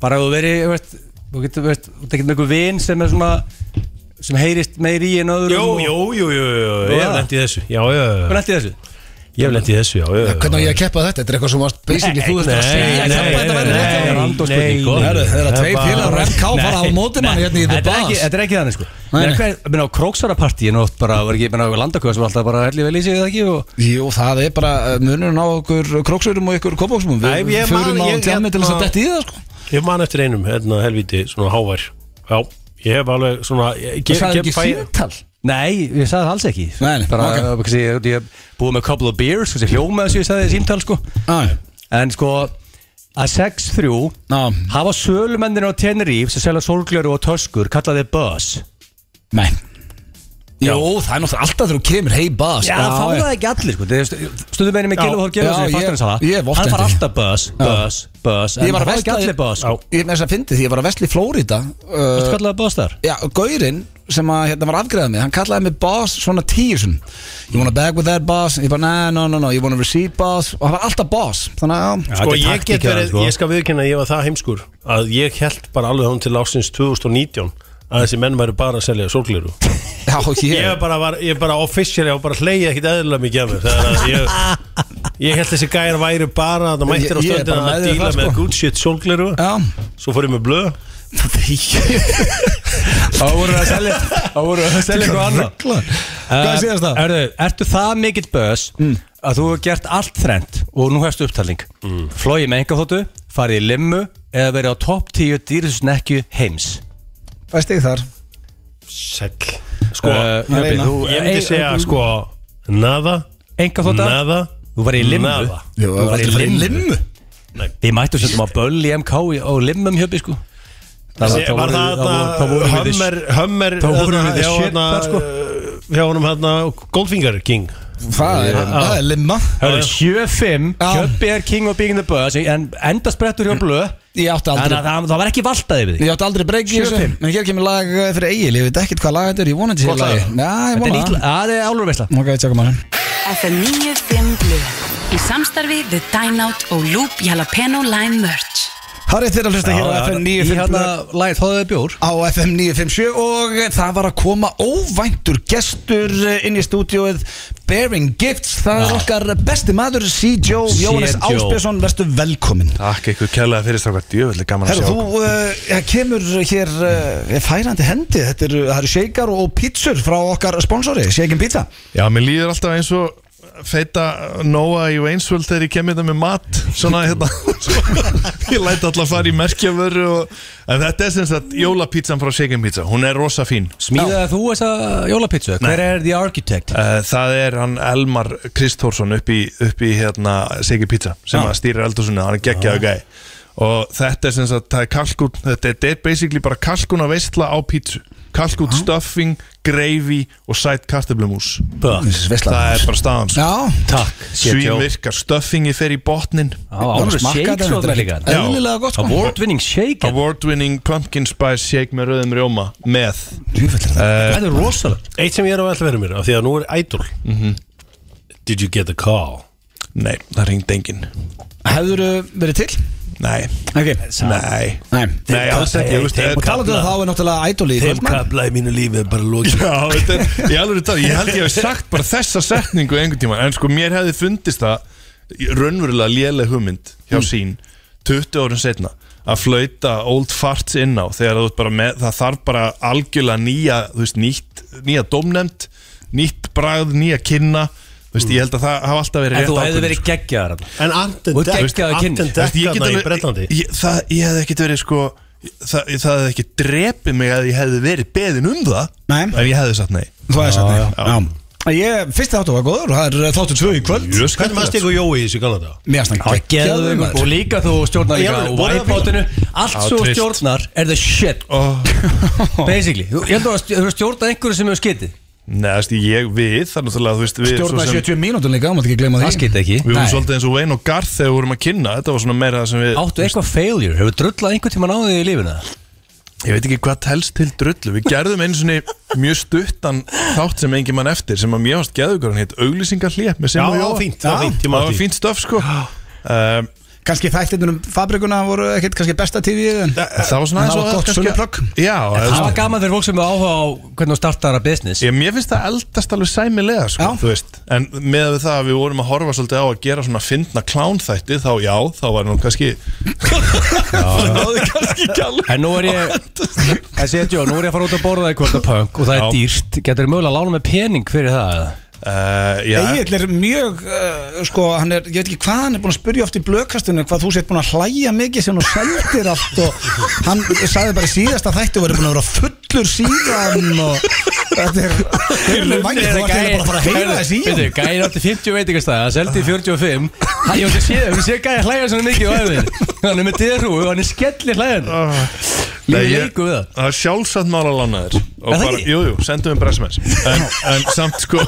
[SPEAKER 2] bara þú veri, þú veist þú getur, þú veist, þú getur með einhver vin sem er svona sem heyrist meir í en öðrum
[SPEAKER 3] Jú, jú, jú, jú, jú, ég hef
[SPEAKER 2] Já.
[SPEAKER 3] lent í þessu Já, já, já,
[SPEAKER 2] Hvernig ætti þessu?
[SPEAKER 3] ég hef lent í þessu, já, já, já
[SPEAKER 1] Hvernig á ég að keppa þetta? Þetta er eitthvað sem varst basically þú þurft að segja
[SPEAKER 3] nei,
[SPEAKER 1] Keppa þetta
[SPEAKER 3] nei,
[SPEAKER 1] væri rétt hjá þér.
[SPEAKER 2] nei,
[SPEAKER 3] nei,
[SPEAKER 2] nei,
[SPEAKER 1] Herru,
[SPEAKER 2] nei,
[SPEAKER 1] þeir eru að
[SPEAKER 3] það
[SPEAKER 1] tveir
[SPEAKER 3] bara-
[SPEAKER 1] félagar úr MK fara á
[SPEAKER 2] Nei,
[SPEAKER 1] móti
[SPEAKER 2] nei,
[SPEAKER 1] manni hérna í The
[SPEAKER 2] þetta er ekki-
[SPEAKER 1] Bars.
[SPEAKER 2] Þetta er ekki þannig sko
[SPEAKER 1] Nei,
[SPEAKER 2] Ég
[SPEAKER 1] nei.
[SPEAKER 2] meina, hvað- ég meina, á Króksarapartíinu oft bara var ekki, ég meina, landakvöð sem var alltaf bara helli vel í sig eða ekki og
[SPEAKER 1] Jú, það er bara uh, munurinn á okkur króksurum og ykkur kópóksumum
[SPEAKER 3] Nei,
[SPEAKER 1] Við
[SPEAKER 3] ég
[SPEAKER 1] förum
[SPEAKER 3] man-
[SPEAKER 1] á
[SPEAKER 3] ég-
[SPEAKER 1] tjámi til þess að
[SPEAKER 3] hérna-
[SPEAKER 1] detti í það sko
[SPEAKER 3] Ég man eftir einum, hérna, helvíti, svona hávær Já, ég hef alveg svona ég-
[SPEAKER 1] Það er
[SPEAKER 3] ég-
[SPEAKER 1] ekki
[SPEAKER 3] fæ-
[SPEAKER 1] síðtal
[SPEAKER 2] Nei, ég sagði það alls ekki
[SPEAKER 1] Nei, nei,
[SPEAKER 2] bara,
[SPEAKER 1] ok.
[SPEAKER 2] okay. ég, ég búið með a couple of beers og þessi hljóma þessu ég sagði í símtal sko
[SPEAKER 1] Já,
[SPEAKER 2] En sko, að 6-3
[SPEAKER 1] Já.
[SPEAKER 2] hafa sölumennir á Teneríf sem selja sorgljöru og töskur kallaði Buzz
[SPEAKER 1] Nei Jú, það er náttúrulega alltaf þegar þú kemur Hey Buzz
[SPEAKER 2] Já, það fá það ekki allir sko Þeir stu- Stundum meðin með
[SPEAKER 3] Já.
[SPEAKER 2] Gilvi og
[SPEAKER 1] Já,
[SPEAKER 2] Gilvi sem
[SPEAKER 1] ég- ég hef oft
[SPEAKER 2] Hann far
[SPEAKER 1] lent í því.
[SPEAKER 2] alltaf Buzz, Buzz, Buzz En
[SPEAKER 1] Ég var að
[SPEAKER 2] það fá ekki
[SPEAKER 1] velta
[SPEAKER 2] allir Buzz sko
[SPEAKER 1] Ég með þess að fyndi því, ég var að vestli Flórida
[SPEAKER 2] Þú
[SPEAKER 1] uh,
[SPEAKER 2] kallaði Buzz þar
[SPEAKER 1] Já, Gaurinn sem að, hérna var afgreðað mig Hann kallaði mig Buzz svona tíu sinni You wanna bag with that Buzz Ég bara, nah, no, no, no, you wanna receive Buzz Og hann var alltaf Buzz Þannig að, já,
[SPEAKER 3] Sko
[SPEAKER 2] Þetta er
[SPEAKER 3] ég get
[SPEAKER 2] taktík,
[SPEAKER 3] verið,
[SPEAKER 2] sko.
[SPEAKER 3] ég skal viðkynna að ég var það heimskur að ég held bara alveg hún til ásins 2019
[SPEAKER 5] að þessi menn væri bara að selja sólgliru
[SPEAKER 1] Já,
[SPEAKER 5] Ég
[SPEAKER 1] ég
[SPEAKER 5] bara var, ég bara officially og bara hleyja ekkit eðlilega mikið af mér þegar að ég, ég held þessi gæjar væri bara að það mættir á
[SPEAKER 1] Ég- ég er bara
[SPEAKER 5] stöndina
[SPEAKER 1] með
[SPEAKER 5] að
[SPEAKER 1] þér
[SPEAKER 5] díla
[SPEAKER 1] þar,
[SPEAKER 5] með
[SPEAKER 1] sko.
[SPEAKER 5] good shit sólgliru
[SPEAKER 1] Já
[SPEAKER 5] svo fór ég með blöð
[SPEAKER 2] Þá voru að selja Þá voru að selja eitthvað annað Uh,
[SPEAKER 1] Ruggla. Hvað er Mm. síðast það?
[SPEAKER 2] Eh, Erðu, ertu það mikill börs að þú hefur gert allt þrend og nú hefstu upptalning mm. Flóið með engaþóttu, farið í limmu eða verið á topp 10 dýrðsnekju heims
[SPEAKER 1] Fæst ég þar
[SPEAKER 5] Sæll Sko,
[SPEAKER 2] Eh,
[SPEAKER 1] að
[SPEAKER 2] Jöpi,
[SPEAKER 1] reyna.
[SPEAKER 2] þú-
[SPEAKER 5] ég myndi segja sko Nada
[SPEAKER 2] Engaþótta,
[SPEAKER 5] Nada
[SPEAKER 2] þú var í limmu
[SPEAKER 5] Nada.
[SPEAKER 1] Jú,
[SPEAKER 2] Þú var í
[SPEAKER 1] allir
[SPEAKER 2] limmu
[SPEAKER 1] limmu.
[SPEAKER 2] Við mættum sem þú maður böll í MK í- á limmum hjöpi sko Það
[SPEAKER 5] Var var það
[SPEAKER 2] voru
[SPEAKER 5] þarna
[SPEAKER 2] við þess-
[SPEAKER 5] Hummer Hummer
[SPEAKER 2] þá vorum
[SPEAKER 5] þarna,
[SPEAKER 2] við the
[SPEAKER 5] hjá
[SPEAKER 2] shit
[SPEAKER 5] þarna,
[SPEAKER 2] þar, sko.
[SPEAKER 5] uh, Hjá honum hérna Goldfinger King
[SPEAKER 1] Það er, það er limma
[SPEAKER 2] Hörru, 7-5,
[SPEAKER 1] Já.
[SPEAKER 2] Kjöppi er king og being the bus En enda sprettur hjá blöð
[SPEAKER 1] Ég átti
[SPEAKER 2] Þannig að
[SPEAKER 1] aldrei
[SPEAKER 2] það, það var ekki valtaði við því
[SPEAKER 1] Ég átti aldrei breyki í þessu
[SPEAKER 2] 75.
[SPEAKER 1] En hér kemur lag eh, fyrir Egil Ég veit ekkert hvað lag þetta er Ég vonandi sér
[SPEAKER 5] Gott
[SPEAKER 1] lagi Já,
[SPEAKER 5] lag.
[SPEAKER 1] ég
[SPEAKER 2] Þetta er
[SPEAKER 1] vonandi
[SPEAKER 2] nýtt, að það er álur veistla
[SPEAKER 1] Ok, tjekkum að hann
[SPEAKER 6] FM 95 Blu Í samstarfi The Dine Out og Loop Jalapeno Lime Merch
[SPEAKER 1] Harrið þér að hlusta hér á FM 95
[SPEAKER 2] lagið þóðið bjór
[SPEAKER 1] á FM 957 og það var að koma óvæntur gestur eh, inn í stúdióið Bearing Gifts, það er okkar besti maður C. Joe,
[SPEAKER 2] C.
[SPEAKER 1] Jóhannes
[SPEAKER 2] Joe.
[SPEAKER 1] Áspjösson, verðstu velkomin
[SPEAKER 3] Takk ykkur kærlega fyrir strákar djöfulli gaman að
[SPEAKER 1] Herra,
[SPEAKER 3] sjá
[SPEAKER 1] þú uh, kemur hér uh, færandi hendi, þetta eru, það eru shakar og pizzur frá okkar sponsori, Shaken Pizza
[SPEAKER 3] Já, mér líður alltaf eins og feita Nóa í Waynesville þegar ég kem hérna með mat svona hérna ég læti alltaf fara í merkjavöru og, en þetta er sem sagt jólapizzan frá Shaken Pizza hún er rosa fín
[SPEAKER 2] Smíðaði þú þessa jólapítsu? Hver er the architect?
[SPEAKER 3] Uh, það er hann Elmar Kristórsson upp í, upp í hérna Segi Pizza sem
[SPEAKER 2] Já.
[SPEAKER 3] að stýra eldhúsinu, hann er geggjaðu gæ og þetta er sem sagt, það er kalkun þetta er- þetta er basically bara kalkun að veistla á pítsu, kalkun stuffing gravy og sætt kartöflumús
[SPEAKER 2] Bucks
[SPEAKER 3] það er bara staðan sko.
[SPEAKER 1] Já,
[SPEAKER 2] Takk
[SPEAKER 3] svín virkar, stuffingi fer í botnin
[SPEAKER 2] Álur shakes og það líka
[SPEAKER 3] Já.
[SPEAKER 1] Eðlilega gott sko
[SPEAKER 2] Award winning shake
[SPEAKER 3] award winning pumpkin spice shake með rauðum rjóma með Eh,
[SPEAKER 2] Það er rosalegt
[SPEAKER 5] Eitt sem ég er að alltaf vera mér af því að nú er idol
[SPEAKER 3] Mhm.
[SPEAKER 5] Did you get the call?
[SPEAKER 3] nei, það ringd engin
[SPEAKER 1] Hefur verið til?
[SPEAKER 3] nei,
[SPEAKER 1] Ok,
[SPEAKER 3] nei
[SPEAKER 1] Nei.
[SPEAKER 3] Nei, alls ekki, þú veist,
[SPEAKER 5] Þeim
[SPEAKER 3] eh,
[SPEAKER 1] Og talaðu um þá er náttúrulega ædoli
[SPEAKER 5] Þeim kabla í mínu lífi er bara lókið
[SPEAKER 3] Já, þetta er, ég alveg þetta, ég held ég hef sagt bara þessa setningu einhvern tíma En sko, mér hefði fundist það í- raunverulega léleg hugmynd hjá
[SPEAKER 2] Mm.
[SPEAKER 3] sín 20 árum setna Að flauta old farts inn á Þegar þú ert bara með, það þarf bara algjörlega nýja, þú veist, nýtt, nýja domnefnd Nýtt bragð, nýja kynna Þú veist, ég held að það hafa alltaf verið
[SPEAKER 2] En þú hefði
[SPEAKER 3] ákvörðun,
[SPEAKER 2] verið
[SPEAKER 3] sko.
[SPEAKER 2] geggjaðar
[SPEAKER 5] En Ant and
[SPEAKER 2] Og
[SPEAKER 5] Deck
[SPEAKER 2] geggjaðu
[SPEAKER 5] Ant
[SPEAKER 2] kynni.
[SPEAKER 5] and
[SPEAKER 3] Þú veist,
[SPEAKER 5] Deck
[SPEAKER 3] ég get
[SPEAKER 5] þarna í
[SPEAKER 3] alveg-
[SPEAKER 5] Bretlandi
[SPEAKER 3] ég- það, ég hefði ekkert verið sko Það, það hefði ekki drepið mig að ég hefði verið beðin um það
[SPEAKER 1] Nei.
[SPEAKER 3] Ef ég hefði sagt nei
[SPEAKER 1] Þú hefði sagt nei
[SPEAKER 3] já.
[SPEAKER 1] Já. Ég, fyrsti þáttu var góður, það er þáttu tvö í kvöld
[SPEAKER 3] Mjög
[SPEAKER 5] Hvernig
[SPEAKER 3] skemmtilegt,
[SPEAKER 5] mannst ég og Jói í þessu kannan það?
[SPEAKER 1] Mér finnst það geggjaður,
[SPEAKER 2] Geðvöggur Og
[SPEAKER 1] maður.
[SPEAKER 2] líka þú stjórnar
[SPEAKER 5] Já,
[SPEAKER 2] líka
[SPEAKER 5] voru það
[SPEAKER 2] Wipeoutinu Allt
[SPEAKER 3] Já,
[SPEAKER 2] svo
[SPEAKER 3] trist.
[SPEAKER 2] stjórnar er the shit
[SPEAKER 3] Oh,
[SPEAKER 2] Basically Þú- Ég heldur að stj- þú stjórnar einhverju sem hefur skitið
[SPEAKER 3] neðast ég við þar náttúrulega þú veist við
[SPEAKER 1] Stjórnaði
[SPEAKER 3] svo sem-
[SPEAKER 1] 70 mínútur líka, þú mátt ekki gleyma því
[SPEAKER 2] Það skitið ekki
[SPEAKER 3] Við vorum
[SPEAKER 1] Nei.
[SPEAKER 3] svolítið eins og Wayne og Garth þegar við vorum að kynna Þetta var svona meira það sem við
[SPEAKER 2] Áttu eitthvað failure? Hefur drullað einhvern tíma náðið í lífina?
[SPEAKER 3] Ég veit ekki hvað telst til drullu Við gerðum einu svona mjög stuttan þátt sem engin mann eftir sem að mér varst geðugur hann hitt auglýsingar hlið með sem
[SPEAKER 5] Já,
[SPEAKER 3] og
[SPEAKER 5] það var
[SPEAKER 3] Jóa.
[SPEAKER 5] fínt, það var
[SPEAKER 3] Já,
[SPEAKER 5] fínt, ég man
[SPEAKER 3] Það var
[SPEAKER 5] því.
[SPEAKER 3] fínt stöf sko um,
[SPEAKER 1] Kanski þættirnir um fabrikuna voru ekkert kannski besta TV en
[SPEAKER 3] Það var svona
[SPEAKER 1] En það var gott
[SPEAKER 3] kannski-
[SPEAKER 1] söluplögg.
[SPEAKER 3] Já,
[SPEAKER 2] Það var gaman fyrir fólk sem er áhuga á hvernig þú startar að business
[SPEAKER 3] Ég, mér finnst það eldast alveg sæmilega sko,
[SPEAKER 1] Já.
[SPEAKER 3] þú veist, en með við það að við vorum að horfa svolítið á að gera svona fyndna klánþætti þá já, þá var nú kannski það náði kannski ekki alveg
[SPEAKER 2] En nú er ég Það sé Jó, nú er ég að fara út að borða í kvölda punk og það er
[SPEAKER 3] Já.
[SPEAKER 2] dýrt Getur þú mögulega að lána með pening fyrir það? eða?
[SPEAKER 3] uh, já,
[SPEAKER 1] Egil er mjög, uh, sko, hann er, ég veit ekki hvað hann er búin að spyrja oft í blökastunni hvað þú sett búin að hlæja mikið sem hún seldir allt og hann sagði bara í síðasta þætti og verið búin að vera fullur síðan og þetta er, þetta er vangið, þú ert eiginlega bara að fara að heyra þessi í
[SPEAKER 2] Veitu,
[SPEAKER 1] hann
[SPEAKER 2] Gæin átti 50 veitingastæða, seldi í 45 Hann- Ég hef séð gæi hlæja svona mikið á æfinni Hann er með derú og hann er skellir hlæjan
[SPEAKER 3] Ah.
[SPEAKER 2] Lífið
[SPEAKER 3] ég-
[SPEAKER 2] leiku við það
[SPEAKER 3] það er sjálfsagt mál að lána þér og
[SPEAKER 2] Er það
[SPEAKER 3] bara,
[SPEAKER 2] ekki?
[SPEAKER 3] jú, jú, sendum við bara sms en, en samt sko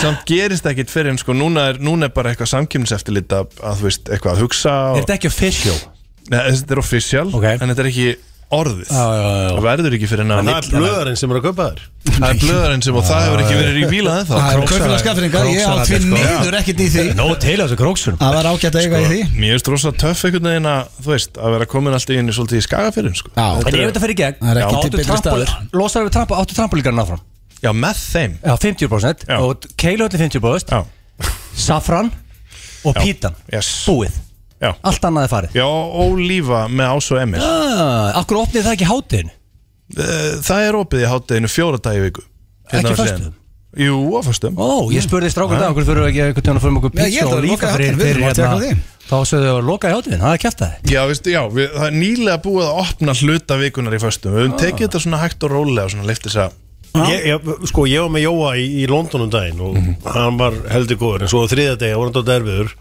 [SPEAKER 3] samt gerist ekkit fyrir en sko núna er, núna er bara eitthvað samkjöfniseftirlit að, að þú veist, eitthvað að hugsa
[SPEAKER 2] Er
[SPEAKER 3] og,
[SPEAKER 2] þetta ekki official?
[SPEAKER 3] Nei, þetta er official,
[SPEAKER 2] Ok.
[SPEAKER 3] en þetta er ekki orðið
[SPEAKER 2] Já, já, já, já.
[SPEAKER 3] Það verður ekki fyrir en
[SPEAKER 5] Það
[SPEAKER 3] að
[SPEAKER 5] er blöðarinn sem er að kaupa þér
[SPEAKER 3] Það er blöðarinn sem og það hefur ekki verið í bíla ennþá
[SPEAKER 1] Það eru
[SPEAKER 3] Króksalar-
[SPEAKER 1] kaupfélagskaffringa, ég á
[SPEAKER 3] króksalar,
[SPEAKER 1] því
[SPEAKER 3] sko.
[SPEAKER 1] miður ekkert í því
[SPEAKER 2] Nó til á þessu króksunum
[SPEAKER 1] Það var ágætt að eiga í því
[SPEAKER 3] Mér finnst rosa töff einhvern veginn að, þú veist, að vera komin alltaf inn í svolítið í skagafyrin, sko
[SPEAKER 1] Já,
[SPEAKER 2] En ef þetta fer í gegn
[SPEAKER 1] Það er ekki til
[SPEAKER 2] þá áttu
[SPEAKER 1] betri
[SPEAKER 2] trampol-
[SPEAKER 1] staður.
[SPEAKER 2] Losar við trampa, áttu trampolíkarinn áfram
[SPEAKER 3] Já, með þeim
[SPEAKER 2] Já, 50%
[SPEAKER 3] Já.
[SPEAKER 2] Og keiluhöllu 50%
[SPEAKER 3] Já,
[SPEAKER 2] Safran Og pítan
[SPEAKER 3] yes.
[SPEAKER 2] Búið
[SPEAKER 3] já,
[SPEAKER 2] Allt annað er farið
[SPEAKER 3] já Ólífa með Ás og Emil
[SPEAKER 2] ah, Akkur opnið það ekki hátin
[SPEAKER 3] Eh, Það er opið í hátteginu fjóra dag í viku Hérna
[SPEAKER 2] Ekki
[SPEAKER 3] á síðan.
[SPEAKER 2] föstum?
[SPEAKER 3] Jú, á föstum
[SPEAKER 2] Ó, ég spurði strákur dag Akkur þurfum við ekki einhvern tíðan að fyrir okkur
[SPEAKER 1] Já, ég
[SPEAKER 2] pizza
[SPEAKER 1] ætla
[SPEAKER 2] og
[SPEAKER 1] að
[SPEAKER 2] líka
[SPEAKER 1] loka
[SPEAKER 2] fyrir,
[SPEAKER 1] hátíðin, við
[SPEAKER 2] fyrir
[SPEAKER 1] erum að
[SPEAKER 2] hérna
[SPEAKER 1] taka því.
[SPEAKER 2] Þá sögðu að loka í hátin Það er kæft að
[SPEAKER 3] Já, veistu, já, við, það er nýlega búið að opna hluta vikunar í föstum Við höfum
[SPEAKER 1] Ah.
[SPEAKER 3] tekið þetta svona hægt og rólega og svona leiftið að
[SPEAKER 5] ég, ég, Sko ég var með Jóa í, í London um daginn og
[SPEAKER 3] Mhm.
[SPEAKER 5] hann var heldur góður en svo á þriðja degi var hann dótt erfiður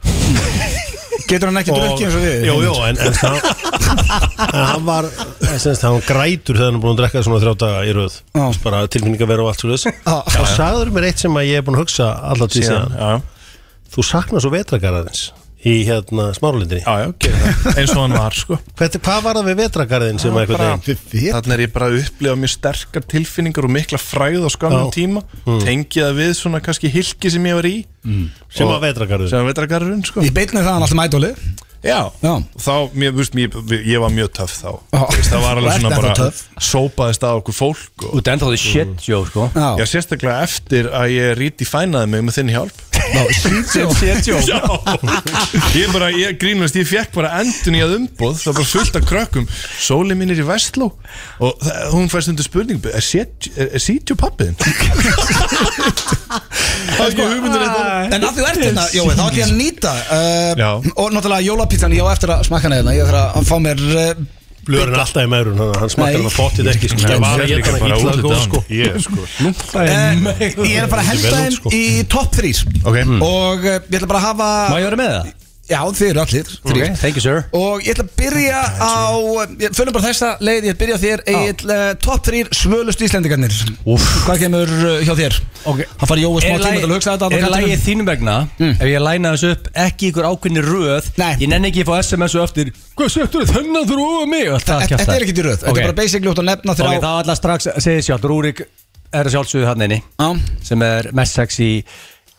[SPEAKER 1] Getur hann ekki drukkið eins og við?
[SPEAKER 5] Jó, jó, en, en það en hann var, senst, hann grætur þegar hann er búin að drekka svona þrjá daga í röð
[SPEAKER 1] Já.
[SPEAKER 5] bara tilfinninga vera og allt svo þess
[SPEAKER 1] Já.
[SPEAKER 5] þá sagður mér eitt sem að ég er búin að hugsa alltaf til
[SPEAKER 3] síðan
[SPEAKER 5] síðan,
[SPEAKER 3] Já,
[SPEAKER 5] þú saknar svo vetragarðins í hérna smáralindinni
[SPEAKER 3] já, já, gerir það Eins og hann var, sko
[SPEAKER 5] Hvert, hvað var það við vetragarðin sem eitthvað
[SPEAKER 3] bara-
[SPEAKER 5] neginn
[SPEAKER 3] Þannig er ég bara að upplifa mjög sterkar tilfinningar og mikla fræð á skamum
[SPEAKER 5] Já.
[SPEAKER 3] tíma
[SPEAKER 1] Hm.
[SPEAKER 3] Tengi það við svona kannski hilki sem ég var í
[SPEAKER 5] sem var vetragarðin
[SPEAKER 3] sem að vetragarurinn, sko
[SPEAKER 1] Í beinni það hann alltaf mætóli
[SPEAKER 3] Já,
[SPEAKER 1] Já.
[SPEAKER 3] þá, mér, þú veist, mér, ég var mjög töff þá
[SPEAKER 1] Já.
[SPEAKER 3] Þú veist, Það
[SPEAKER 1] Þú
[SPEAKER 3] var alveg
[SPEAKER 1] ert
[SPEAKER 3] svona
[SPEAKER 1] ennþá
[SPEAKER 3] bara
[SPEAKER 1] töff.
[SPEAKER 3] Sópaðist að okkur fólk og,
[SPEAKER 2] Út ennþá því shit sjó, sko
[SPEAKER 1] Já,
[SPEAKER 3] Já, sérstaklega eftir að ég ríti fænaði mig með þinn hjálp
[SPEAKER 1] já, sýtjó
[SPEAKER 2] Shit sjó
[SPEAKER 3] Já Ég bara, ég grínast, ég fekk bara endun í að umboð Það var bara fullt af krökkum Sóli mín er í Vestló Og það, hún fæst undir spurningu Er sítjó pappiðin? Það er sko hugmyndin þetta
[SPEAKER 1] En að þú ert hérna, Jói, þá ætlum ég að nýta
[SPEAKER 3] Já.
[SPEAKER 1] uh, Og náttúrulega jólapizzan, ég á eftir að smakka hana hérna Ég þarf að fá mér uh,
[SPEAKER 5] blöðurinn alltaf í meðrun, hann, hann smakkar
[SPEAKER 1] Nei.
[SPEAKER 5] hann að fóttið ekki sko. ég var að geta hann ítla góð sko
[SPEAKER 3] Ég sko
[SPEAKER 1] uh, Ég er bara að henda þeim í topp 3
[SPEAKER 3] Ok.
[SPEAKER 1] Og uh, ég ætla bara að hafa
[SPEAKER 2] sko. Hmm. Má ég vera með það?
[SPEAKER 1] Já, þið eru allir þrír.
[SPEAKER 2] Ok, Thank you sir
[SPEAKER 1] Og ég ætla að byrja á uh, ég- Fölum bara þessa leið, ég ætla að byrja á þér Egil, uh, topp 3 svölust íslendingarnir Hvað kemur uh, hjá þér?
[SPEAKER 2] Ok.
[SPEAKER 1] Það fari Jói smá
[SPEAKER 2] Er
[SPEAKER 1] tíma til að
[SPEAKER 2] lagi-
[SPEAKER 1] hugsa þetta
[SPEAKER 2] Er
[SPEAKER 1] annað
[SPEAKER 2] lægið
[SPEAKER 1] kantinum.
[SPEAKER 2] þínum vegna Ef ég læna þessu upp ekki í ykkur ákveðni röð
[SPEAKER 1] Nei.
[SPEAKER 2] Ég nenni ekki að fá SMS og eftir Hvað settur þið þennan fyrir ofan mig Allt það
[SPEAKER 1] Þetta
[SPEAKER 2] kjaftaði.
[SPEAKER 1] er ekki í röð, þetta
[SPEAKER 2] Ok.
[SPEAKER 1] er bara basically út að nefna
[SPEAKER 2] Ok,
[SPEAKER 1] þrjá
[SPEAKER 2] það er alltaf strax segið sjálf Rúrik er að sjálfsögðu hann einni
[SPEAKER 1] Já.
[SPEAKER 2] Sem er mest sexy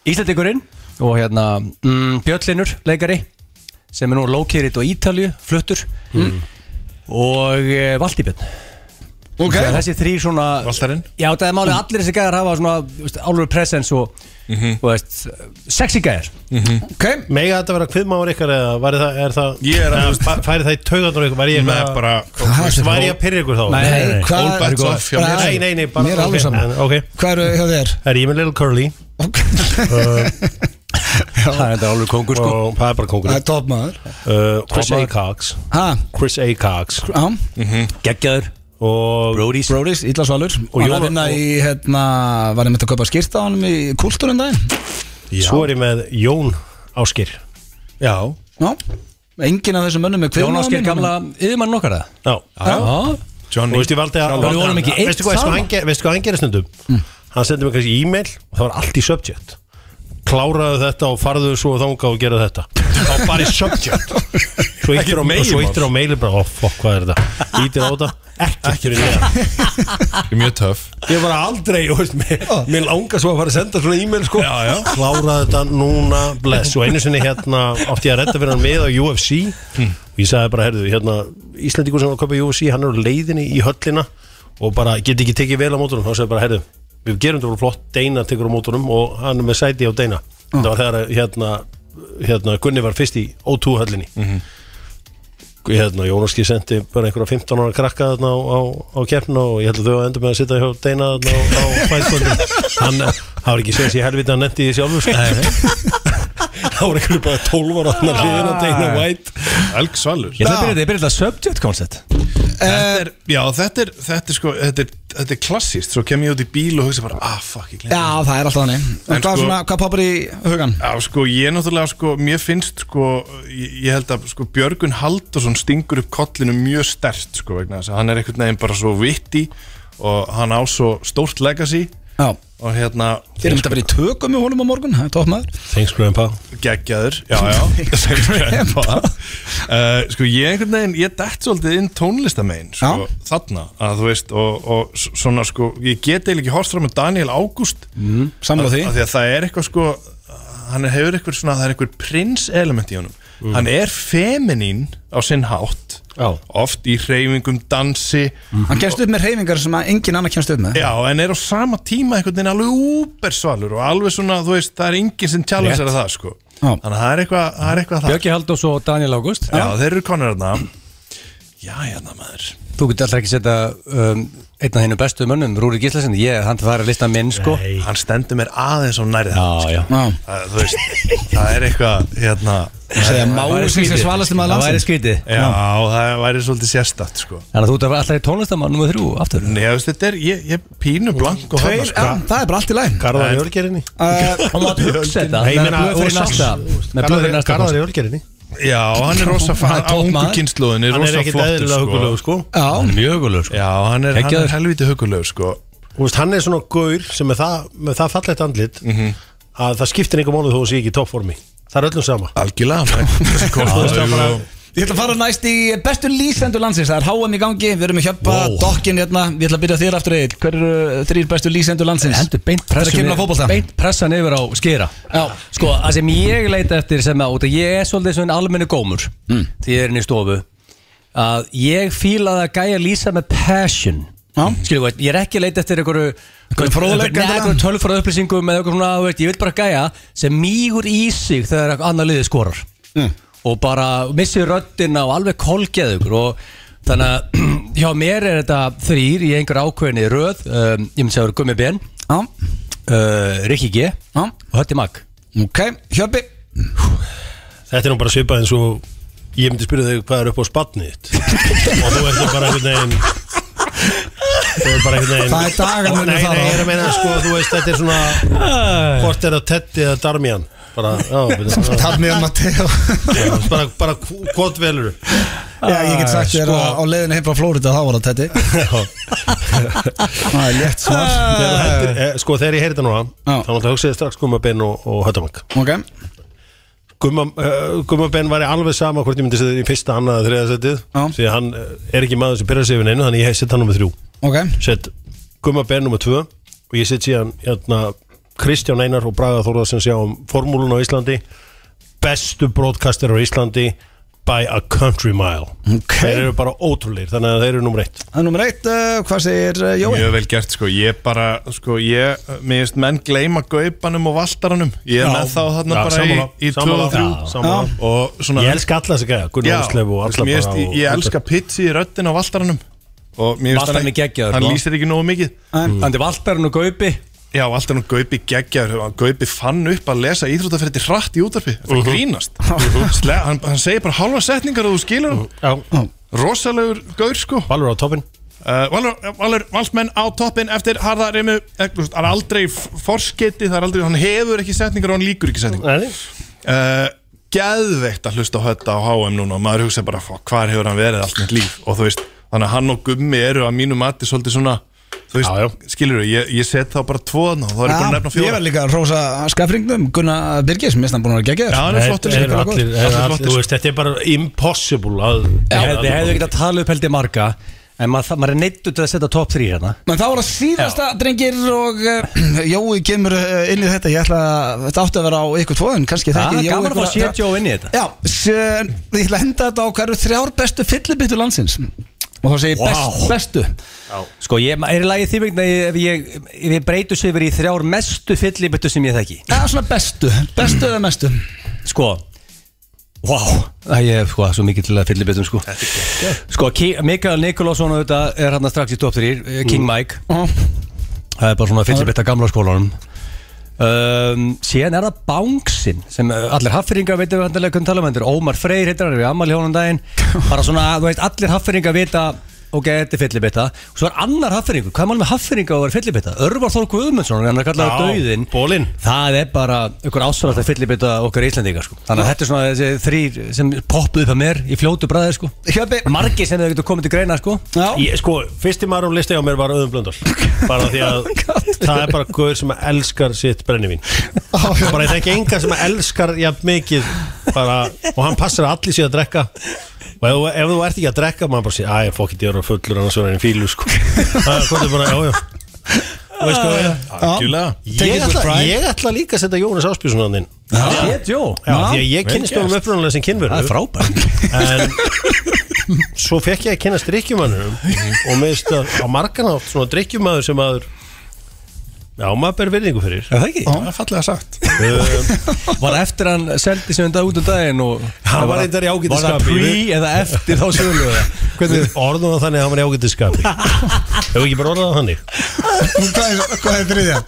[SPEAKER 2] Íslandingurinn Og hérna mm, Bjöllinur, leikari Sem er nú lókiritt og Ítalju, fluttur Mm. Og e, Valdibjörn
[SPEAKER 1] Ok.
[SPEAKER 2] Þegar Þessi þrý svona
[SPEAKER 3] Valtarinn.
[SPEAKER 2] Já, það er málið allir þessi gæðar hafa svona þú veist, Álfur presence og, og veist, Sexy gæðar
[SPEAKER 1] Ok,
[SPEAKER 5] Mega þetta vera kviðmáður ykkar eða væri það, er það,
[SPEAKER 3] Ég er að-
[SPEAKER 5] eða fa- færi það í taugarnar á ykkur, væri ég
[SPEAKER 3] Með
[SPEAKER 5] eitthvað-
[SPEAKER 3] bara
[SPEAKER 5] Var ég að pyrra ykkur þá?
[SPEAKER 2] Nei, nei, nei.
[SPEAKER 1] hvað-
[SPEAKER 3] All bets off hjá mér.
[SPEAKER 1] Nei,
[SPEAKER 5] nei, nei, nei bara,
[SPEAKER 1] Mér er alveg
[SPEAKER 5] ok,
[SPEAKER 1] sama.
[SPEAKER 5] en- Ok,
[SPEAKER 1] Hvað eru hjá þér?
[SPEAKER 5] það er ég með Little Curly
[SPEAKER 2] Það er þetta Álfur kongur sko
[SPEAKER 5] og það er bara
[SPEAKER 1] Það
[SPEAKER 5] kongur Uh,
[SPEAKER 1] er topp maður
[SPEAKER 5] Chris A. Cox
[SPEAKER 1] Ha,
[SPEAKER 5] Chris A. Cox
[SPEAKER 1] á,
[SPEAKER 2] Mhm. Geggjaður,
[SPEAKER 5] og
[SPEAKER 2] Brody's
[SPEAKER 1] Brodís, Ítla Svalur Og
[SPEAKER 5] Jóla-
[SPEAKER 1] Jóla vinna í, hérna, var ég myndi að kaupa skýrta á honum í kultúrin daginn
[SPEAKER 5] svo er ég með Jón Áskir
[SPEAKER 3] Já
[SPEAKER 1] Já, engin af þessum mönnum er kvinna
[SPEAKER 2] Jón Ásker gamla yfirmann nokkar það
[SPEAKER 5] Já,
[SPEAKER 2] hérna. Já,
[SPEAKER 3] Johnny
[SPEAKER 5] og veistu ég valdi að
[SPEAKER 2] Sjálfur. Við vorum ekki eitt
[SPEAKER 5] Veistu hvað
[SPEAKER 2] saman. Mm.
[SPEAKER 5] hann ge- veistu hvað hann gerir stundum? Hann sendi mér kannski e-mail og það var allt í subject kláraðu þetta og farðu svo þanga og gera þetta og bara í subject svo
[SPEAKER 3] Ekkert
[SPEAKER 5] eittir á,
[SPEAKER 3] meginmál.
[SPEAKER 5] svo ýttir á mailin bara, ó fokk, hvað er þetta? Ítir á þetta, ekki fyrir neðan
[SPEAKER 3] Ég er mjög töff
[SPEAKER 5] ég var aldrei, og veist, mér, mér langar svo að fara að senda svona e-mail sko
[SPEAKER 3] Já, já.
[SPEAKER 5] kláraðu þetta núna, bless og einu sinni hérna átti ég að redda fyrir hann með á UFC og ég sagði bara, herðu, hérna Íslandingur sem var að köpa UFC, hann er á leiðinni í höllina og bara geti ekki tekið vel á mótunum þá sagði bara, herðu, við gerum þetta bara flott Deina tekur á mótunum og hann er með sæti á Deina þetta var þegar hérna, hérna Gunni var fyrst í O2 höllinni hérna, Jónaski sendi bara einhverja 15 ára krakka þarna á, á, á keppna og ég held að þau að enda með að sitta hjá Deina þarna á, á fæðskvöldum hann eh, það var ekki séð sér helviti að hann nefndi því sjálfur sko. það var einhverju bara 12 ára þarna hliðin á Deina White
[SPEAKER 3] Elg Svalur
[SPEAKER 2] Ég ætla að byrja þetta, ég byrja þetta subject concept
[SPEAKER 3] þetta er, Já, þetta er, þetta er sko Þetta er, þetta er klassist Svo kem ég út í bíl og hugsa bara Ah, fuck, ég glemt
[SPEAKER 1] Já, það er alltaf þannig En
[SPEAKER 3] En
[SPEAKER 1] hvað,
[SPEAKER 3] sko-
[SPEAKER 1] svona, hvað poppar í hugan?
[SPEAKER 3] Já, sko, ég náttúrulega, sko, mér finnst, sko, ég, ég held að, sko, Björgun Haldursson stingur upp kollinu mjög stert, sko, vegna þess að hann er einhvern veginn bara svo vitti og hann á svo stórt legacy
[SPEAKER 1] Já.
[SPEAKER 3] og hérna
[SPEAKER 1] Þeir eru þetta verið í tökum með honum á morgun, það er topp maður
[SPEAKER 5] Thanks grandpa
[SPEAKER 3] geggjaður já, já, Thanks grandpa. uh, sko ég einhvern veginn ég dett svolítið inn tónlistamein sko, þarna að þú veist og, og s- svona sko ég get eiginlega ekki horst fram með Daniel Ágúst mm,
[SPEAKER 1] sammála því.
[SPEAKER 3] að, að því að það er eitthvað sko hann er, hefur eitthvað svona það er eitthvað prins element í honum hann er feminin á sinn hátt
[SPEAKER 2] Já.
[SPEAKER 3] oft í hreyfingum dansi
[SPEAKER 1] Hann kemst upp með reyfingar sem að engin annar kemst upp með
[SPEAKER 3] Já, en er á sama tíma einhvern veginn alveg úbersvalur og alveg svona, þú veist, það er enginn sem challenge er það, sko.
[SPEAKER 1] Já.
[SPEAKER 3] Þannig að það er eitthvað, það er eitthvað það.
[SPEAKER 2] Björki Haldós og Daniel Ágúst
[SPEAKER 3] Já, þeir eru konur þarna. Já, hérna maður.
[SPEAKER 2] Þú getur alltaf ekki setja um, einn af hennu bestu mönnum, Rúri Gíslasen ég, hann það er að lista minn sko
[SPEAKER 3] Hann stendur mér aðeins á nærið.
[SPEAKER 2] Já, já
[SPEAKER 1] Já,
[SPEAKER 3] Það, þú veist, það er eitthvað, hérna,
[SPEAKER 1] segja
[SPEAKER 2] Það væri
[SPEAKER 1] máur sem sem
[SPEAKER 2] skrítið.
[SPEAKER 1] svalast um að
[SPEAKER 2] Það væri
[SPEAKER 1] landsin
[SPEAKER 2] skrítið
[SPEAKER 3] já, það væri svolítið sérstætt, sko.
[SPEAKER 2] Þannig að þú ert alltaf í tónlistamann nummið þrjú aftur
[SPEAKER 3] Nei, þú veist, þetta er, ég, ég pínu blank og
[SPEAKER 1] Tveir,
[SPEAKER 3] þarna, sko.
[SPEAKER 1] já, sko. það er bara allt í Eh, læn
[SPEAKER 5] Garðar í ölgerinni
[SPEAKER 2] Hann mátt hugsa þetta
[SPEAKER 5] Nei, ég
[SPEAKER 2] með
[SPEAKER 5] meina,
[SPEAKER 2] blöð fyrir
[SPEAKER 5] og
[SPEAKER 2] næsta með blöð fyrir næsta
[SPEAKER 5] Garðar
[SPEAKER 2] kost.
[SPEAKER 5] í ölgerinni
[SPEAKER 3] Já, hann er rosa
[SPEAKER 2] Hann
[SPEAKER 3] fann
[SPEAKER 2] er
[SPEAKER 3] á
[SPEAKER 2] topp
[SPEAKER 3] ungu
[SPEAKER 2] maður.
[SPEAKER 3] kynsluðinni,
[SPEAKER 5] Hann er
[SPEAKER 3] rosa
[SPEAKER 5] ekkit
[SPEAKER 3] flottur,
[SPEAKER 5] eðlilega
[SPEAKER 3] sko.
[SPEAKER 5] hugulegur sko
[SPEAKER 2] Hann
[SPEAKER 1] Já,
[SPEAKER 2] er Mjög hugulegur sko
[SPEAKER 3] Já, hann er, hann
[SPEAKER 2] Geggjaður.
[SPEAKER 3] er helviti hugulegur, sko.
[SPEAKER 5] Þú veist, hann er svona gaur sem er það, með það fallegt andlit að það skiptir einhver mánuð þó að sé ekki í toppformi Það er öllum sama
[SPEAKER 3] Algjörlega, hann er góður.
[SPEAKER 1] ég ætla að fara næst í bestu lýsendur landsins Það er HM í gangi, við erum í hjöppa,
[SPEAKER 2] Wow.
[SPEAKER 1] dokkin hérna Við ætla að byrja þér aftur eitt Hver eru þrýr bestu lýsendur landsins?
[SPEAKER 2] Hendur beint
[SPEAKER 1] Þegar
[SPEAKER 2] pressan
[SPEAKER 1] kemur að
[SPEAKER 2] yfir-
[SPEAKER 1] fótbolta.
[SPEAKER 2] beint pressan yfir á skera
[SPEAKER 1] Já.
[SPEAKER 2] Sko, það sem ég leita eftir sem að, út að ég er svolítið svona almenni gómur mm. því ég er inn í stofu að ég fíla það að gæja lýsa með passion
[SPEAKER 1] Já.
[SPEAKER 2] Skilu, veit, ég er ekki að leita eftir einhverju
[SPEAKER 1] Einhverju fróðleik
[SPEAKER 2] Nei,
[SPEAKER 1] endilega?
[SPEAKER 2] einhverju tölfröð upplýsingum eða eitthvað svona, þú veit, ég vil bara gæja sem mýgur í sig þegar annar liðið skorar mm. og bara missir röddina og alveg kolgeð ykkur og þannig að hjá mér er þetta þrýr í einhver ákveðinni röð um, ég myndi segja að það eru Gummi Ben
[SPEAKER 1] Já,
[SPEAKER 2] uh, Rikki G
[SPEAKER 1] já,
[SPEAKER 2] og Hötti Mag
[SPEAKER 1] ok, hjöppi
[SPEAKER 5] Þetta er nú bara svipað eins og ég myndi spyrja þig hvað er upp á spatnið þitt og þú ert nú bara einhvern veginn þú ert bara einhvern veginn
[SPEAKER 1] Það er dagarnir
[SPEAKER 5] Nei,
[SPEAKER 1] þar
[SPEAKER 5] nei,
[SPEAKER 1] á.
[SPEAKER 5] ég er að meina sko, þú veist, þetta er svona hvort er það Teddy eða Darmian bara, já, byrja, já,
[SPEAKER 1] Tarnið og Matteo
[SPEAKER 5] já, bara, bara hvort velur
[SPEAKER 1] Já, ég get sagt þér
[SPEAKER 2] Sko-
[SPEAKER 1] að á leiðinu heim frá Flórida þá var það tetti Það er létt svar
[SPEAKER 5] sko, þegar ég heyrði það núna
[SPEAKER 1] Já.
[SPEAKER 5] þá náttúrulega hugsaði ég strax Gumma Ben og, og Höttamang
[SPEAKER 1] Ok,
[SPEAKER 5] Gumma, uh, Gumma Ben var alveg sama hvort ég myndi setja þig í fyrsta, annað, eða þriða setið
[SPEAKER 1] Já.
[SPEAKER 5] því að hann eh, er ekki maður sem byrjar sig yfir neinu þannig ég setja hann nummer þrjú
[SPEAKER 1] ok
[SPEAKER 5] set Gumma Ben nummer 2 og ég set síðan hérna, Kristján Einar og Braga Þórðarsen sjá um formúlun á Íslandi bestu broadcaster á Íslandi by a country mile
[SPEAKER 1] Ok.
[SPEAKER 5] þeir eru bara ótrúleir þannig að þeir eru nummer 1
[SPEAKER 1] Það er nummer eitt, uh, hvað segir uh, Jói?
[SPEAKER 3] Mjög vel gert sko, ég bara sko, ég, mér finnst menn gleyma gaupanum og valtaranum, ég er með þá þarna bara í, í 2 og 3
[SPEAKER 5] 3
[SPEAKER 3] og svona
[SPEAKER 5] ég elska alla þessi gæja Gunnar Ísleif og alla
[SPEAKER 3] mér finnst- ég, ég elska pitsi í röddin á valtaranum og mér finnst
[SPEAKER 2] Valtarinn
[SPEAKER 3] hann
[SPEAKER 2] er geggjaður,
[SPEAKER 3] hann
[SPEAKER 2] sko.
[SPEAKER 3] lýsir ekki nógu mikið
[SPEAKER 2] Þannig Valtarinn og Gaupi
[SPEAKER 3] já, valtarinn og gaupi geggjaður gaupi fann upp að lesa íþrótafrétti hratt í útarpi það
[SPEAKER 5] Mhm.
[SPEAKER 3] grínast Sle, hann, hann segir bara halva setningar og þú skilur hann
[SPEAKER 5] já,
[SPEAKER 3] rosalegur gaur sko
[SPEAKER 5] Valur á toppin
[SPEAKER 3] Uh, Valur, Valur, valsmenn á toppin eftir harða reymu, Eh, það er aldrei forskiti, það er aldrei, hann hefur ekki setningar og hann líkur ekki setningar
[SPEAKER 5] Nei,
[SPEAKER 3] uh, Geðveikt að hlusta á hötta á HM núna og maður hugsa bara, "Fuck, hvar hefur hann verið allt mitt líf og þú veist, þannig að hann og Gummi eru að mínu mati svolítið svona, þú veist,
[SPEAKER 5] Já, já.
[SPEAKER 3] skilur þú, ég, ég set þá bara tvoðan og þá er ég búin að nefna
[SPEAKER 1] Já, ég
[SPEAKER 3] fjóra
[SPEAKER 1] var líka að rósa skafringnum Gunnar Birgis, mér finnst hann búin að vera geggjaður
[SPEAKER 3] Já, hann er flottur
[SPEAKER 5] þeir
[SPEAKER 3] líka.
[SPEAKER 5] eru allir, þeir eru
[SPEAKER 3] Allir
[SPEAKER 5] allir,
[SPEAKER 3] flottir.
[SPEAKER 5] þú veist, þetta er bara impossible að
[SPEAKER 2] Þið hefðu ekki að tala upp held ég marga En maður, maður er neittur til að setja top 3 hérna
[SPEAKER 1] Men það var að síðasta drengir og uh, Jói kemur uh, inn í þetta Ég ætla að þetta átti að vera á ykkur tvoðun Kannski
[SPEAKER 2] Það
[SPEAKER 1] þekki
[SPEAKER 2] er
[SPEAKER 1] Jói
[SPEAKER 2] Ah, gaman að fá
[SPEAKER 1] einhverja-
[SPEAKER 2] setja og inn í þetta
[SPEAKER 1] Já, sem, ég ætla að henda þetta á hverju þrjár bestu fyllibittu landsins Og þá segir
[SPEAKER 2] Vá.
[SPEAKER 1] best, bestu
[SPEAKER 2] Sko, ég, er í lagi því vegna ef ég, ef ég breytu sig yfir í þrjár mestu fyllibittu sem ég þekki
[SPEAKER 1] Eða svona bestu, bestu eða mestu
[SPEAKER 2] Sko Vá, það ég er sko, svo mikið til að fyllibittum sko Sko, Ki- Mikael Nikolásson auðvitað er hann strax í top 3 eh,
[SPEAKER 5] Mm.
[SPEAKER 2] King Mike Það er bara svona fyllibitt af gamla skólanum um, Síðan er það Bángsinn sem uh, allir haffyringar veitum við um handalega hvernig tala um hendur Ómar Freyr heitir hann, við ammali hjónum daginn Bara svona, þú veist, allir haffyringar vita ok, þetta er fyllibitta Svo er annar hafferingur, hvað er mann með hafferinga og er fyllibitta? Örvar Þór Guðmundsson, hann er kallar
[SPEAKER 5] Já,
[SPEAKER 2] döiðin
[SPEAKER 5] bolinn.
[SPEAKER 2] Það er bara ykkur ásvarað að fyllibitta okkar Íslandingar sko. Þannig að þetta er svona þessi þrýr sem poppuð upp að mér í fljótu bræði sko.
[SPEAKER 1] Hjöpi
[SPEAKER 2] Margi sem þau getur komið til greina sko.
[SPEAKER 1] Já
[SPEAKER 5] Ég, sko, fyrsti maður á listi á mér var Öðum Blöndal bara því að það er bara guður sem elskar sitt brennivín bara ég þekki engan sem elskar jafn mikið bara, og hann passar að allir sé að drekka og ef, þú- ef þú ert ekki að drekka maður bara sé, æ, fokkið, ég er að fullur annars var hann í fílu sko. það er hvað bara, já, já og veist hvað,
[SPEAKER 3] Algjörlega
[SPEAKER 5] ég, ætla, ég ætla líka að setja Jónas Áspjússon hann inn já,
[SPEAKER 2] Shit, jó
[SPEAKER 5] því að ég
[SPEAKER 3] vel
[SPEAKER 5] kynnist honum
[SPEAKER 3] gert.
[SPEAKER 5] upprunalega sem kynveru
[SPEAKER 2] Það er frábært
[SPEAKER 5] en svo fekk ég að kynna drikkjumannum og meðist að á margan átt svona drikkjumadur sem maður já, maður ber virðingu fyrir Um,
[SPEAKER 2] Er það ekki?
[SPEAKER 3] Það er fallega sagt
[SPEAKER 2] Var það eftir hann seldi sem þetta út um daginn og
[SPEAKER 5] Hann var reyndar í ágætis
[SPEAKER 2] Var það
[SPEAKER 5] skapi.
[SPEAKER 2] pre eða eftir þá sögulegu
[SPEAKER 5] Hvernig orðum það þannig að hann var í ágætið skapi hefur ekki bara orðað það þannig
[SPEAKER 1] Hvað er, hvað er þriðja?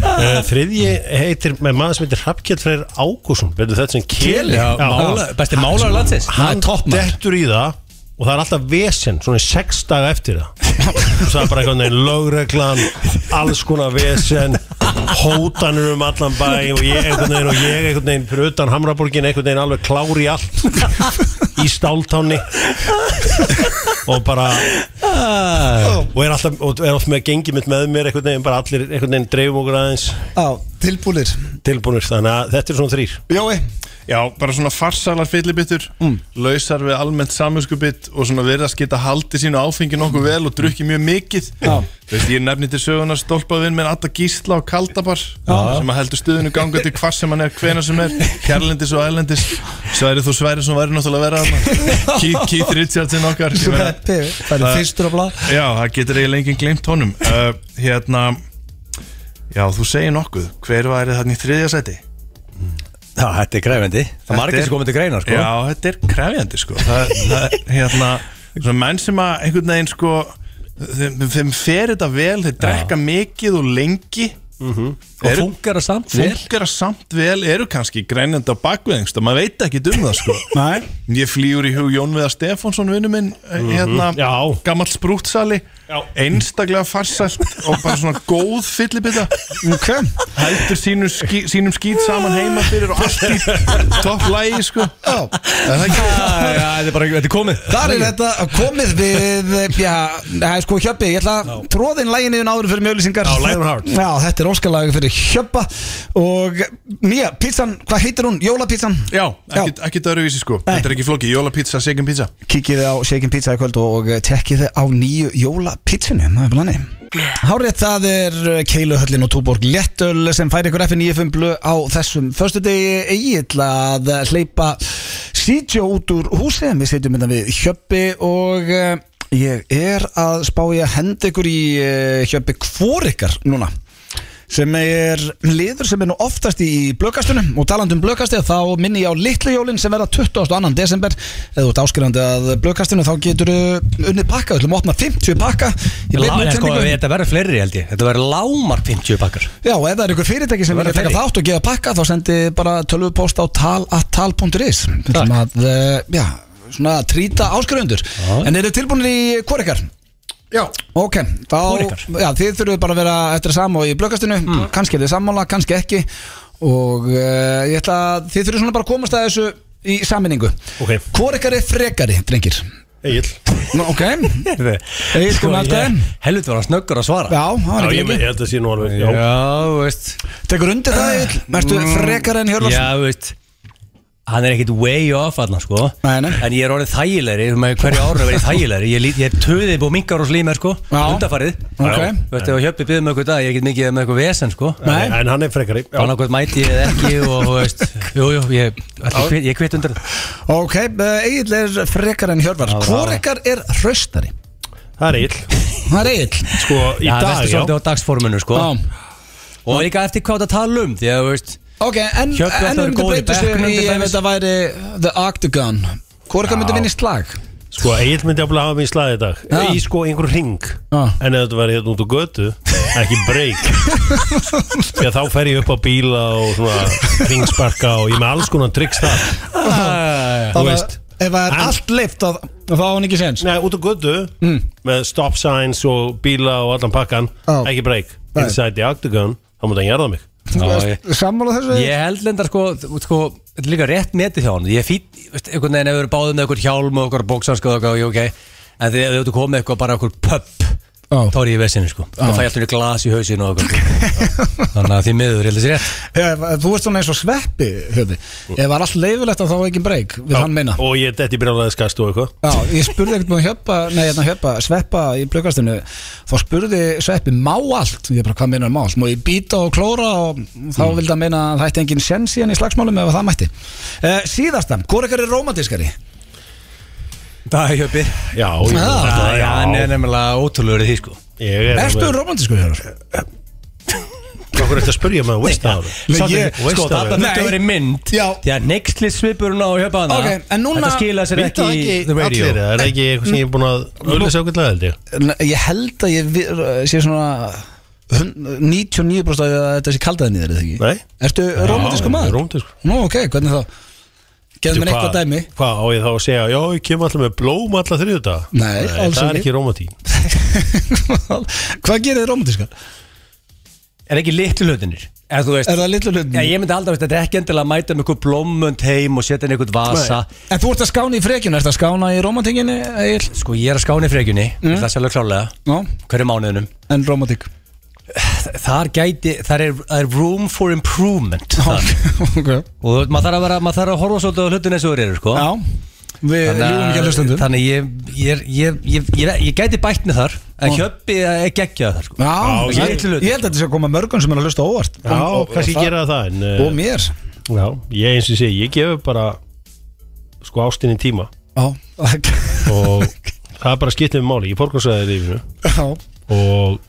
[SPEAKER 5] uh, þriðji heitir með maður sem heitir Hrafkjell Freyr Ágússon verður þetta sem keli
[SPEAKER 2] Já, mála, besti málar landsins
[SPEAKER 5] hann dettur í það og það er alltaf vesen, svona í sex daga eftir það og það er bara einhvern veginn lögreglan, alls konar vesen hótanur um allan bæ og ég einhvern veginn og ég einhvern veginn fyrir utan Hamraborgin einhvern veginn alveg klár í allt í stáltáni og bara og er alltaf, og er alltaf með gengið mitt með mér einhvern veginn, bara allir einhvern veginn dreifum okkur aðeins
[SPEAKER 1] Á, tilbúlir
[SPEAKER 5] tilbúinir, þannig að þetta er svona þrýr
[SPEAKER 1] Jói
[SPEAKER 3] Já, bara svona farsalar fyllibittur Lausar við almennt samhengskupið Og svona verðast geta haldið sínu áfengi nokkuð vel Og drukkið mjög mikið Veist, Ég nefni til sögunar stólpaðvinn Með Atta Gísla og Kaldabar Sem að heldur stuðinu ganga til hvað sem hann er Hvena sem er, kærlendis og ælendis Sværi þú sværi sem væri náttúrulega vera Keith, Keith Richardson okkar Ég meina,
[SPEAKER 1] Peppi Það er
[SPEAKER 3] Það-
[SPEAKER 1] fyrstur á blað
[SPEAKER 3] Já, það getur eiginlega enginn glimt honum uh, Hérna Já, þú segir nokkuð, hver væri þarna í þriðja seti?
[SPEAKER 2] Já, þetta er græfendi Það er margir sem komið til greina sko
[SPEAKER 3] Já, þetta er krefjandi sko Það, það er hérna Svona menn sem að einhvern veginn sko Þeim, þeim fer þetta vel, þeir drekka mikið og lengi
[SPEAKER 2] Mhm. Og
[SPEAKER 3] Eru-
[SPEAKER 2] funkar það samt vel
[SPEAKER 3] Funkar að samt vel eru kannski grænjandi á bakveðingst og maður veit ekki um það sko
[SPEAKER 1] Nei
[SPEAKER 3] Ég flýur í hug Jón Viðar Stefánsson vinnu minn
[SPEAKER 2] Mhm.
[SPEAKER 3] hérna,
[SPEAKER 5] Já.
[SPEAKER 3] gammal sprútsali einstaklega farsælt og bara svona góð fyllibita
[SPEAKER 1] Ok
[SPEAKER 3] heldur sínum, skí, sínum skýt saman heima fyrir og allt í topp lægi sko
[SPEAKER 1] Já
[SPEAKER 3] Er það ekki?
[SPEAKER 2] Já, já, þetta er bara, þetta er komið
[SPEAKER 1] Þar er þetta komið við Já, það er sko Hjöppi Ég ætla að tróðin lægin yfir náður fyrir mjölusingar
[SPEAKER 5] Já, Lion Heart.
[SPEAKER 1] Já, þetta er óskalagi fyrir Hjöppa Og nýja, pizzan, hvað heitir hún? Jólapítsan
[SPEAKER 3] Já, ekkert ekki öðruvísi sko Þetta er ekki flóki, jólapizza, second pizza
[SPEAKER 1] Kikið á Shaken Pizza í kvöld og tekkið á nýju jólapizzinu Það er blanni Hárið það er uh, Keiluhöllin og Túborg Lettöl sem fær ykkur F95 blöð á þessum Förstu degi eigiðla að hleypa Sítjó út úr húsi Við sitjum innan við Hjöppi og eh, ég er að spá ég að henda ykkur í eh, Hjöppi hvor ykkar núna sem er liður sem er nú oftast í blökastunum og taland um blökasti þá minni ég á litlu jólin sem verða 22. desember eða þú ert áskrifandi að blökastinu þá getur unnið pakka, við ætlum að opna 50 pakka í beinni
[SPEAKER 2] Lá- sko,
[SPEAKER 1] útsendingu.
[SPEAKER 2] Þetta verður fleiri held ég Þetta verður lámar 50 pakkar
[SPEAKER 1] Já, og ef það er ykkur fyrirtæki sem
[SPEAKER 2] Það
[SPEAKER 1] verður að taka
[SPEAKER 2] verður
[SPEAKER 1] þátt og gefa pakka þá sendi bara tölvupóst á tal.tal.is Við ætlum að, eh, já, svona að trýta áskrifundur En eru tilbúinir í hvor ykkar?
[SPEAKER 3] Já
[SPEAKER 1] Ok, þá,
[SPEAKER 2] Hvor ykkar? Mm.
[SPEAKER 1] já, þið þurfum bara að vera eftir að sama og í blökkastinu kannski er þið sammála, kannski ekki og uh, ég ætla að þið þurfum svona bara að komast að þessu í saminningu
[SPEAKER 5] Ok.
[SPEAKER 1] Hvor ykkar er frekari, drengir?
[SPEAKER 5] Egil
[SPEAKER 1] Nú, ok, Egill, komið aftur.
[SPEAKER 2] Helvut var hann snöggur að svara
[SPEAKER 1] já, það
[SPEAKER 5] Já,
[SPEAKER 1] var
[SPEAKER 5] ég
[SPEAKER 1] ekki
[SPEAKER 5] ég
[SPEAKER 1] ekki
[SPEAKER 5] held að sé nú alveg já.
[SPEAKER 2] Já, veist
[SPEAKER 1] Tekur undir það, Egil, mertu frekari en Hjörlarsson?
[SPEAKER 2] Mm. Já, veist Hann er ekkit way off hann, sko
[SPEAKER 1] Nei, nei.
[SPEAKER 2] En ég er orðið þægilegri þú með Hverju ára verið þægilegri Ég, lít- ég töði búið minkar og slímer, sko
[SPEAKER 1] Já.
[SPEAKER 2] Undafarið
[SPEAKER 1] Ok.
[SPEAKER 2] Þú veist, ef að hjöppi byggðum eitthvað dag Ég get mikið með eitthvað vesen, sko
[SPEAKER 1] Nei.
[SPEAKER 5] En hann er frekari já.
[SPEAKER 2] Þannig hvort mæti ég eða ekki og þú veist, jú, jú, ég, ætli, ég, ég kvitt undir það.
[SPEAKER 1] Ok, uh, Egil er frekar en Hjörvar Hvor ykkar er hraustari?
[SPEAKER 5] Það er Egil
[SPEAKER 1] Það er Egil
[SPEAKER 5] Sko, í
[SPEAKER 2] Já,
[SPEAKER 5] dag,
[SPEAKER 2] vestu
[SPEAKER 5] já
[SPEAKER 2] svolítið á dagsforminu, sko. Og líka eftir hvað það tala um, því að, þú veist,
[SPEAKER 1] Ok, en,
[SPEAKER 2] Hjörvar
[SPEAKER 1] en við
[SPEAKER 2] það eru
[SPEAKER 1] myndum
[SPEAKER 2] góðir í
[SPEAKER 1] breyta sér í
[SPEAKER 2] bekknum til
[SPEAKER 1] ef
[SPEAKER 2] dæmis.
[SPEAKER 1] þetta væri The Octagon Hvor ykkar myndi vinna í slag?
[SPEAKER 5] Sko, Egil myndi að hafa mig í slagið í dag
[SPEAKER 1] Já.
[SPEAKER 5] Í sko einhver ring
[SPEAKER 1] Já.
[SPEAKER 5] En ef þetta var hérna út á götu Ekki break Því að þá fer ég upp á bíla og svona Ringsparka og ég er með alls konar tricks þar
[SPEAKER 2] Æ,
[SPEAKER 5] Þú veist
[SPEAKER 1] ef það er allt leift að, þá á hann ekki sens
[SPEAKER 5] Nei, út á götu með stop signs og bíla og allan pakkan
[SPEAKER 1] Já.
[SPEAKER 5] ekki break,
[SPEAKER 1] Nei.
[SPEAKER 5] inside the octagon þá mútu hann jarða mig
[SPEAKER 1] Sammála þessu?
[SPEAKER 2] Ég held lendar sko, þú- sko þetta er líka rétt metið hjá hann Ég fýt, veist, einhvern veginn hefur báðið með einhver hjálm og einhver bóksanska og eitthvað, jú, ok En þegar þú ert að koma með eitthvað bara einhver pöpp
[SPEAKER 1] Á.
[SPEAKER 2] Þá er ég í vesinu sko Þá fæ ég alltaf glas í hausinu og eitthvað sko. Þannig að því miður, ég held þessi rétt
[SPEAKER 1] Ef, þú ert svona eins og sveppi höfði. Ef það er allt leifilegt að þá er ekki breyk Vil hann meina
[SPEAKER 5] og ég detti brjálæði skast og eitthvað
[SPEAKER 1] Já, ég spurði ekkert með hjöpa, nei, hérna hjöpa, sveppa í blökastinu Þá spurði sveppi má allt Ég bara, hvað meinar má allt? Má ég býta og klóra og þá
[SPEAKER 5] Mm.
[SPEAKER 1] vildi hann meina að það ætti engin sens í hann í slagsmálum ef það mætti uh, Síðastan, hvor ekkert er romantískari?
[SPEAKER 2] Það er hjöpi
[SPEAKER 5] já, ég,
[SPEAKER 1] Já,
[SPEAKER 5] já,
[SPEAKER 2] Ah. Já, hann er
[SPEAKER 5] já,
[SPEAKER 2] nefnilega ótrúlegur í því sko
[SPEAKER 5] ég er
[SPEAKER 1] Ertu romantískur hér?
[SPEAKER 5] okkur eftir að um spurja með veist það
[SPEAKER 1] Nei,
[SPEAKER 2] Sáttu-
[SPEAKER 5] Eh,
[SPEAKER 1] ég-
[SPEAKER 2] Sko,
[SPEAKER 5] veist
[SPEAKER 2] þetta
[SPEAKER 5] það
[SPEAKER 2] þurfti að vera í mynd
[SPEAKER 1] Já.
[SPEAKER 2] Því að nexli svipurinn á hjöpaðana
[SPEAKER 1] Ok, en núna-
[SPEAKER 2] Þetta skila sér
[SPEAKER 5] Vita
[SPEAKER 2] ekki
[SPEAKER 5] það
[SPEAKER 2] í the
[SPEAKER 5] ekki
[SPEAKER 2] radio
[SPEAKER 5] allir, það er ekki eitthvað sem ég er búin að auðvitað ákveðlega held ég
[SPEAKER 1] Ég held að ég vi- sé svona hun- 99% að þetta sé kaldaði nýður eða ekki?
[SPEAKER 5] Nei.
[SPEAKER 1] Ertu romantískur
[SPEAKER 5] Já,
[SPEAKER 1] maður?
[SPEAKER 5] rómantískur.
[SPEAKER 1] Nú, ok, hvernig þá? Gefðu mér eitthvað
[SPEAKER 5] Hvað-
[SPEAKER 1] dæmi
[SPEAKER 5] Hvað á ég þá að segja, já ég kem alltaf með blóm alltaf þriðu dag
[SPEAKER 1] Nei, alls
[SPEAKER 5] Það er
[SPEAKER 1] ekki.
[SPEAKER 5] ekki rómatín
[SPEAKER 1] Hvað gerir þið romantískar?
[SPEAKER 2] Er ekki litlu hlutinir Er þú veist
[SPEAKER 1] Er það litlu hlutin?
[SPEAKER 2] Já, ég myndi aldrei, veist, þetta er ekki endilega að mæta með einhver blómönd heim og setja inn einhvern vasa
[SPEAKER 1] En þú ert að skána í frekjun, ert að skána í romantíkinni, Egil?
[SPEAKER 2] Sko, ég er að skána í frekjunni,
[SPEAKER 1] Mm.
[SPEAKER 2] það er sérlega klálega
[SPEAKER 1] Já,
[SPEAKER 2] hverju mánuðinum.
[SPEAKER 1] en romantík
[SPEAKER 2] Þar gæti, þar er, það er room for improvement þar.
[SPEAKER 1] okay.
[SPEAKER 2] og þú- maður þarf að vera, maður þarf að horfa svolítið á hlutin eins og þú eru, sko
[SPEAKER 1] Já, við ljúum ekki að hlustendum
[SPEAKER 2] þannig ég, ég, er- ég, ég, ég, er- ég gæti bætt með þar en hjöppi er geggjað þar, sko
[SPEAKER 1] Já,
[SPEAKER 2] Já,
[SPEAKER 1] ég,
[SPEAKER 2] litlu hlutin.
[SPEAKER 1] ég held að þetta sé að koma mörgum sem er að hlusta óvart
[SPEAKER 5] Já, kannski ég gera það en,
[SPEAKER 1] Og
[SPEAKER 5] eh,
[SPEAKER 1] mér
[SPEAKER 5] Já, ég eins og sé, ég gefur bara sko ástinni tíma
[SPEAKER 1] Já,
[SPEAKER 5] og það er bara skipt með máli, ég fórkvæmsaði lífinu
[SPEAKER 1] já,
[SPEAKER 5] og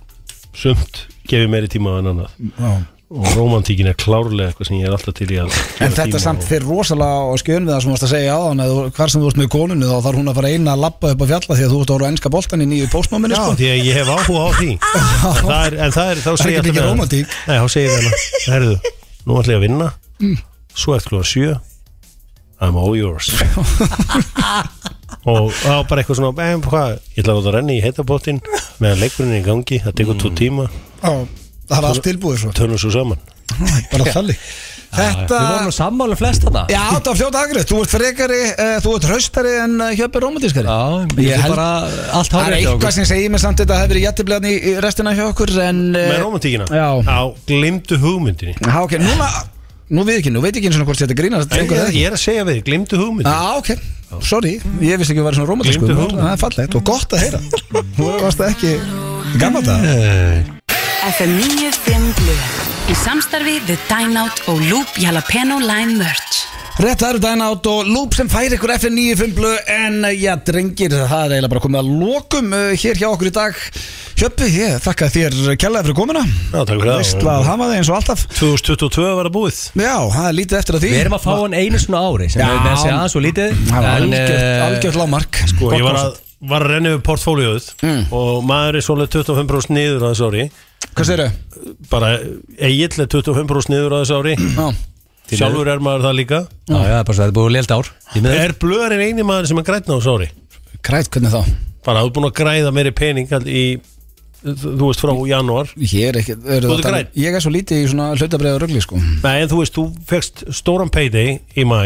[SPEAKER 5] sumt gefur meiri tíma en annað
[SPEAKER 1] já.
[SPEAKER 5] og romantíkin er klárlega eitthvað sem ég er alltaf til í að gefa
[SPEAKER 1] En þetta
[SPEAKER 5] tíma
[SPEAKER 1] samt
[SPEAKER 5] og-
[SPEAKER 1] fyrir rosalega á skjön við það sem þú varst að segja á hann Hvar sem þú ert með konunni þá þarf hún að fara eina að labba upp á fjalla Því að þú ert að voru enska boltan í nýju sko.
[SPEAKER 5] Já,
[SPEAKER 1] póstnáminu
[SPEAKER 5] því að ég hef áhuga á því En það er, en það er, þá
[SPEAKER 1] Ah. er
[SPEAKER 5] segir
[SPEAKER 1] ekki mikið rómantík.
[SPEAKER 5] Nei, þá segir ég hana Herðu, nú ætlum ég að vinna
[SPEAKER 1] Mm.
[SPEAKER 5] Svo eftir klúan sjö I'm all yours Og þá bara eitthvað svona em, hvað, Ég ætla að láta renni í heitabóttin Meðan leikurinn er í gangi, það tekur
[SPEAKER 1] Mm.
[SPEAKER 5] tvo tíma
[SPEAKER 1] Já, það var allt tilbúið svo
[SPEAKER 5] Tölum svo saman
[SPEAKER 1] Bara þannig Þetta
[SPEAKER 2] Við vorum nú sammála flest þarna
[SPEAKER 1] Já, það var fljóta agrið, þú ert frekari, uh, þú ert hraustari en uh, hjöpir romantískari
[SPEAKER 2] Já, ég,
[SPEAKER 1] Ég
[SPEAKER 2] ég
[SPEAKER 1] held-
[SPEAKER 2] bara allt
[SPEAKER 1] Það er
[SPEAKER 2] hárið hjá okkur.
[SPEAKER 1] eitthvað sem segir mér samt þetta að það hefur verið jættiblaðni í restina hjá okkur en
[SPEAKER 5] Með
[SPEAKER 1] eh,
[SPEAKER 5] romantíkina
[SPEAKER 1] Já.
[SPEAKER 5] glimtu hugmyndinni
[SPEAKER 1] Já, ok, núna, nú við ekki, nú veit ég ekki eins og hvort þetta grínast
[SPEAKER 5] Nei,
[SPEAKER 1] gengur
[SPEAKER 5] Ég
[SPEAKER 1] það
[SPEAKER 5] er-
[SPEAKER 1] ekki
[SPEAKER 5] ég er að segja við, þig, glimtu hugmyndinni
[SPEAKER 1] Já, ok, sorry, ég vissi ekki að vera svona romantísku
[SPEAKER 5] Gleymdu
[SPEAKER 1] en
[SPEAKER 5] hugmynd.
[SPEAKER 1] Það er fallegt og gott að heyra Þú varst ekki gammal það
[SPEAKER 6] FM 95 Blu Í samstarfi The Dineout og Loop Jalapeno Lime Merch
[SPEAKER 1] Rétt, það eru dæna átt og lúp sem fær ykkur FM 95 blöð en eh, já, drengir, það er eiginlega bara komið að lokum eh, hér hjá okkur í dag Hjöppi, ég þakka þér kjallaði fyrir komuna
[SPEAKER 5] Já, takk fyrir það.
[SPEAKER 1] Veistla að hafa þig eins og alltaf
[SPEAKER 5] 2022 var að búið
[SPEAKER 1] Já, það er lítið eftir að því
[SPEAKER 2] Við erum að fá hann einu svona ári sem
[SPEAKER 1] Já.
[SPEAKER 2] við með að segja aðeins og lítið
[SPEAKER 1] Það var
[SPEAKER 2] en,
[SPEAKER 1] algjört,
[SPEAKER 2] eh,
[SPEAKER 1] algjört lámark
[SPEAKER 5] og Sko, ég var
[SPEAKER 1] Gott
[SPEAKER 5] að, var að renna yfir portfóljóð
[SPEAKER 2] Mm.
[SPEAKER 5] og maður er svolítið 25% niður á þessu ári
[SPEAKER 1] konsert. Hvað segirðu?
[SPEAKER 5] bara eiginlega 25% niður á þessu ári
[SPEAKER 1] Já,
[SPEAKER 5] sjálfur er maður það líka
[SPEAKER 2] Já, já, bara svo þetta er búið leilt ár Ég með
[SPEAKER 5] er blöðurinn eini maður sem er grætna á þessu ári
[SPEAKER 1] græt hvernig þá?
[SPEAKER 5] bara þú er búin að græða meiri pening all- í, þú veist frá janúar
[SPEAKER 1] Ég er ekki er
[SPEAKER 5] Þú ert grænn?
[SPEAKER 1] Ég er svo lítið í svona hlutabreið og rögli sko
[SPEAKER 5] Nei, en þú veist, þú fegst stóran payday í mæ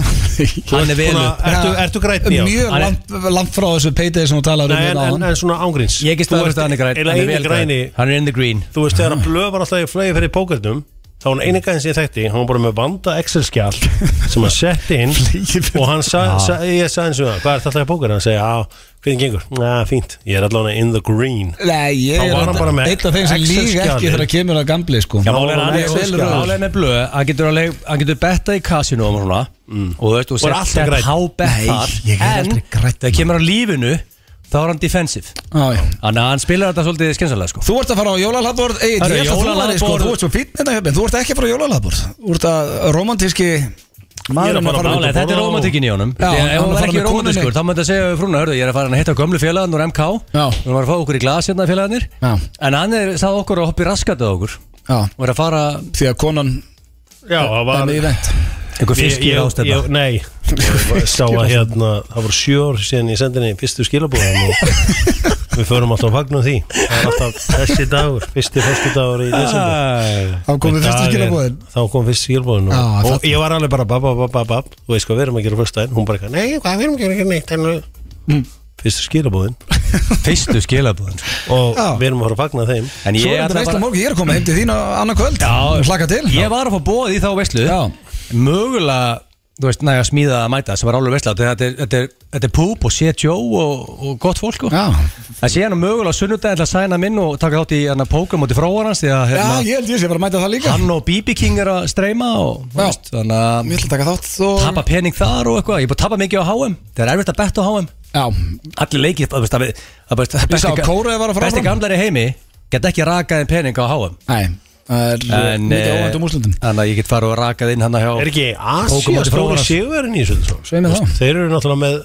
[SPEAKER 2] Hann er vel upp
[SPEAKER 5] Ertu,
[SPEAKER 1] Já.
[SPEAKER 5] ertu grætni á?
[SPEAKER 1] Ah, Mjög
[SPEAKER 2] Hann er-
[SPEAKER 1] langt, langt frá þessu payday sem þú talaður
[SPEAKER 5] Nei,
[SPEAKER 1] um
[SPEAKER 5] en,
[SPEAKER 1] hérna
[SPEAKER 5] en,
[SPEAKER 1] áðan.
[SPEAKER 5] en svona ángríns
[SPEAKER 2] Ég get
[SPEAKER 5] Þú
[SPEAKER 2] staðfest
[SPEAKER 5] ert
[SPEAKER 2] að hann er græn Hann
[SPEAKER 5] eiginlega
[SPEAKER 2] er
[SPEAKER 5] eini
[SPEAKER 2] vel
[SPEAKER 5] græni
[SPEAKER 2] grænn. Hann er in the green
[SPEAKER 5] þú veist þegar að blöð var alltaf í flögi fyrir pókertum þá var hann eini gæðin sem ég þekkti hann var bara með vanda Excel-skjál sem hann setti inn og hann sa, sa, ég sagði eins og það, hvað er þetta alltaf í póker hann segja, á, hvernig gengur, na, fínt ég er allavega in the green
[SPEAKER 1] Nei, ég
[SPEAKER 5] Þá
[SPEAKER 1] er
[SPEAKER 5] var hann bara með
[SPEAKER 1] eitt af þeim sem líka
[SPEAKER 5] Excel-skjalið.
[SPEAKER 1] ekki þegar að kemur að gamli sko
[SPEAKER 2] Já, málega hann
[SPEAKER 1] Excel
[SPEAKER 2] er
[SPEAKER 1] skjalið.
[SPEAKER 2] málega með blöð Hann getur alveg, hann getur bettað í kasinu og svona Og þú veist, og
[SPEAKER 5] Og er alltaf
[SPEAKER 2] sett
[SPEAKER 5] grænn.
[SPEAKER 2] hábett
[SPEAKER 1] Nei,
[SPEAKER 2] þar
[SPEAKER 1] ég er
[SPEAKER 2] En
[SPEAKER 1] aldrei grænn.
[SPEAKER 2] þegar kemur á lífinu Þá er hann defensive
[SPEAKER 1] Já, já.
[SPEAKER 2] Þannig að hann spilar þetta svolítið skinsalega sko
[SPEAKER 1] Þú ert að fara á jólalabborð Egil,
[SPEAKER 2] Herru,
[SPEAKER 1] ég ert að þú væri sko
[SPEAKER 2] jólalabborð-
[SPEAKER 1] Þú ert svo fínn þetta hjöpinn, þú ert ekki að fara á jólalabborð Þú ert að romantíski maðurinn að
[SPEAKER 5] fara
[SPEAKER 1] fara út
[SPEAKER 5] á
[SPEAKER 2] Málega,
[SPEAKER 1] að
[SPEAKER 2] þetta er
[SPEAKER 5] borða og-
[SPEAKER 2] romantikinn í honum
[SPEAKER 1] Já,
[SPEAKER 2] Ef
[SPEAKER 1] hann
[SPEAKER 2] hann
[SPEAKER 1] var
[SPEAKER 2] var
[SPEAKER 1] farinn
[SPEAKER 2] ekki
[SPEAKER 1] með konunni.
[SPEAKER 2] romantiskur Þá maður þetta segja við frúna, hörðu, ég er að fara að hitta gömlu félagann úr MK
[SPEAKER 1] Já.
[SPEAKER 2] Við varum að fá okkur í glas hérna félagarnir
[SPEAKER 1] Já.
[SPEAKER 2] En hann er, sagði okkur að hoppa í raskatið á okkur
[SPEAKER 1] Já,
[SPEAKER 2] Og er að fara
[SPEAKER 1] því að konan
[SPEAKER 5] já, það
[SPEAKER 1] er
[SPEAKER 5] var,
[SPEAKER 1] með í vend
[SPEAKER 2] einhver fiskir
[SPEAKER 5] Ég- ég-
[SPEAKER 2] ástæðna
[SPEAKER 5] ég- Nei, ég sá að hérna Það voru sjö ár síðan ég sendi henni fyrstu skilabóðan og við förum alltaf að fagna því Það er alltaf þessi dagur, fyrsti fyrstu dagur í desember
[SPEAKER 1] Þá komum
[SPEAKER 5] Í
[SPEAKER 1] við
[SPEAKER 5] dag
[SPEAKER 1] fyrstu
[SPEAKER 5] er-
[SPEAKER 1] skilabóðin
[SPEAKER 5] Þá kom fyrstu skilabóðin
[SPEAKER 1] Já,
[SPEAKER 5] og, og
[SPEAKER 1] þarna.
[SPEAKER 5] ég var alveg bara bab, bab, bab, bab Þú veist hvað við erum að gera fyrsta en hún bara eitthvað, Nei, hvað við erum að gera ekki neitt en, uh,
[SPEAKER 1] Mm.
[SPEAKER 5] Fyrstu skilabóðin
[SPEAKER 2] fyrstu skilabúðan
[SPEAKER 5] og
[SPEAKER 1] Já.
[SPEAKER 5] við erum að fara að fagna þeim
[SPEAKER 2] en
[SPEAKER 1] Svo
[SPEAKER 2] ég
[SPEAKER 1] er þetta
[SPEAKER 2] ætla
[SPEAKER 1] veistla
[SPEAKER 2] bara
[SPEAKER 1] morgun, ég er að koma heim til þín á annan kvöld
[SPEAKER 2] Já.
[SPEAKER 1] Hlakka til
[SPEAKER 2] ég var að fá bóð í þá veislu
[SPEAKER 1] Já.
[SPEAKER 2] mögulega þú veist, næja smíða að mæta sem var alveg veisla þetta er, þetta er, þetta er púp og setjó og, og gott fólk sko.
[SPEAKER 1] Já.
[SPEAKER 2] en síðan er mögulega sunnudaginn til að sæna minn og taka þátt í hérna, póker móti fróarans því að
[SPEAKER 1] Já,
[SPEAKER 2] hérna,
[SPEAKER 1] ég held ég sé bara að mæta það líka
[SPEAKER 2] hann og BB King er að streyma og þú
[SPEAKER 1] Já.
[SPEAKER 2] veist, þannig að
[SPEAKER 1] Ég ætla að taka þátt og...
[SPEAKER 2] tapa pening þar og eitthvað ég er búin að tapa mikið á HM, það er erfitt að betta á HM
[SPEAKER 1] Já,
[SPEAKER 2] allir leikir það veist, það veist, það veist, það
[SPEAKER 1] sá Kórea var að fara
[SPEAKER 2] besti
[SPEAKER 1] áfram.
[SPEAKER 2] gamlar í heimi get ekki rakað inn pening á HM
[SPEAKER 1] nei Það er en,
[SPEAKER 2] en
[SPEAKER 1] mikið
[SPEAKER 2] eh,
[SPEAKER 1] óvænt um úslundum
[SPEAKER 2] þannig að ég get farið og rakað inn hann hjá
[SPEAKER 5] Er ekki
[SPEAKER 2] Tókum
[SPEAKER 5] Asía
[SPEAKER 2] móti
[SPEAKER 5] stóri
[SPEAKER 2] Fróðrans.
[SPEAKER 5] sigurinn í þessu svo?
[SPEAKER 1] Segðu mér það.
[SPEAKER 5] Þeir eru náttúrulega með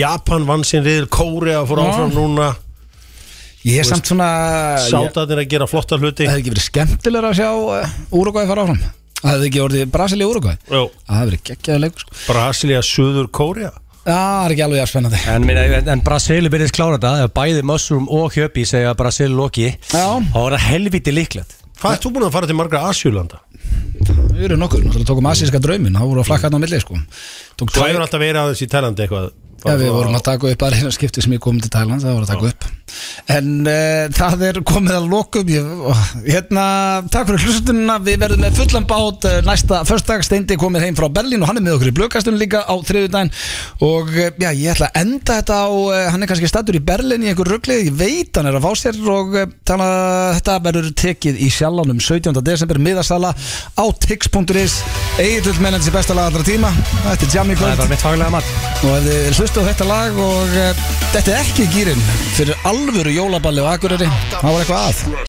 [SPEAKER 5] Japan vann sinn riðil, Kórea fór áfram núna
[SPEAKER 1] Ég er samt svona ég-
[SPEAKER 5] Sátaðir að gera flotta hluti
[SPEAKER 1] Það hefði ekki verið skemmtilega að sjá Úrugvæði fara áfram Það hefði ekki orðið Brasili Úrugvæði
[SPEAKER 5] Jó.
[SPEAKER 1] Það hefði verið geggjaði leikur sko.
[SPEAKER 5] Brasilia, Suður Kórea
[SPEAKER 1] Já, Það er ekki alveg jafn spennandi
[SPEAKER 2] en, minna, en, en Brasilu byrðist klára þetta ef bæði Mushroom og Hjöpi segja að Brasilu loki
[SPEAKER 1] Já.
[SPEAKER 2] þá er það helviti líklegt
[SPEAKER 5] Hvað ert þú búin að fara til margra Asjúlanda?
[SPEAKER 1] Við erum nokkur, náttúrulega tókum asíska draumin Það voru að flakka hann á milli sko. Tók
[SPEAKER 5] Þú
[SPEAKER 1] tvær-
[SPEAKER 5] hefur alltaf verið aðeins í Tælandi eitthvað
[SPEAKER 1] Já, við vorum að taka upp að reyna skipti sem ég kom til Thailand, það voru að taka upp En uh, það er komið að lokum ég, ó, Hérna, takk fyrir hlustununa Við verðum með fullan bát eh, næsta Förstak Steindi komið heim frá Berlín og hann er með okkur í blökastunum líka á þriðjudaginn Og eh, já, ég ætla að enda þetta á eh, Hann er kannski stattur í Berlín í einhver ruggli Ég veit hann er að fá sér og eh, þannig að þetta verður tekið í sjálfanum 17. desember, miðasala á tix.is Egil mennandi sér besta laga allra tíma Þetta er Jamie
[SPEAKER 2] það er
[SPEAKER 1] Gold
[SPEAKER 2] bara mitt faglega mat
[SPEAKER 1] Og ef þið hlustu á þetta lag eh, og uh, þetta er ekki gýrin fyrir alvöru jólaballi og akureyri, það var eitthvað að.